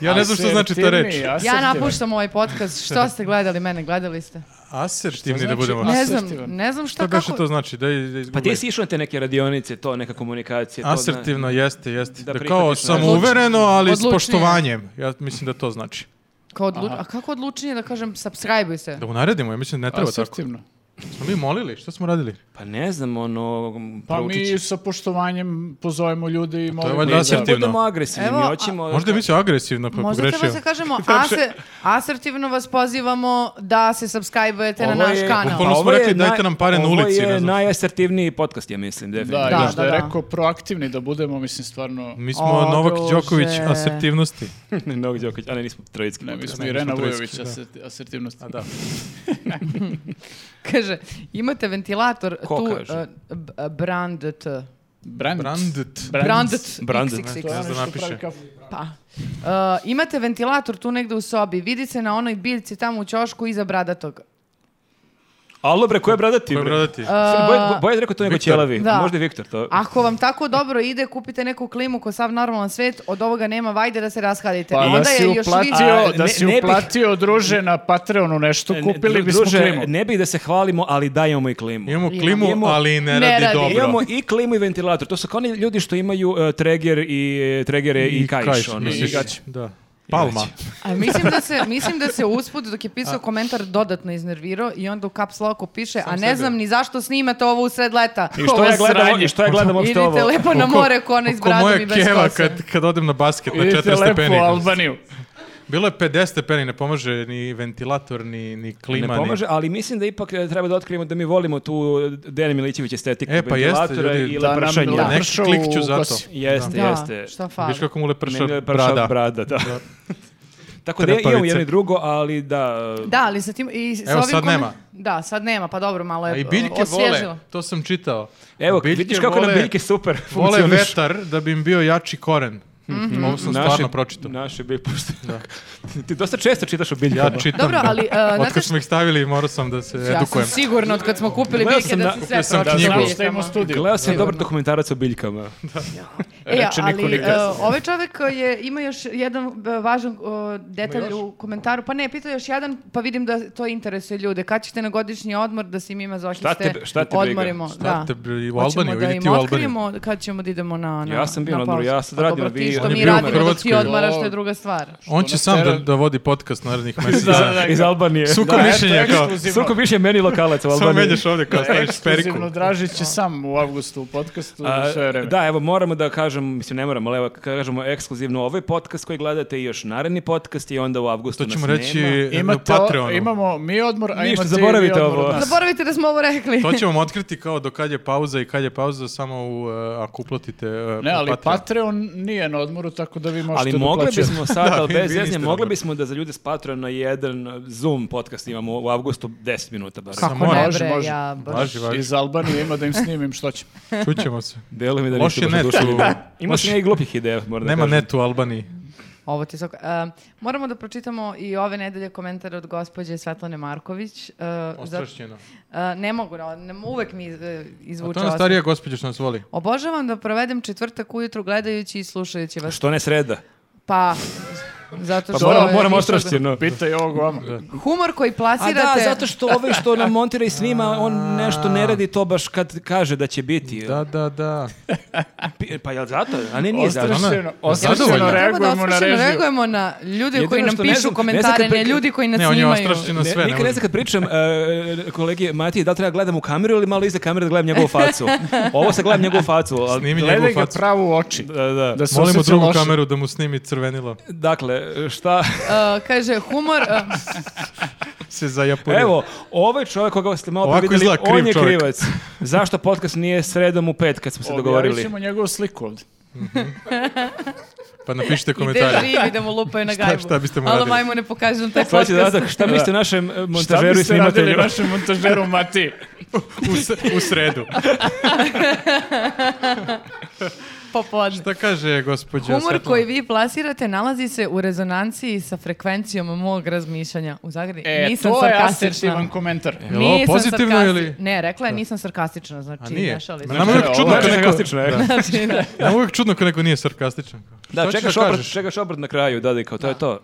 S1: ja ne znam što znači ta
S2: Asertivni,
S1: reč.
S4: Ja
S2: asertivan.
S4: napuštam ovaj podcast, što ste gledali mene, gledali ste.
S1: Asertivni
S2: Što
S1: da
S2: znači
S1: budemo.
S2: as-
S4: Ne znam,
S2: Asertivan.
S4: ne znam šta
S1: Šta
S4: kako...
S1: beše to znači? Da, da
S3: Pa ti si išao na te neke radionice, to neka komunikacija. to, znaš.
S1: Asertivno jeste, jeste.
S3: Da
S1: Da, kao
S3: prihvatiš nešto.
S1: samouvereno, ali s
S4: Odlučnije.
S1: poštovanjem. Ja mislim da to znači.
S4: Kao odlu- A kako odlučenje da kažem subscribe-uj se?
S1: Da mu naredimo, ja mislim da ne treba tako.
S2: Asertivno.
S1: Smo mi molili? Što smo radili?
S3: Pa ne znam, ono,
S2: Pa
S3: proučit
S2: mi
S3: ću.
S2: sa poštovanjem pozovemo ljude i
S1: to je
S2: molimo.
S1: valjda
S2: da-
S1: asertivno.
S3: budemo agresivni,
S4: Evo,
S3: mi
S4: a-
S3: hoćemo...
S1: Možda je mislio agresivno, pa je
S4: Možda
S1: pogrešio.
S4: treba se kažemo, ase- asertivno vas pozivamo da se subscribe-ujete na naš kanal.
S1: Bukvalno smo
S3: ovo je
S1: rekli, dajte nam pare na ulici,
S3: Ovo
S1: ne
S3: je
S1: znam.
S3: najasertivniji podcast, ja mislim, definitivno.
S2: Da,
S4: Da,
S2: još da,
S4: da,
S2: je
S4: da.
S2: rekao proaktivni da budemo, mislim stvarno...
S1: Mi smo
S4: O,
S1: Novak
S4: druže.
S1: Đoković asertivnosti.
S3: Mnogo Đoković, a [laughs] ne, nismo trojicki.
S2: Ne, mi smo
S1: Ne,
S2: Irena
S1: nismo
S2: Vujović,
S1: trojski,
S2: aser- asertivnost.
S1: da.
S4: Kaže, imate ventilator
S3: Ko
S4: tu
S3: kaže?
S4: eh, b- eh, brandt.
S2: Brand.
S1: Brandt.
S4: Brandt.
S3: Brandt.
S4: XXX.
S2: To je
S1: Ne
S2: ono
S1: znam
S2: što
S1: napiše.
S2: pravi kafu.
S4: Pa. Eh, imate ventilator tu negde u sobi, vidi se na onoj biljci tamo u ćošku iza bradatog.
S3: Alo bre, ko je bradati?
S1: Ko je
S3: bre?
S1: bradati?
S3: Sorry, Boj, Boj- Bojan je rekao to nego
S1: Viktor.
S3: ćelavi.
S4: Da.
S3: Možda je Viktor to.
S4: Ako vam tako dobro ide, kupite neku klimu ko sav normalan svet, od ovoga nema, vajde da se rashadite.
S2: Pa da
S4: Onda
S2: si
S4: je još
S2: uplatio,
S4: više...
S3: A,
S2: da
S3: ne-
S2: si
S3: ne bih-
S2: uplatio druže na Patreonu nešto,
S3: E, ne,
S2: kupili
S3: dru-
S2: bismo
S3: druže,
S2: klimu.
S3: Ne bi da se hvalimo, ali dajemo i klimu.
S1: Imamo klimu,
S3: Imamo-
S1: ali ne
S4: Ne
S1: radi
S4: radi.
S1: dobro.
S3: Imamo i klimu i ventilator. To su kao oni ljudi što imaju e, treger i tregere i, kajš. ono,
S1: misliš?
S3: i gaće.
S1: Da. Palma.
S4: A mislim da se, mislim da se usput dok je pisao komentar dodatno iznervirao i onda u caps locku piše, a ne znam ni zašto snimate ovo u sred leta.
S3: I što ja gledam,
S2: sranje.
S3: i što ja gledam uopšte
S4: Idite
S3: ovo.
S4: lepo na more ko ona iz
S1: Ko
S4: bradom i
S1: moja
S4: bez
S1: keva
S4: kose.
S1: kad, kad odem na basket na
S2: Idite
S1: 4
S2: lepo
S1: stepeni.
S2: u Albaniju.
S1: Bilo je 50 stepeni, ne pomaže ni ventilator, ni, ni
S3: Ne
S1: klima. ni-
S3: pomaže, ali mislim da ipak e, treba da otkrijemo da mi volimo tu Dejan Milićević estetiku
S1: E, pa jeste,
S3: ventilatora
S1: ljudi,
S3: i
S1: da
S2: nam
S3: lepršanje.
S1: Da,
S2: lepršanje.
S1: nek
S2: Pršao
S1: klik ću
S2: u
S1: za to.
S2: kosi.
S3: Jeste,
S4: Da,
S3: jeste.
S4: šta fali.
S1: Viš kako mu leprša
S3: Meni je prša
S1: brada.
S3: brada, da. [laughs] Tako da
S1: Trepavice.
S3: imamo jedno i drugo, ali da... e,
S4: Da, ali sa tim... I sa
S1: Evo,
S4: ovim
S1: sad
S4: komen-
S1: nema.
S4: Da, sad nema, pa dobro, malo
S1: A
S4: je
S1: i biljke
S4: osvježilo.
S1: vole, to sam čitao.
S3: Evo,
S1: Biljke
S3: vidiš kako
S1: vole-
S3: nam biljke super
S1: Vole
S3: funkcioniš.
S1: vetar da bi im bio jači koren.
S4: Mhm.
S1: Ovo sam stvarno pročitao.
S3: Naše bilje, pošto... [laughs] Ti dosta često čitaš o biljkama.
S1: Ja čitam.
S4: Dobro,
S1: da. [laughs]
S4: ali, e, znate
S1: Otkad
S4: šta-
S1: smo ih stavili, morao sam da se
S4: Ja sam
S1: edukujem.
S4: sigurno od kad smo kupili
S3: Gledao
S4: biljke
S3: sam
S4: da
S3: da-
S4: si sve
S1: kupio sam
S4: pročitao.
S1: knjigu.
S2: Znamo
S1: Knjigu.
S2: šta ima studiju.
S3: Gledao sam dobar dokumentarac o biljkama.
S4: E,
S2: Reče niko
S4: ali
S2: nikad.
S4: e, ovaj čovjek je, ima još jedan e, važan e, detalj u komentaru. Pa ne, pitao još jedan, pa vidim da to interesuje ljude. Kad ćete na godišnji odmor da se i mi mazohiste
S3: Šta te- šta te briga?
S4: odmorimo? da.
S1: te bri- u
S4: Hoćemo
S1: Albaniju,
S4: da
S1: idi
S4: im
S1: ti u Albaniju.
S4: otkrijemo kad ćemo da idemo na, na
S3: Ja sam bio
S4: na
S3: na odmoru,
S4: pauzu.
S3: ja sad
S4: Pa
S3: radim,
S4: dobro,
S3: vi-
S4: ti što
S1: on je
S4: mi
S1: bio u
S4: radimo dok ti
S1: Hrvatskoj.
S4: odmaraš, to
S2: O.
S4: je druga stvar.
S1: On će
S2: nas
S1: sam da,
S3: Ono-
S2: tera-
S1: da vodi podcast
S3: [laughs]
S1: narednih mjesec
S2: Da,
S1: dana.
S2: da,
S3: Iz Albanije.
S1: Suko
S2: Da,
S1: mišljenja
S2: eto,
S1: kao...
S2: ekskluzivno.
S3: Suko više meni lokalac u
S1: Samo
S3: Albaniji.
S1: menjaš ovdje kao staviš periku.
S2: Ekskluzivno Dražić će sam u avgustu u podcastu
S3: A,
S2: sve vreme.
S3: da, evo moramo da kažem, mislim ne moramo, ali evo kažemo ekskluzivno ovaj podcast koji gledate i još naredni podcast i onda u avgustu
S1: To ćemo
S3: nas
S1: reći
S3: nema.
S1: e, na
S2: Imate,
S1: Patreonu.
S2: imamo mi odmor, a
S3: Ništa,
S2: imate i vi
S3: zaboravite
S2: odmor od
S3: ovo.
S2: nas.
S4: Zaboravite da smo ovo rekli.
S1: To ćemo vam otkriti kao do kad je pauza i kad je pauza samo u, e, ako uplatite e,
S2: Ne, ali
S1: Patreon.
S3: pa-
S2: Patreon nije na odmoru, tako da
S1: Ono
S2: vi možete
S3: Ali mogli
S1: [laughs]
S2: doplaćati.
S3: bismo sad,
S1: Da, vi-
S3: ali bez
S1: vi
S3: jezne,
S1: niste
S3: mogli
S1: dobro.
S3: bismo da za ljude s na jedan Zoom podcast imamo u avgustu 10 minuta. Bar.
S4: Kako
S1: Samo
S4: Pa ne
S1: može,
S4: bre,
S2: može.
S4: ja... baš-
S1: Važi, važi.
S3: [laughs]
S2: Iz Albanije ima da im snimim što će.
S1: Čućemo se.
S3: Delo mi da
S1: Loš
S3: nisu
S1: je
S3: baš
S1: net
S3: oduševljeni.
S1: u-
S3: Ima sam ja i glupih ideja, moram da
S1: Nema
S3: kažem.
S1: net u Albaniji.
S4: Ovo ti svako- e, moramo da pročitamo i ove nedelje komentare od gospođe Svetlane Marković. e, zato-
S1: Ostrašćeno.
S4: E, ne mogu, no, ne, uvek mi e,
S1: A
S4: izvuče
S1: to je ona
S4: osmeh.
S1: starija gospođa što nas voli.
S4: Obožavam da provedem četvrtak ujutru gledajući i slušajući vas.
S3: Što ne sreda?
S4: Pa, zato
S3: Pa
S4: što...
S3: moram,
S4: je
S3: moram
S4: više-
S3: ostrašćeno.
S2: Pitaj ovog vama.
S4: Humor koji plasirate...
S3: što ovaj što nam montira i snima, on nešto ne radi to baš kad kaže da će biti.
S1: Da, da, da.
S3: Pi- Pa jel zato? A ne, nije zato.
S1: Ona-
S2: Ostrašćeno, ostrašćeno
S1: Zadovoljna.
S4: Treba da
S2: reagujemo na
S4: osvršeno
S2: režiju.
S4: reagujemo na ljude
S3: Jedino
S4: koji nam
S3: što ne
S4: pišu
S3: znam- ne
S4: komentare,
S3: znam kad
S4: ne
S3: pri-
S4: ljudi koji nas
S1: Ne, on je
S4: snimaju.
S1: ostrašćeno ono sve.
S3: Ne, nikad ne znam kad pričam e, kolegi Matiji da li treba gledam u kameru ili malo iza kamere da gledam njegovu
S1: [laughs]
S3: facu. Ovo se gledam njegovu facu. Ali,
S1: Snimi
S2: Gledaj
S1: njegovu
S2: ga
S1: facu.
S2: pravo u oči.
S3: da, da.
S2: Da se
S1: Molimo
S2: osjeća
S1: drugu
S2: loše.
S1: kameru da mu snimi crvenilo.
S3: Dakle, šta...
S4: Uh, kaže, humor...
S1: [laughs]
S4: uh,
S1: Se zajapuri.
S3: Evo, ovaj čovjek koga ste malo
S1: Ovako
S3: pre vidjeli,
S1: izgleda kriv
S3: on je
S1: čovjek.
S3: krivac. Zašto podcast nije sredom u pet kad smo se
S2: Objavit
S3: dogovorili?
S2: ćemo njegovu sliku ovdje.
S1: Pa napišite
S4: ide
S1: komentare.
S4: živi da mu lupaju na
S1: Šta-
S4: gajbu.
S1: šta biste mu
S4: Alo,
S1: radili?
S4: majmo, ne pokažem taj
S3: Sad će
S4: podcast.
S3: zadatak, šta mislite o našem e,
S2: Šta
S3: montažeru i
S2: biste radili
S3: snimatelju?
S2: našem montažeru Mati?
S1: U, s- u
S4: [laughs]
S1: sredu.
S4: Popodne.
S1: Šta kaže gospođa
S4: Humor
S1: Svetlana?
S4: koji vi plasirate nalazi se u rezonanciji sa frekvencijom mog razmišljanja. U Zagradi
S2: E,
S4: nisam
S2: to je
S4: sarkastična.
S2: asertivan komentar.
S1: Jel ovo
S4: Nisam
S1: pozitivno
S4: sarkasti-
S1: ili-
S4: Ne, rekla je nisam sarkastična, znači
S1: A nije.
S4: ne šalim se.
S1: Nama je uvijek
S2: Ovo
S1: čudno
S2: je
S1: kad neko...
S3: sarkastično, je.
S4: [laughs] Znači, da.
S1: Nama je uvijek čudno kad neko nije sarkastičan. Šta
S3: Da,
S1: hoćeš
S3: čekaš
S1: da
S3: obrat,
S1: kažeš?
S3: čekaš obrat na kraju, da, da, kao to je to.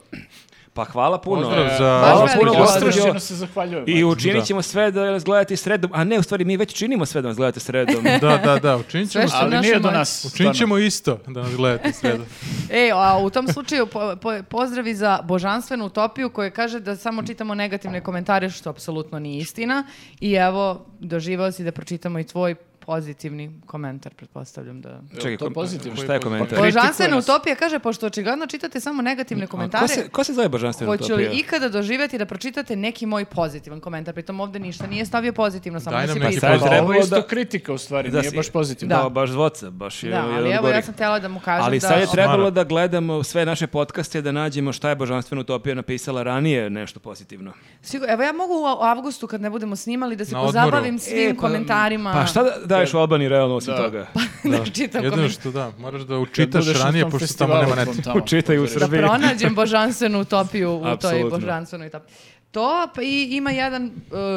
S3: Pa hvala puno.
S1: Pozdrav za-
S4: Baš
S3: Hvala
S4: veliki
S3: puno,
S4: pozdrav.
S3: gospođo.
S2: Ostrašćeno se zahvaljujem.
S3: I
S2: Mate.
S3: učinit ćemo sve da nas gledate sredom. A ne, u stvari mi već činimo sve da nas gledate
S2: [laughs]
S3: sredom.
S1: Da, da, da, učinit ćemo,
S4: Sve što-
S2: Ali
S4: Naša
S2: nije do
S4: moć.
S2: nas.
S1: učinit
S2: stvarno.
S1: ćemo isto da nas gledate
S4: [laughs]
S1: sredo.
S4: E, a u tom slučaju po- po- pozdravi za božanstvenu utopiju koja kaže da samo čitamo negativne komentare, što apsolutno nije istina. I evo, doživao si da pročitamo i tvoj pozitivni komentar, pretpostavljam da...
S3: Čekaj,
S2: to
S3: kom-
S2: pozitivno? Pa,
S3: šta je komentar?
S2: Kritikuje
S4: Božanstvena
S2: nas.
S4: utopija kaže, pošto očigledno čitate samo negativne
S3: A Ko
S4: komentare,
S3: se, ko se zove božanstvena
S4: Hoće li
S3: utopija?
S4: ikada doživjeti da pročitate neki moj pozitivan komentar? Pritom ovdje ništa nije stavio pozitivno, samo
S1: Daj
S4: da si
S1: nam neki
S4: pisao.
S3: Pa Sad
S1: Trebalo
S2: Pa Ovo je isto
S3: da-
S2: kritika u stvari,
S3: Da
S2: nije
S3: si-
S2: baš pozitivno.
S3: Da, baš zvoca, baš je
S4: Da,
S3: jedan
S4: ali evo
S3: gorih.
S4: ja sam htjela da mu kažem
S3: Ali
S4: da...
S3: sad je trebalo
S1: Smara.
S3: da gledamo sve naše podcaste da nađemo šta je Božanstvena utopija napisala ranije nešto pozitivno.
S4: Sigur- evo ja mogu u a- avgustu kad ne budemo snimali da se
S1: Na odmoru.
S4: pozabavim svim
S3: E, pa-
S4: komentarima.
S3: Pa šta da daješ Albani realno osim
S2: Da.
S3: toga?
S4: [laughs] da čitam
S1: Jedino
S4: komentar.
S1: što da, moraš da
S2: Kad
S1: učitaš
S2: budeš na
S1: ranije,
S2: tom
S1: pošto tamo
S2: festivalu
S1: nema
S2: svom
S1: neta.
S2: tamo.
S3: Učitaj u
S4: Da
S3: Srbiji.
S4: pronađem božanstvenu utopiju u toj
S3: Apsolutno.
S4: božanstvenoj utopiji. To pa i ima jedan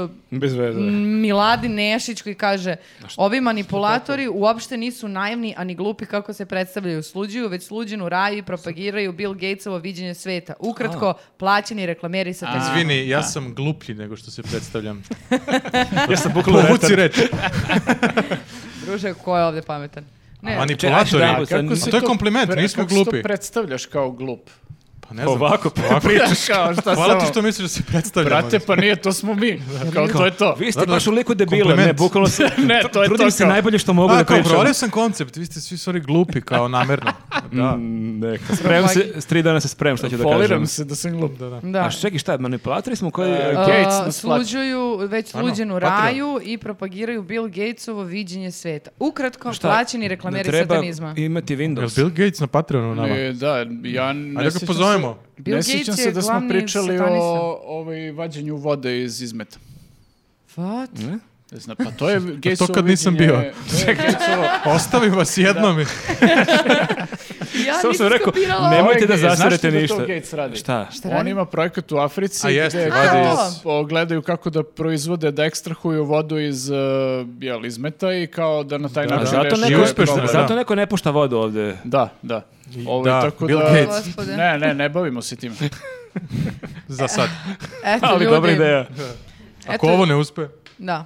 S4: uh,
S3: Bez veze.
S4: Miladi Nešić koji kaže ovi manipulatori uopšte nisu naivni ani glupi kako se predstavljaju sluđuju, već sluđenu raju i propagiraju Bill Gatesovo viđenje sveta. Ukratko, plaćeni reklameri sa
S2: A.
S1: Izvini, ja sam gluplji nego što se predstavljam.
S3: Ja sam
S1: Povuci reč.
S4: Druže, ko je ovde pametan? Ne,
S3: Čekaj,
S1: Manipulatori.
S3: ajde, da,
S1: A
S3: sad-
S2: Kako si
S1: to je kompliment,
S2: pre-
S1: nismo
S2: kako si to
S1: glupi.
S2: predstavljaš kao [laughs] glup?
S1: Pa ne znam.
S3: Ovako,
S1: pričaš.
S2: Kao šta
S1: Hvala ti
S2: samo-
S1: što misliš da se predstavljamo.
S2: Brate, pa nije, to smo mi. Kao to je to.
S3: [laughs] Vi ste
S1: Dobro,
S3: baš u liku debila,
S1: kompliment.
S3: ne, bukvalno se,
S2: Ne,
S3: [laughs]
S2: to je
S3: trudim
S2: to
S3: se
S2: kao.
S3: najbolje što pa mogu
S1: A,
S3: da
S1: kao,
S3: pričam.
S1: provalio sam koncept, vi ste svi stvari glupi, kao namerno. Da.
S3: Ne, spremam
S4: ovaj-
S3: se, s tri dana se spremam što ću da
S2: Foliram
S3: kažem.
S2: se da sam glup. Da,
S4: da.
S3: A čekaj, šta, manipulatori smo koji...
S2: E,
S4: A,
S2: Gates nas plaća.
S4: sluđuju, već sluđenu
S1: Patreon.
S4: raju i propagiraju Bill Gatesovo viđenje sveta. Ukratko,
S3: šta,
S4: plaćeni
S3: ne
S4: reklameri
S3: treba
S4: satanizma.
S3: imati
S1: Jel
S3: Windows.
S1: Bill Gates na Patreonu nama?
S2: E, da, ja ne
S1: Ajde ga
S2: sjećam
S1: pozovemo.
S2: se-
S4: Bill
S2: Ne
S4: Gates
S2: sjećam
S4: je
S2: se da smo
S4: glavni
S2: pričali o
S4: satanista.
S2: ovaj, vađenju vode iz izmeta.
S4: What?
S2: Ne znam, [laughs] pa to je Gatesovo
S1: kad nisam
S2: viđenje-
S1: bio.
S2: To je Gatesovo-
S1: Ostavim vas jednom. i-
S4: Ja
S3: Samo sam
S4: nisam
S3: rekao,
S4: skapirala
S3: nemoj- Nemojte
S2: Ovaj,
S3: da
S2: znaš
S3: zasirete
S2: šta
S3: ništa.
S2: to Gates radi?
S3: Šta?
S4: Šta
S2: On
S4: radi?
S2: ima projekat u Africi
S1: A jeste,
S2: gde
S1: vadi
S4: A,
S1: iz-
S2: o, gledaju kako da proizvode, da ekstrahuju vodu iz, uh, jel, iz meta i kao da na taj
S1: Da,
S3: A
S2: način
S3: zato
S2: reše ovaj
S1: I
S3: neko,
S1: uspešno,
S2: problem.
S1: da.
S3: zato neko ne pušta vodu ovde.
S2: Da, da. Ovo,
S1: da,
S2: tako
S1: Bill
S2: da,
S1: Gates.
S4: Gospode.
S2: Ne, ne, ne bavimo se time.
S1: Za
S4: [laughs]
S1: sad.
S4: Eto,
S3: Ali
S4: ljudi,
S3: dobra ideja.
S1: Ako
S4: eto-
S1: ovo ne uspe,
S4: Da.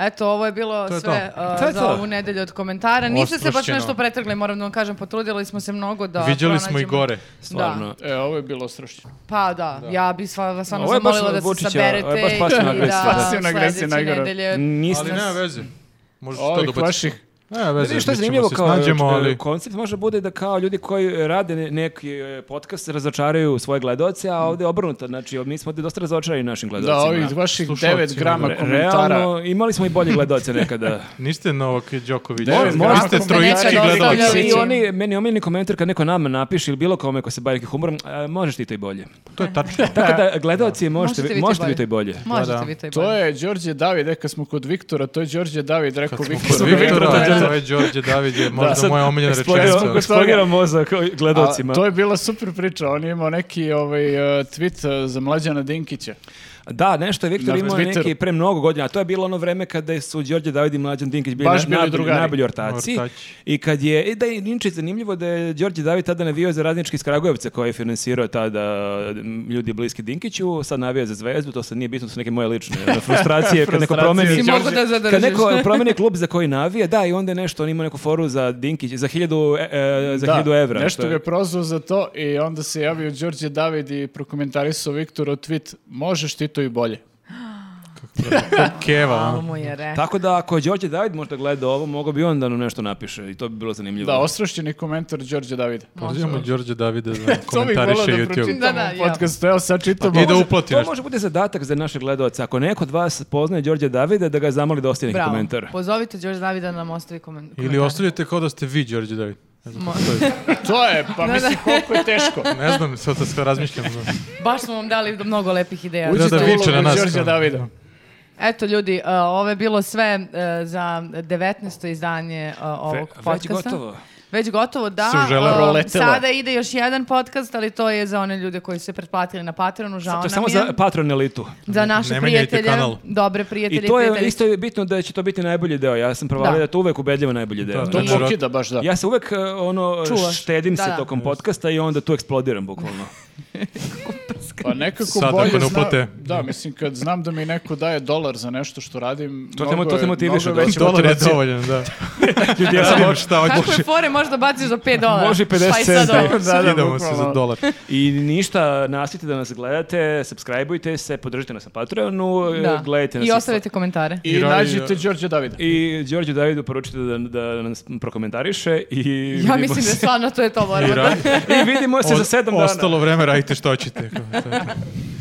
S4: Eto, ovo je bilo
S1: To je
S4: sve
S1: to.
S4: uh,
S3: To je
S4: za
S3: to.
S4: ovu nedelju od komentara. Niste se baš
S1: Ostrašćeno.
S4: nešto pretrgli, moram da vam kažem, potrudili smo se mnogo da
S1: viđali smo i
S4: pronađemo-
S1: gore.
S3: Stvarno.
S2: E, ovo je bilo strašno.
S4: Pa da, ja bi sva, vas stvarno
S3: Ovo je baš
S4: zamolila da se
S3: Vučića-
S4: saberete
S3: ovo je baš pasivna
S4: i
S3: agresija, Mm.
S4: da
S3: da.
S2: Pasivna agresija
S4: sledeće
S2: najgora.
S4: nedelje...
S3: Nisam...
S1: Ali nema veze. Možeš to
S2: Ovih
S1: dobaciti.
S2: vaših
S1: Nema
S3: Ne,
S1: veze,
S3: vidiš,
S1: mi
S3: što je
S1: ćemo
S3: zanimljivo
S1: se
S3: kao
S1: snađemo, ali...
S3: koncept može bude da kao ljudi koji rade ne- neki e, podcast razočaraju svoje gledaoce, a ovdje je obrnuto, znači mi smo ovdje dosta razočarani našim
S2: Da,
S3: gledaocima.
S2: ovih vaših
S1: Slušalci, ono,
S2: 9 grama
S1: ne,
S2: komentara.
S3: Realno, imali smo i bolje gledaoce
S2: [laughs]
S3: nekada.
S1: Niste Novak Đoković.
S2: Devet grama
S1: Vi ste
S2: komentara.
S1: trojički
S4: Nekad
S1: gledalac.
S4: ostavljali-
S3: I oni, meni omiljeni komentar kad neko nama napiše ili bilo kome ko se bavi nekim humorom, a, možeš ti to i bolje.
S1: To je tačno.
S3: Tako da, gledaoci, možete,
S4: Možete
S3: možete,
S4: biti bolje.
S3: vi to i bolje.
S4: Možete
S1: Da, da.
S4: vi to i
S2: To
S4: bolje.
S2: je Đorđe David, e, kad smo kod Viktora, to je Đorđe David, rekao
S1: Kad smo
S2: Viktor.
S1: kod
S2: Viktora,
S1: Viktora,
S2: da.
S1: to je ovaj Đorđe David je možda
S3: sad
S1: moja omiljena
S3: Eksplodira-
S1: rečenica.
S3: eksplodira mozak gledaocima.
S2: A, to je bila super priča, on je imao neki ovaj, uh, tweet uh, za Mlađana Dinkića.
S3: Da, nešto je Viktor
S2: Na
S3: imao
S2: Twitteru.
S3: neki pre mnogo godina, a to je bilo ono vreme kada su Đorđe David i Mlađan Dinkić bili
S2: Baš
S3: na-
S2: bili
S3: najbolji-
S2: drugari.
S3: najbolji ortaci.
S1: Ortaci.
S3: I kad je, e, da je inače zanimljivo da je Đorđe David tada navio za radnički iz Kragujevca koji je finansirao tada m, ljudi bliski Dinkiću, sad navio za Zvezdu, to sad nije bitno, to su neke moje lične
S2: [laughs]
S3: ono, frustracije kad neko
S2: Frustracije.
S3: promeni.
S4: Si
S2: Đorđe-
S4: mogu da
S3: Kad
S4: zadržiš.
S3: neko
S2: [laughs]
S3: promeni klub za koji navija, da, i onda je nešto, on ima neku foru za Dinkić, za hiljadu, e, e, za hiljadu evra.
S2: Nešto
S3: što
S2: ga
S3: je-
S2: je prozvao za to i onda se javio Đorđe David i prokomentarisao Viktorov tweet, možeš ti to i bolje.
S1: Keva,
S4: Malo
S1: ono.
S4: mu je rekao.
S3: Tako da ako je Đorđe David možda gleda ovo, mogao bi on da nam nešto napiše i to bi bilo zanimljivo.
S2: Da, ostrašćeni komentar Đorđe Davida.
S1: Pozivamo Pa Đorđe Davida
S3: [laughs]
S1: da
S2: To bih volao
S1: komentariše
S2: da
S1: YouTube. Pa
S2: pročitam
S4: Da, da,
S2: u
S4: ja.
S2: podcastu, evo sad čitam.
S1: I da
S2: ovo.
S1: uplati
S3: To
S1: nešto.
S3: može bude zadatak za naše gledaoce. Ako neko od vas poznaje Đorđe Davida, da ga zamoli da ostavi neki
S4: Bravo.
S3: komentar.
S4: Pozovite Đorđe Davida da nam ostavi komen- komentar.
S1: Ili ostavljate kao da ste vi Đorđe David. Ne znam, kako to je.
S2: To je, pa mislim koliko je teško.
S1: ne znam sad to sve
S3: [laughs]
S1: razmišljam.
S4: Baš smo vam dali mnogo lepih ideja. Znači,
S1: Uđi-
S2: Uđite
S1: da
S2: u
S1: viče na
S2: ulogu
S1: nas,
S2: Đorđe
S1: kao.
S2: Davida.
S4: Eto ljudi, e, uh, ovo je bilo sve uh, za 19. e, izdanje uh, ovog
S3: Ve- već
S4: podcasta.
S3: gotovo.
S4: već gotovo da.
S2: Su žele
S4: e,
S2: proletela.
S4: sada ide još jedan podcast, ali to je za one ljude koji su se pretplatili na Patronu, žao
S3: To je
S4: nam
S3: samo
S4: je.
S3: za pa- Patron elitu.
S4: Za naše
S1: Ne menjajte
S4: prijatelje,
S1: kanal.
S4: dobre prijatelje
S3: I to je
S4: prijateljice.
S3: isto je bitno da će to biti najbolji deo. Ja sam provalio da,
S4: Da.
S3: je to uvek ubedljivo najbolji deo.
S1: Da,
S2: To
S1: Znači,
S2: pokida baš da.
S3: Ja se uvek uh, ono
S4: Čuvaš.
S3: štedim
S4: Da,
S3: se
S4: da.
S3: tokom podcasta i onda tu eksplodiram
S4: [laughs]
S3: bukvalno.
S2: Pa nekako
S1: Sad,
S2: bolje
S1: ako ne
S2: zna-
S1: uplate.
S2: Da, mislim kad znam da mi neko daje dolar za nešto što radim,
S3: To te-
S2: mnogo
S3: to te
S2: je-
S3: motiviše
S2: mnogo je-
S3: već.
S1: Dolar je
S3: motivacija.
S1: dovoljan, da.
S3: [laughs] Ljudi, ja
S1: Ja
S3: sam
S1: sam šta
S3: [laughs]
S1: hoćeš.
S4: Kakve fore možda baciš za 5 dolara?
S3: Može i
S4: Šta je
S3: 50
S4: sad
S3: centa. [laughs]
S4: ovo?
S2: Da, da,
S1: Idemo se
S2: bukvalno.
S1: za dolar.
S3: I ništa, nastavite da nas gledate, subscribeujte se, podržite nas na Patreonu,
S4: Da.
S3: e, gledajte nas.
S4: I
S3: na-
S4: ostavite komentare.
S2: I
S1: Iraj-
S2: nađite Đorđe Davida.
S3: I Đorđe Davidu poručite da, da nas prokomentariše i
S4: Ja
S3: vidimo
S4: mislim da
S3: se.
S4: stvarno to je to
S1: I
S4: moramo da-
S1: ra-
S3: I vidimo Pa se za
S1: Od-
S3: sedam dana. [laughs]
S1: Ostalo vreme radite što hoćete.